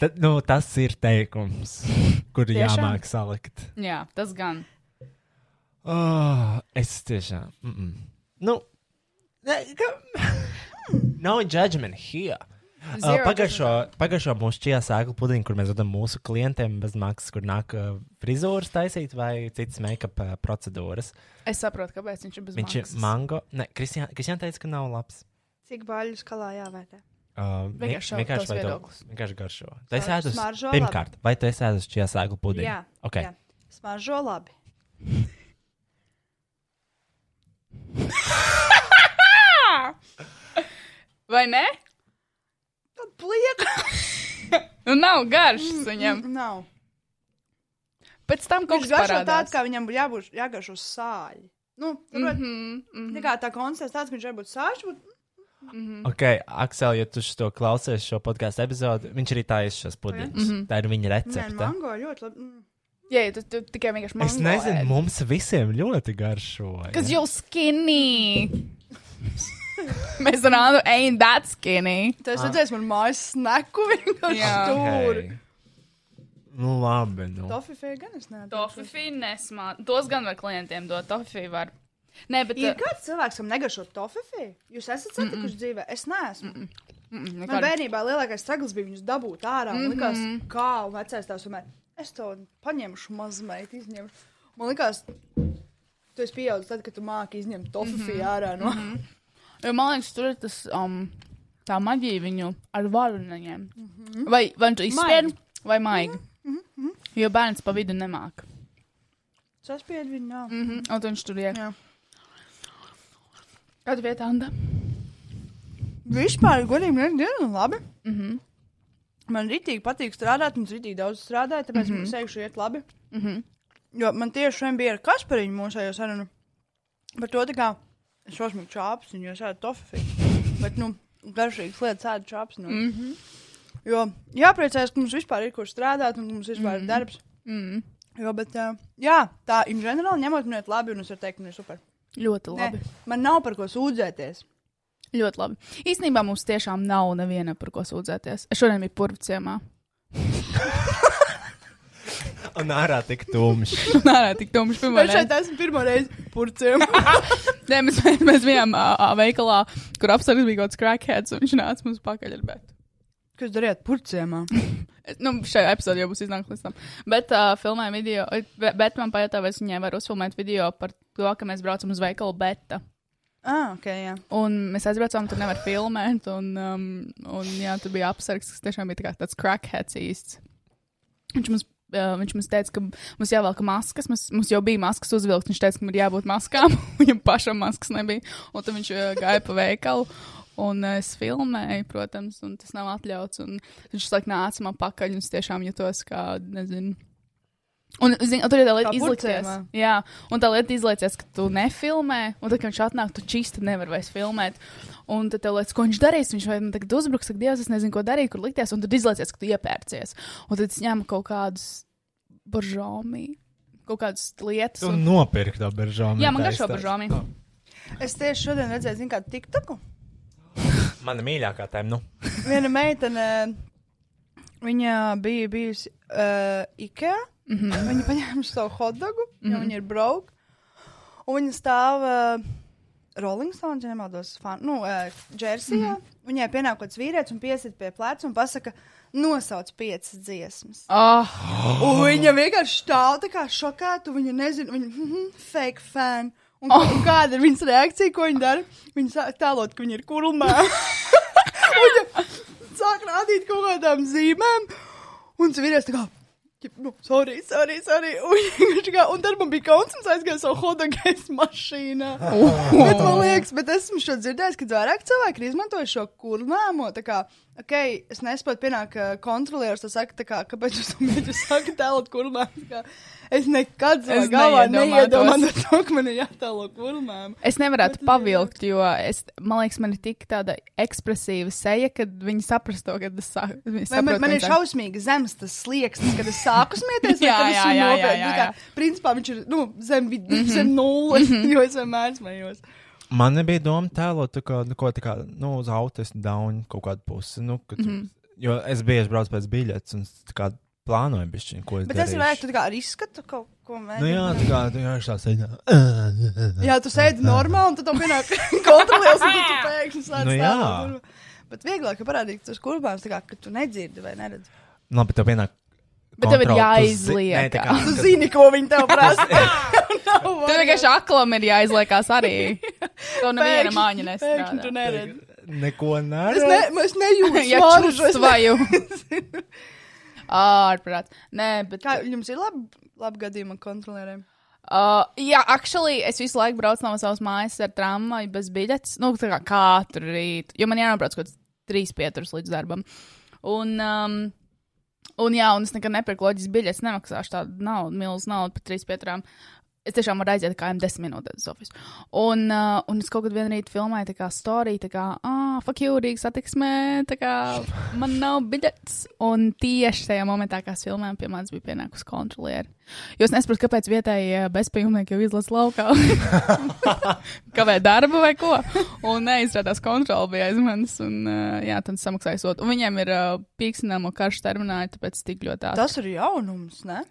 Speaker 2: tad, nu, tas ir teikums, kur
Speaker 3: Tiešām?
Speaker 2: jāmāk salikt.
Speaker 3: Jā, tas gan.
Speaker 2: Oh, es tiešām. Mm -mm. Nu, ne, ka- no judgment here.
Speaker 3: Zero
Speaker 2: Uh, Pagājušo pagājušo mūsu čijā sēklu pudiņu, kur mēs dodam mūsu klientiem bez maksas, kur nāk uh, frizūras taisīt vai citas make-up uh, procedūras.
Speaker 3: Es saprotu, kāpēc viņš ir bez
Speaker 2: Viņš ir mango. Nē, Kristija teica, ka nav labs.
Speaker 12: Cik baļus kalā jāvērtē?
Speaker 2: Uh, vi-
Speaker 12: Vienkārši šau- tavs
Speaker 2: vai tev-
Speaker 12: viedoklis.
Speaker 2: vienkārši garšo. Tu
Speaker 12: Vai
Speaker 2: esi ēdus,
Speaker 12: smaržo labi?
Speaker 2: pirmkārt, vai tu esi ēdus čijā sēklu pudiņu?
Speaker 12: Jā,
Speaker 2: Okay.
Speaker 12: jā. Smaržo labi.
Speaker 3: Vai ne?
Speaker 12: Plieka.
Speaker 3: Nu, nav garšas viņam.
Speaker 12: Mm, Nav.
Speaker 3: Pēc tam kaut
Speaker 12: Viņš
Speaker 3: kas
Speaker 12: garšo
Speaker 3: parādās.
Speaker 12: tāds, kā viņam būtu jābūt jāgaršo sāļi. Nu, mm
Speaker 3: Mhm,
Speaker 12: -hmm, mm -hmm. Tā kā tā koncepts tāds, ka viņš varbūt sāļš, bet Mhm.
Speaker 2: Ok, Aksel, ja tu to klausies šo podkāstu epizodi, viņš arī tā ir šis pudiņš. Mm
Speaker 3: Mhm.
Speaker 2: -hmm. Tā ir viņa
Speaker 12: nē,
Speaker 2: recepte.
Speaker 12: mango ļoti labi. Mm.
Speaker 3: Jā, jā, tu, tu tikai vienkārši
Speaker 2: Es
Speaker 3: mango
Speaker 2: nezinu,
Speaker 3: ēd.
Speaker 2: mums visiem ļoti garšo.
Speaker 3: Cause you're skinny. Mēs ar Annu ain't that skinny.
Speaker 12: Tu esi redzējis, man mājas sneku vienkārši
Speaker 3: Jā.
Speaker 12: stūri.
Speaker 2: Nu, labi. Nu.
Speaker 12: Tofifē gan es neesmu.
Speaker 3: Tofifī nesmā. Tos gan var klientiem dot. Tofifī var. Nē, bet.
Speaker 12: Ir kāds cilvēks, kam negašo tofifī? Jūs esat satikuši mm -mm. dzīvē? Es neesmu. Mm
Speaker 3: Mm,
Speaker 12: -mm. Man bērnībā lielākais stragls bija viņus dabūt ārā. Man likās, mm -hmm. kā, un vecais tās vienmēr, es to paņemšu mazmeiti, izņemšu. Man likās, tu esi pieaudzis tad, kad tu māki izņemt
Speaker 3: Mhm.
Speaker 12: tofifī mm -hmm. ārā no. Mm
Speaker 3: Jo man liekas, tur ir tas, um, tā maģija viņu ar varoņiem. Mm
Speaker 12: Mhm.
Speaker 3: -hmm. Vai, vai viņš izspiež, vai maigi. Mm -hmm. Jo bērns pa vidu nemāk.
Speaker 12: -hmm. Saspied viņu nav.
Speaker 3: Mm -hmm. Un tad viņš tur iekā.
Speaker 12: Jā.
Speaker 3: Kāda vieta, Anda?
Speaker 12: Vispār, godīgi, ir diezgan labi.
Speaker 3: Mm -hmm.
Speaker 12: Man rītīgi patīk strādāt, un es rītīgi daudz strādāju, tāpēc mm -hmm. man sēžu iet labi.
Speaker 3: Mm
Speaker 12: Mhm.
Speaker 3: -hmm.
Speaker 12: Jo man tieši šodien bija ar Kaspariņu mūsu sarunu par to, tā kā es esmu čāps, un jūs esat tofefīgi. Bet, nu, garšīgas lietas ēda čāps. Nu.
Speaker 3: Mm -hmm.
Speaker 12: Jo jāpriecājas, ka mums vispār ir kur strādāt, un ka mums vispār mm -hmm. ir darbs.
Speaker 3: Mm.
Speaker 12: Jo, bet, ā, jā, tā, in general, ņemot, man iet labi, un es varu teikt, ka man ir super.
Speaker 3: Ļoti
Speaker 12: Nē,
Speaker 3: labi.
Speaker 12: man nav par ko sūdzēties.
Speaker 3: Ļoti labi. Īsnībā mums tiešām nav neviena par ko sūdzēties. Es šodien biju purvciemā.
Speaker 2: Un ārā tik tumšs.
Speaker 3: Nē, tik tumšs pirmā
Speaker 12: Es šeit
Speaker 3: reize.
Speaker 12: esmu pirmo reizi purcēm.
Speaker 3: Nē, mēs, mēs, mēs bijām uh, veikalā, kur apsargs bija kaut kāds crackheads, un viņš nāca mums pakaļ ar bētu.
Speaker 12: Kas darījāt purcēmā?
Speaker 3: Es- Nu, šajā epizodē jau būs iznākums līdz tam. Bet, uh, filmēju video, be- bet man pajautā, vai es viņai varu uzfilmēt video par to, ka mēs braucam uz veikalu beta.
Speaker 12: Ah, ok, jā.
Speaker 3: Un mēs aizbraucām, tur nevar filmēt, un, um, un jā, tur bija apsargs, kas tiešām bija tā kā tāds crackheads īsts. Viņš mums, uh, viņš mums teica, ka mums jāvelk maskas, mums, mums jau bija maskas uzvilktas, viņš teica, ka man ir jābūt maskām, viņam pašam maskas nebija, un tad viņš uh, gāja pa veikalu. Un uh, es filmēju, protams, un tas nav atļauts. un Viņš saka, nāc man pakaļ, un es tiešām jutos kā, nezinu. Un, zin, un tur ir tā lieta
Speaker 12: Kā
Speaker 3: izlikties.
Speaker 12: purcēmā.
Speaker 3: Jā, un tā lieta izlaicies, ka tu nefilmē, un tad, kad viņš atnāk, tu čīsti nevar vairs filmēt. Un tad tev liekas, ko viņš darīs. Viņš vai man tagad uzbruks, ka Dievs, es nezinu, ko darīt, kur likties, un tad izlaicies, ka tu iepērcies. Un tad es ņēmu kaut kādus baržāmi, kaut kādas lietas.
Speaker 2: Tu nopirki to beržāmu.
Speaker 3: Jā, man garšo baržāmi.
Speaker 12: Es tieši šodien redzēju, zinu, kādu tiktoku.
Speaker 2: Mana mīļākā tēma, nu.
Speaker 12: Viena meitene, viņa bija bijusi uh, Ikea. Mm -hmm. Viņa paņēma savu hotdogu, mm -hmm. jo viņa ir brauka. Un viņa stāv uh, Rolling Stones, ja nemaldos, fan, nu, uh, Džersijā. Mm -hmm. Viņai pienākots vīrietis un piesit pie pleca un pasaka, nosauc piecas dziesmas.
Speaker 3: Ah.
Speaker 12: Un viņa vienkārši stāv tā kā šokēta. Viņa nezina, viņa mhm, fake fan. Un, oh. un kāda ir viņas reakcija, ko viņa dara? Viņa sāk tēlot, ka viņa ir kurlumā. sāk rādīt kaut kādām zīmēm. Un tas vīrietis tā kā, "Ķip, nu, sorry, sorry, sorry. Un, vienkārši kā, un tad man bija kauns, un es aizgāju savu hodagais mašīnā.
Speaker 3: Oh.
Speaker 12: Bet man liekas, bet esmu šo dzirdējis, ka vairāk cilvēki ir izmantojuši šo kurlēmo. tā kā, Ok, es nesaprotu, pienāk ā, kontrolieris, tas saka, tā kā, kāpēc jūs to mēģināt sākt tēlot kurlēm. Es nekad savā
Speaker 3: Es
Speaker 12: galvā
Speaker 3: neiedomātos.
Speaker 12: neiedomājos to, ka man ir jātēlo kurlēm.
Speaker 3: Es nevarētu pavilkt, jo es, man liekas, man ir tik tāda ekspresīva seja, ka viņi saprast to, kad es sāku. viņi
Speaker 12: Vai man,
Speaker 3: saprot, ka
Speaker 12: man ir
Speaker 3: viņi sāk-
Speaker 12: šausmīgi zems tas slieksnis, kad es sāku smieties. vai
Speaker 3: Jā,
Speaker 12: kad es
Speaker 3: jā,
Speaker 12: esmu
Speaker 3: jā, jā,
Speaker 12: nopietni? Nu,
Speaker 3: jā,
Speaker 12: Tā kā,
Speaker 3: jā.
Speaker 12: Principā viņš ir nu, zem, vid, mm
Speaker 3: Mhm.
Speaker 12: -hmm. zem nulles, mm
Speaker 3: Mhm.
Speaker 12: -hmm. jo es vienmēr smējos.
Speaker 2: Man nebija doma tēlot, tā kā, nu, ko tā kā, nu, uz autismu daunu kaut kādu pusi. Nu, ka tu, mm -hmm.
Speaker 12: Mhm.
Speaker 2: Jo es bieži braucu pēc biļetes un tā kā plānoju bišķiņu, ko es
Speaker 12: Bet tas ir
Speaker 2: darīšu.
Speaker 12: vērts, tu tā kā ar izskatu kaut ko mēģināt.
Speaker 2: Nu, jā, tā kā, tā kā, tā sēdā.
Speaker 12: jā, tu sēdi normāli, un tad tam pienāk kontrolieris, un tad tu pēkšņi sāc
Speaker 2: Nu, jā.
Speaker 12: stāvot. Bet vieglāk ir parādīt, tas kurbāns, tā kā, ka tu nedzirdi vai neredzi.
Speaker 2: Labi, tev pienāk.
Speaker 3: Bet tev ir
Speaker 2: kontrole, tu zi- Nē,
Speaker 3: jāizliek.
Speaker 2: tā kā,
Speaker 12: Tu zini, ko viņi tev prasa.
Speaker 3: Tur vienkārši aklam ir jāizliekās arī. To neviena
Speaker 12: Pēkšņi-
Speaker 3: māņa nesaprot.
Speaker 12: pēkšņi tu neredzi.
Speaker 2: neko
Speaker 12: Es,
Speaker 2: neredz.
Speaker 12: ne, es nejūtu,
Speaker 3: Ja
Speaker 12: svaru,
Speaker 3: čurst
Speaker 12: es ne-
Speaker 3: vaju. Ārprāt. Nē, bet.
Speaker 12: Kā jums ir labi, labi gadījumi ar kontrolieriem?
Speaker 3: Uh, jā, actually, es visu laiku braucu no savas mājas ar tramvaju bez biļetes. Nu, tā kā katru rītu, jo man jānobrauc kaut kāds trīs pieturas līdz darbam. Un, um, un jā, un es nekad nepirku loģiskas biļetes, nemaksāšu tādu naudu, milzu naudu par trīs pieturām. Es tiešām varu aiziet kājām desmit minūtes uz ofisu. Un, uh, un es kaut kad vienā rītā filmēju, tā kā stāstīju, tā kā, ah, fuck you, Rīgas satiksmē, tā kā man nav biļetes. Un tieši tajā momentā, kā es filmēju, pie manis bija pienākusi kontrolieri. Jūs nesaprotat, kāpēc vietējie bezpajumnieki jau izlasa laukā. Kāpēc darba vai ko? Un neizrādās kontrole bija aiz manis, un uh, jā, tad samaksāja sodu. Un viņiem ir uh, pīkstināmo karšu termināli, tāpēc tik ļoti ātri.
Speaker 12: Tas ir jaunums, ne?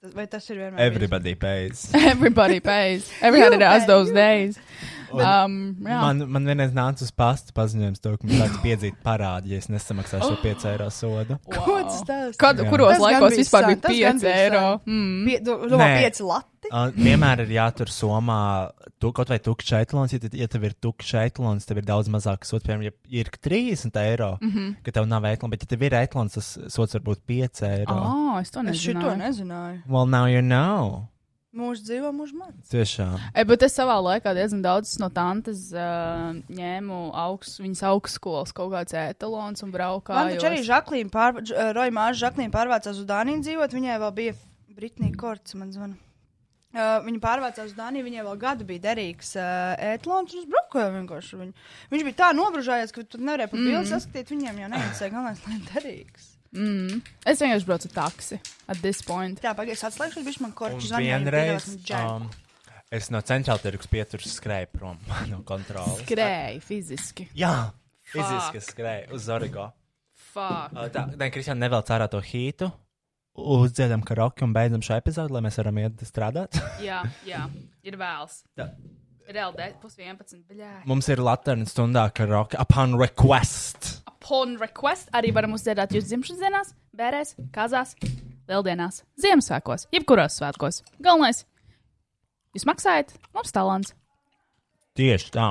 Speaker 12: Tas- Vai tas ir vienmēr?
Speaker 2: Everybody pays.
Speaker 3: Everybody pays. Everybody
Speaker 12: You
Speaker 3: has
Speaker 12: pay,
Speaker 3: those
Speaker 12: you
Speaker 3: days.
Speaker 2: Un
Speaker 3: Um, jā.
Speaker 2: Man, man vienreiz nāca uz pastu paziņojums, to, ka man tāds piedzīt parādi, ja es
Speaker 12: Oh.
Speaker 2: nesamaksāšu šo 5 eiro sodu.
Speaker 12: Wow. Ko tas stāsta?
Speaker 3: Kad-
Speaker 2: Jā.
Speaker 3: kuros
Speaker 12: Tas gan
Speaker 3: laikos
Speaker 12: bija
Speaker 3: vispār
Speaker 12: sen,
Speaker 3: bija
Speaker 12: tas gan
Speaker 3: 5
Speaker 12: bija
Speaker 3: eiro?
Speaker 12: sen.
Speaker 3: Mm.
Speaker 12: Pie- do- Domā,
Speaker 2: Nē.
Speaker 12: 5 lati.
Speaker 2: Uh, Vienmēr ir jātur somā, tu kaut vai tukšs eitlons, ja, tad- ja tev ir tukšs eitlons, tev ir daudz mazāk sots, piemēram, ja ir 30 eiro, mm -hmm.
Speaker 3: Mhm.
Speaker 2: ka tev nav eitlons, bet ja tev ir eitlons, tas sots var būt 5 eiro.
Speaker 3: Oh, es to
Speaker 12: Es šito
Speaker 3: nezinu.
Speaker 12: nezināju.
Speaker 2: Well, now you know.
Speaker 12: Mūžs dzīvo, mūžs man.
Speaker 1: Tiešām.
Speaker 3: E, bet es savā laikā diezgan daudz no tantes uh, ņēmu augstu, viņas augstskolas kaut kāds etalons un braucu.
Speaker 12: Man taču arī Žaklīna, pār... Dž- eh, Roja Māža Žaklīna pārvācās uz Dāniju dzīvot, viņai vēl bija Britnija Korts, man zvan. Uh, viņa pārvācās uz Dāniju, viņai vēl gadu bija derīgs uh, ētlons, un es braukoju vienkārši. Viņu. Viņš bija tā nobružājies, ka tu nevarēji pat
Speaker 3: Mm.
Speaker 12: bildes saskatīt, viņiem jau neinteresē, galvenais, lai derīgs.
Speaker 3: Mm. Es vienkārši braucu ar taksi. At this point.
Speaker 12: Jā, pagaidi, es atslēgšu, viņš man
Speaker 2: Un
Speaker 12: korķis
Speaker 2: vienreiz
Speaker 3: nu,
Speaker 2: um, es no centrāla tirgus pieturas skrēju prom no kontrolas.
Speaker 3: Skrēja fiziski.
Speaker 2: Jā,
Speaker 3: Fuck.
Speaker 2: fiziski skrēju uz Zorigo.
Speaker 3: Fuck.
Speaker 2: Uh, Tā, nē, Kristija, nevelc ārā to hītu. Uzdziedam karaoke un beidzam šo epizodu, lai mēs varam iet strādāt.
Speaker 3: Jā, jā, ir vēls.
Speaker 2: Tā.
Speaker 3: Reāli de- pus 11. Bļā.
Speaker 2: Mums ir Latvijas stundā karaoke upon request.
Speaker 3: Upon request arī varam uzdziedāt jūsu dzimšanas dienās, bērēs, kazās, lieldienās, Ziemassvētkos, jebkuros svētkos. Galvenais, jūs maksājat, mums talants.
Speaker 2: Tieši tā.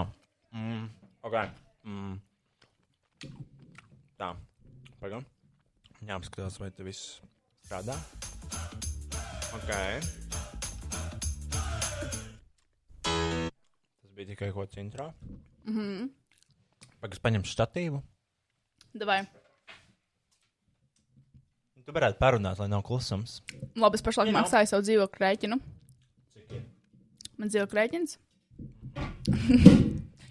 Speaker 2: Mm. Okay. Mm. Tā, pagaidām. Jāapskatās, vai tas viss strādā. Ok. Tas bija tikai kaut kas intro.
Speaker 3: Mhm.
Speaker 2: Pagaidām, es paņemšu statīvu.
Speaker 3: Davai.
Speaker 2: Tu varētu parunāt, lai nav klusums.
Speaker 3: Labi, es pašlaik
Speaker 2: Jā.
Speaker 3: maksāju savu dzīvokļu rēķinu. Man dzīvokļu rēķins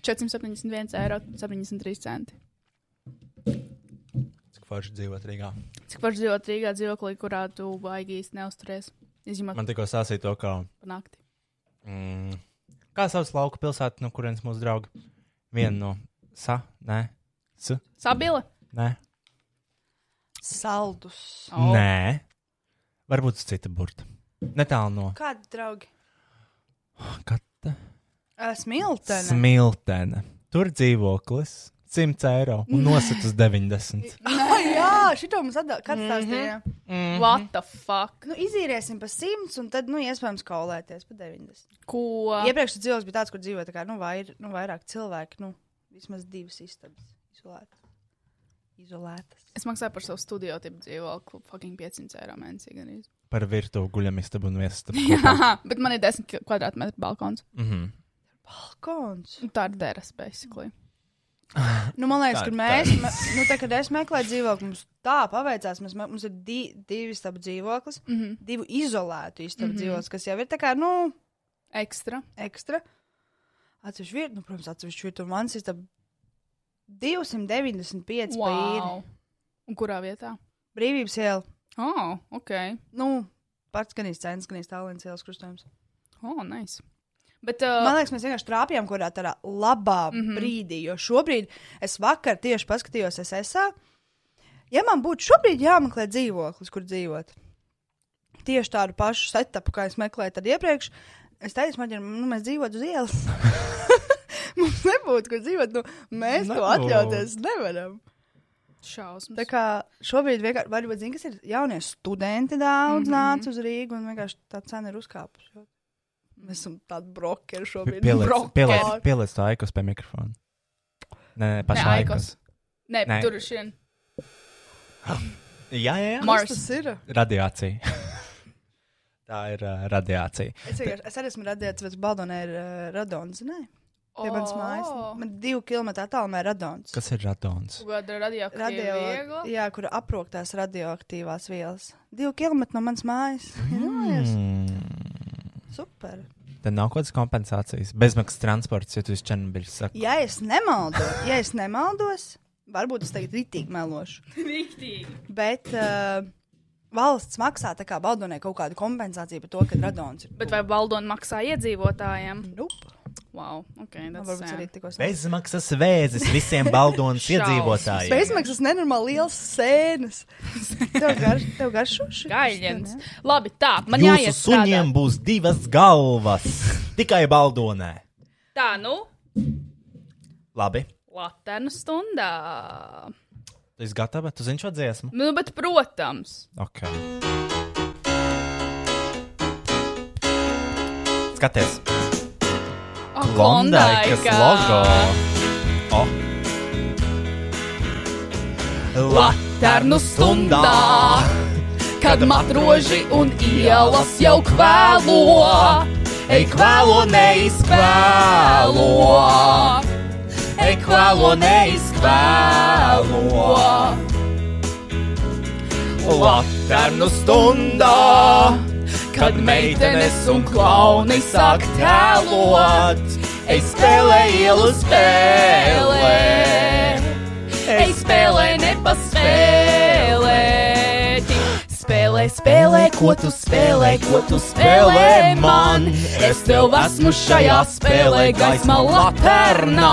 Speaker 3: 471,73 eiro. 73 centi.
Speaker 2: Cik forši dzīvot Rīgā.
Speaker 3: Cik var dzīvot Rīgā dzīvoklī, kurā tu baigi īsti neusturies? Izņemot
Speaker 2: Man tikko sāsīja to, ka.
Speaker 3: pa nakti.
Speaker 2: Mm, kā sauc lauka pilsētu, no kurienes mūsu draugi? Viena no sa, nē, s,
Speaker 3: Sabila?
Speaker 2: nē,
Speaker 12: Saldus.
Speaker 2: oh. nē. Varbūt uz cita burta. Netālu no
Speaker 12: Kādi draugi?
Speaker 2: katra
Speaker 12: Uh, Smiltene.
Speaker 2: smiltene. Tur dzīvoklis 100 eiro un nosacīt uz 90.
Speaker 12: Ah, jā, šito mums atdeva. Kāds tās bija?
Speaker 3: Mhm. What the fuck?
Speaker 12: Nu, izīriesim pa simts, un tad, nu, iespējams, kaulēties pa 90.
Speaker 3: Ko?
Speaker 12: Iepriekšējais dzīvoklis bija tāds, kur dzīvoja tā kā, nu, vair, nu, vairāk cilvēku, nu, vismaz divas istabas izolētas. izolētas.
Speaker 3: Es maksāju par savu studiju, tipu dzīvokli, fucking 500 eiro mēnesī. gandrīz.
Speaker 2: Par virtuvi guļamistabu un viesastabu. kopā.
Speaker 3: Jā, bet man ir 10 kvadrātmetru balkons.
Speaker 2: Mhm.
Speaker 12: Balkons.
Speaker 3: Tā ir deras, basically.
Speaker 12: Nu, man liekas,
Speaker 3: Tā-
Speaker 12: ka
Speaker 3: tā-
Speaker 12: mēs, me- nu, tā, kad es meklēju dzīvokli, mums tā paveicās. Mums, mums ir di, divi stabi dzīvoklis, mm -hmm. divi izolēti istabi
Speaker 3: Mhm.
Speaker 12: mm -hmm. dzīvoklis, kas jau ir tā kā, nu,
Speaker 3: ekstra.
Speaker 12: ekstra. Atsevišķi vieta, nu, protams, atsevišķi vieta, un mans istaba 295 wow.
Speaker 3: Wow.
Speaker 12: pāri.
Speaker 3: Un kurā vietā?
Speaker 12: Brīvības iela.
Speaker 3: Oh, ok.
Speaker 12: Nu, pats gan īstenībā, gan īstenībā ielas krustojums.
Speaker 3: Oh, nice. Bet, uh,
Speaker 12: Man liekas, mēs vienkārši trāpījām kaut kādā tādā labā mm
Speaker 3: Mhm.
Speaker 12: -hmm. brīdī, jo šobrīd es vakar tieši paskatījos SSA. Ja man būtu šobrīd jāmeklē dzīvoklis, kur dzīvot, tieši tādu pašu setupu, kā es meklēju tad iepriekš, es teicu, man ir, nu, mēs dzīvojam uz ielas. Mums nebūtu, kur dzīvot, nu, mēs to
Speaker 3: Nebūtu.
Speaker 12: atļauties nevaram.
Speaker 3: Šausmas.
Speaker 12: Tā kā šobrīd vienkārši, varbūt, zini, kas ir jaunie studenti daudz mm -hmm.
Speaker 3: Mhm.
Speaker 12: nāca uz Rīgu un vienkārši tā cena ir uzkāpusi. Mēs esam tādi brokeri šobrīd.
Speaker 2: Pieliec,
Speaker 12: Brokeri.
Speaker 2: pieliec, pieliec to aikos pie mikrofona. Nē, nē, pašā
Speaker 3: Nē,
Speaker 2: aikos.
Speaker 3: aikos. Nē, Nē. tur ir šien.
Speaker 2: Jā, jā, jā.
Speaker 3: Mars. Kas tas ir?
Speaker 2: Radiācija. Tā ir uh, radiācija.
Speaker 12: Es, vienkārši- es arī esmu radījis, bet Baldonē ir uh, radons. Nē,
Speaker 3: Oh.
Speaker 12: pie manas mājas. Man divu kilometru attālumā ir radons.
Speaker 2: Kas ir radons?
Speaker 3: Gada
Speaker 12: Radio,
Speaker 3: radioaktīva.
Speaker 12: jā, kur aproktās radioaktīvās vielas. Divu kilometru no manas mājas. Mm. Super.
Speaker 2: Tad nav kaut kādas kompensācijas. Bezmaksas transports, ja tu esi Černobiļs. saka.
Speaker 12: Ja es nemaldos, ja es nemaldos varbūt es tagad rītīgi melošu.
Speaker 3: Rīktīgi.
Speaker 12: Bet uh, valsts maksā tā kā Baldonē kaut kādu kompensāciju par to, ka radons ir.
Speaker 3: Bet vai Baldona maksā iedzīvotājiem?
Speaker 12: Nope.
Speaker 3: Wow, ok.
Speaker 12: Nu,
Speaker 3: that's
Speaker 12: varbūt
Speaker 3: sad.
Speaker 12: arī tikko sākās.
Speaker 2: Bezmaksas vēzis visiem Baldonas iedzīvotājiem.
Speaker 12: Bezmaksas nenormāli liels sēnes. Tev garš, tev garšo šis?
Speaker 3: Gaļiens. Labi, tā, man
Speaker 2: Jūsu
Speaker 3: jāiet strādāt.
Speaker 2: suņiem būs divas galvas. Tikai Baldonē.
Speaker 3: Tā, nu,
Speaker 2: Labi.
Speaker 3: Latēnu stundā.
Speaker 2: Tu esi gatava? Tu zini šo dziesmu?
Speaker 3: Nu, bet, protams.
Speaker 2: Ok. Skaties.
Speaker 3: O,
Speaker 2: Klondaikas
Speaker 3: Klondaika.
Speaker 2: logo. O.
Speaker 3: Laternu stundā,
Speaker 2: kad matroži un ielas jau kvēlo. Ej, kvēlo, neizkvēlo. Ej, kvēlo, neizkvēlo. Laternu stundā, kad meitenes un klauni sāk tēlot. Ej, spēlē ielu spēlē. Ej, spēlē, nepaspēlē. Spēlē, spēlē, ko tu spēlē, ko tu spēlē man. Es tev esmu šajā spēlē, gaismā laternā.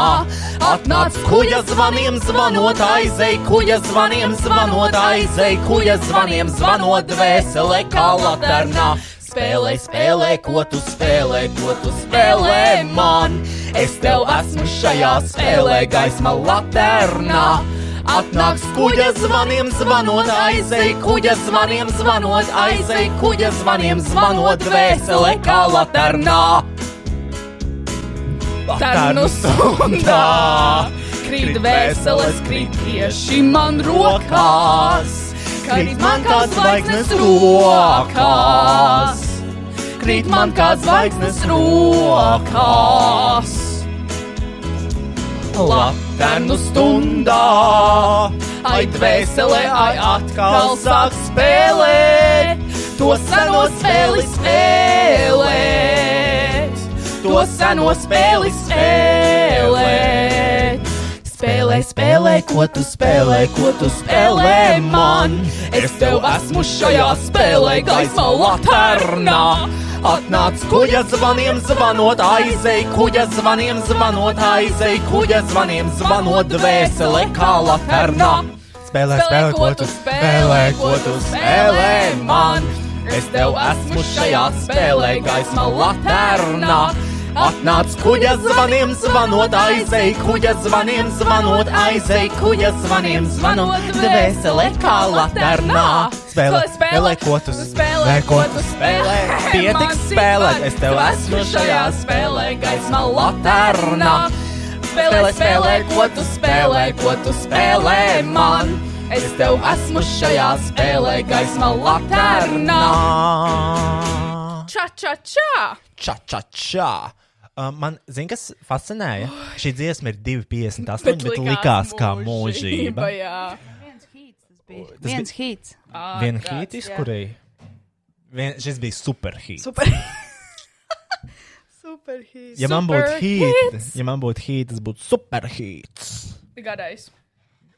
Speaker 2: Atnāc kuģa zvaniem, zvanot aizēj, kuģa zvaniem, zvanot aizēj, kuģa zvaniem, zvanot dvēselē, kā laternā. Spēlē, spēlē, ko tu spēlē, ko tu spēlē man. Es tev esmu šajā spēlē, gaisma laternā. Atnāks kuģa zvaniem, zvanot aizēj, kuģa zvaniem, zvanot aizēj, kuģa zvaniem, zvanot dvēsele kā laternā. Laternu stundā krīt dvēseles, krīt tieši man rokās, krīt man kā zvaigznes rokās krīt man kā zvaigznes rokās. Latvijas stundā, ai dvēselē, ai atkal sāk spēlēt, to seno spēli spēlēt, to seno spēli spēlēt. Spēlē, spēlē, ko tu spēlē, ko tu spēlē man. Es tev esmu šajā spēlē, gaismā laternā. Atnāc kuģa zvaniem, zvanot aizēj, kuģa zvaniem, zvanot aizēj, kuģa zvaniem, zvanot dvēsele kā laternā.
Speaker 1: Spēlē, spēlē, ko tu spēlē, ko tu spēlē man.
Speaker 2: Es tev esmu šajā spēlē, gaisma laternā. Atnāc kuģa zvaniem, zvanot aizēj, kuģa zvaniem, zvanot aizēj, kuģa zvaniem, zvanot dvēsele kā laternā.
Speaker 1: Spēlē, spēlē, ko tu spēlē, ko tu spēlē. Pietiks spēlēt, es tev esmu šajā spēlē, gaismā laternā.
Speaker 2: Spēlē, spēlē, ko tu spēlē, ko tu spēlē man. Es tev esmu šajā spēlē, gaismā laternā.
Speaker 3: Ča, ča, ča!
Speaker 1: Ča, ča, ča. Uh, man, zini, kas fascinēja? Šī dziesma ir 2,58, bet,
Speaker 2: Bet
Speaker 1: bet
Speaker 2: likās
Speaker 1: likās kā mūžība.
Speaker 13: Viens
Speaker 1: Tas bija-
Speaker 13: hīts.
Speaker 1: Vienu hītu izkurēja. Vien- Šis bija superhīts.
Speaker 12: Super. Superhits.
Speaker 1: Ja man būtu hīts, ja man būtu hīts, tas būtu superhīts.
Speaker 12: Garais.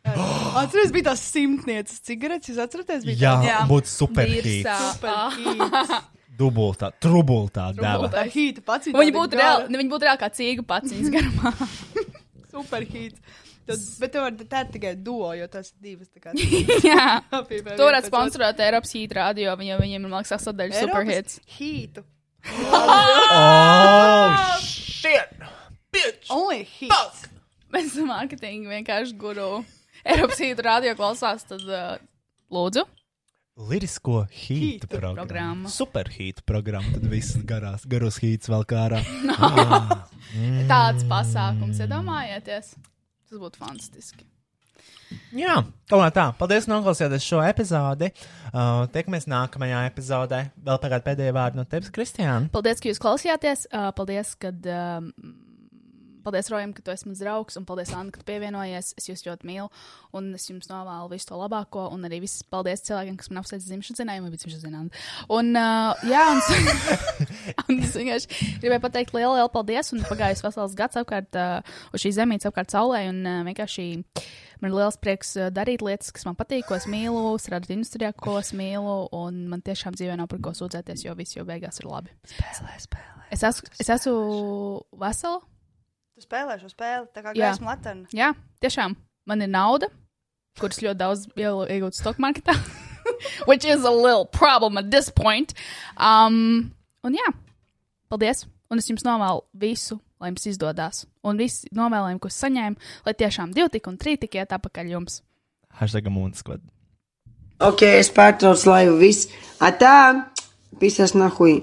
Speaker 12: Atceries, bija tās simtnieces cigaretes, jūs atceraties? bija
Speaker 1: Jā,
Speaker 12: tās?
Speaker 1: būtu superhīts.
Speaker 12: Virsā. Superhīts.
Speaker 1: Dubultā, trubultā deva.
Speaker 12: Tā hīta pats.
Speaker 3: Viņa būtu reāli, ne, viņa būtu reāli kā cīga pats viņas garumā.
Speaker 12: Superhīts. Tad, bet tev var tā ir tikai duo, jo tas ir divas. tā kā-
Speaker 3: Jā.
Speaker 12: Apvienot
Speaker 3: To varētu
Speaker 12: pēc
Speaker 3: sponsorēt Eiropas Heat radio, viņiem, viņiem ir, man liekas, sastāvdaļa
Speaker 12: Eiropas
Speaker 3: superhits.
Speaker 12: Heat.
Speaker 1: Oh,
Speaker 12: Shit! Bitch! Only hits!
Speaker 3: Mēs esam mārketingi vienkārši guru. Eiropas Heat radio klausās, tad uh, lūdzu.
Speaker 1: Lirisko hītu
Speaker 3: programma.
Speaker 1: programmu. Superhītu programmu. Tad viss garās, garos hīts vēl kā ārā.
Speaker 3: Tāds pasākums, iedomājieties. Tas būtu fantastiski.
Speaker 1: Jā, tomēr tā. Paldies, ka noklausījāties šo epizodi. Uh, Tikamies nākamajā epizodē. Vēl pagājušā pēdējā vārda no tevis, Kristiāna.
Speaker 3: Paldies, ka jūs klausījāties. Uh, paldies, kad. Um, Paldies, Rojam, ka tu esi mans draugs, un paldies, Anna, ka tu pievienojies. Es jūs ļoti mīlu, un es jums novēlu visu to labāko, un arī viss paldies cilvēkiem, kas man apsveic dzimšanas dienu, vai dzimšanas dienu. Un, uh, jā, un, s- un es vienkārši gribēju pateikt lielu, lielu paldies, un pagājis vesels gads apkārt uh, uz šīs zemītes, apkārt saulē, un uh, vienkārši man ir liels prieks uh, darīt lietas, kas man patīk, ko es mīlu, strādāt industrijā, ko es mīlu, un man tiešām dzīvē nav par ko sūdzēties, jo viss jau beigās ir labi. Spēlē, spēlē. Es esmu, es esmu vesela.
Speaker 12: Tu spēlē šo spēli, tā kā
Speaker 3: Jā.
Speaker 12: gaisma latana.
Speaker 3: Jā, tiešām man ir nauda, kuras ļoti daudz ielu- iegūtu stock marketā, which is a little problem at this point. Um, un jā, paldies! Un es jums novēlu visu, lai jums izdodas. Un visi novēlējumi, ko es saņēmu, lai tiešām divi tik un trīs tik iet apakaļ jums.
Speaker 1: Hashtag Mūnskvad.
Speaker 14: Ok, es pārtraucu laivu viss. Atā, pisas nahuj.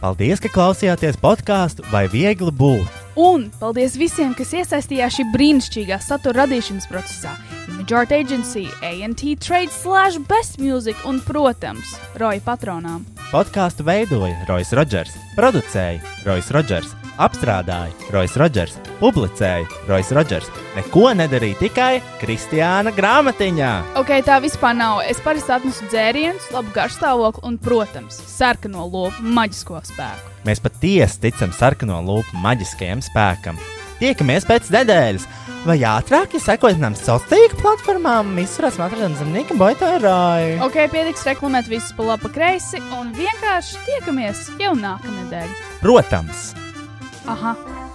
Speaker 1: Paldies, ka klausījāties podkāstu vai viegli būt.
Speaker 3: Un paldies visiem, kas iesaistījās šī brīnišķīgā satura radīšanas procesā. Majority Agency, ANT Trade slash Best Music un, protams, Roja patronām.
Speaker 1: Podkāstu veidoja Roisas Rodžers, producēja Roisas Rodžers, apstrādāja Roisas Rodžers, publicēja Roisas Rodžers. Neko nedarīja tikai Kristiāna grāmatiņā.
Speaker 3: Ok, tā vispār nav. Es parasti atnesu dzērienus, labu garšstāvokli un, protams, sarkano lopu maģisko spēku.
Speaker 1: Mēs patiesi ticam sarkano lupu maģiskajam spēkam. Tiekamies pēc nedēļas, vai ātrāk, ja sekojat mums sociālajām tīkla platformām, visurās matradienas zemnieka boitārāji.
Speaker 3: Ok, pietiks reklamēt visus pa labi, pa kreisi un vienkārši tiekamies jau nākamnedēļ.
Speaker 1: Protams!
Speaker 3: Aha!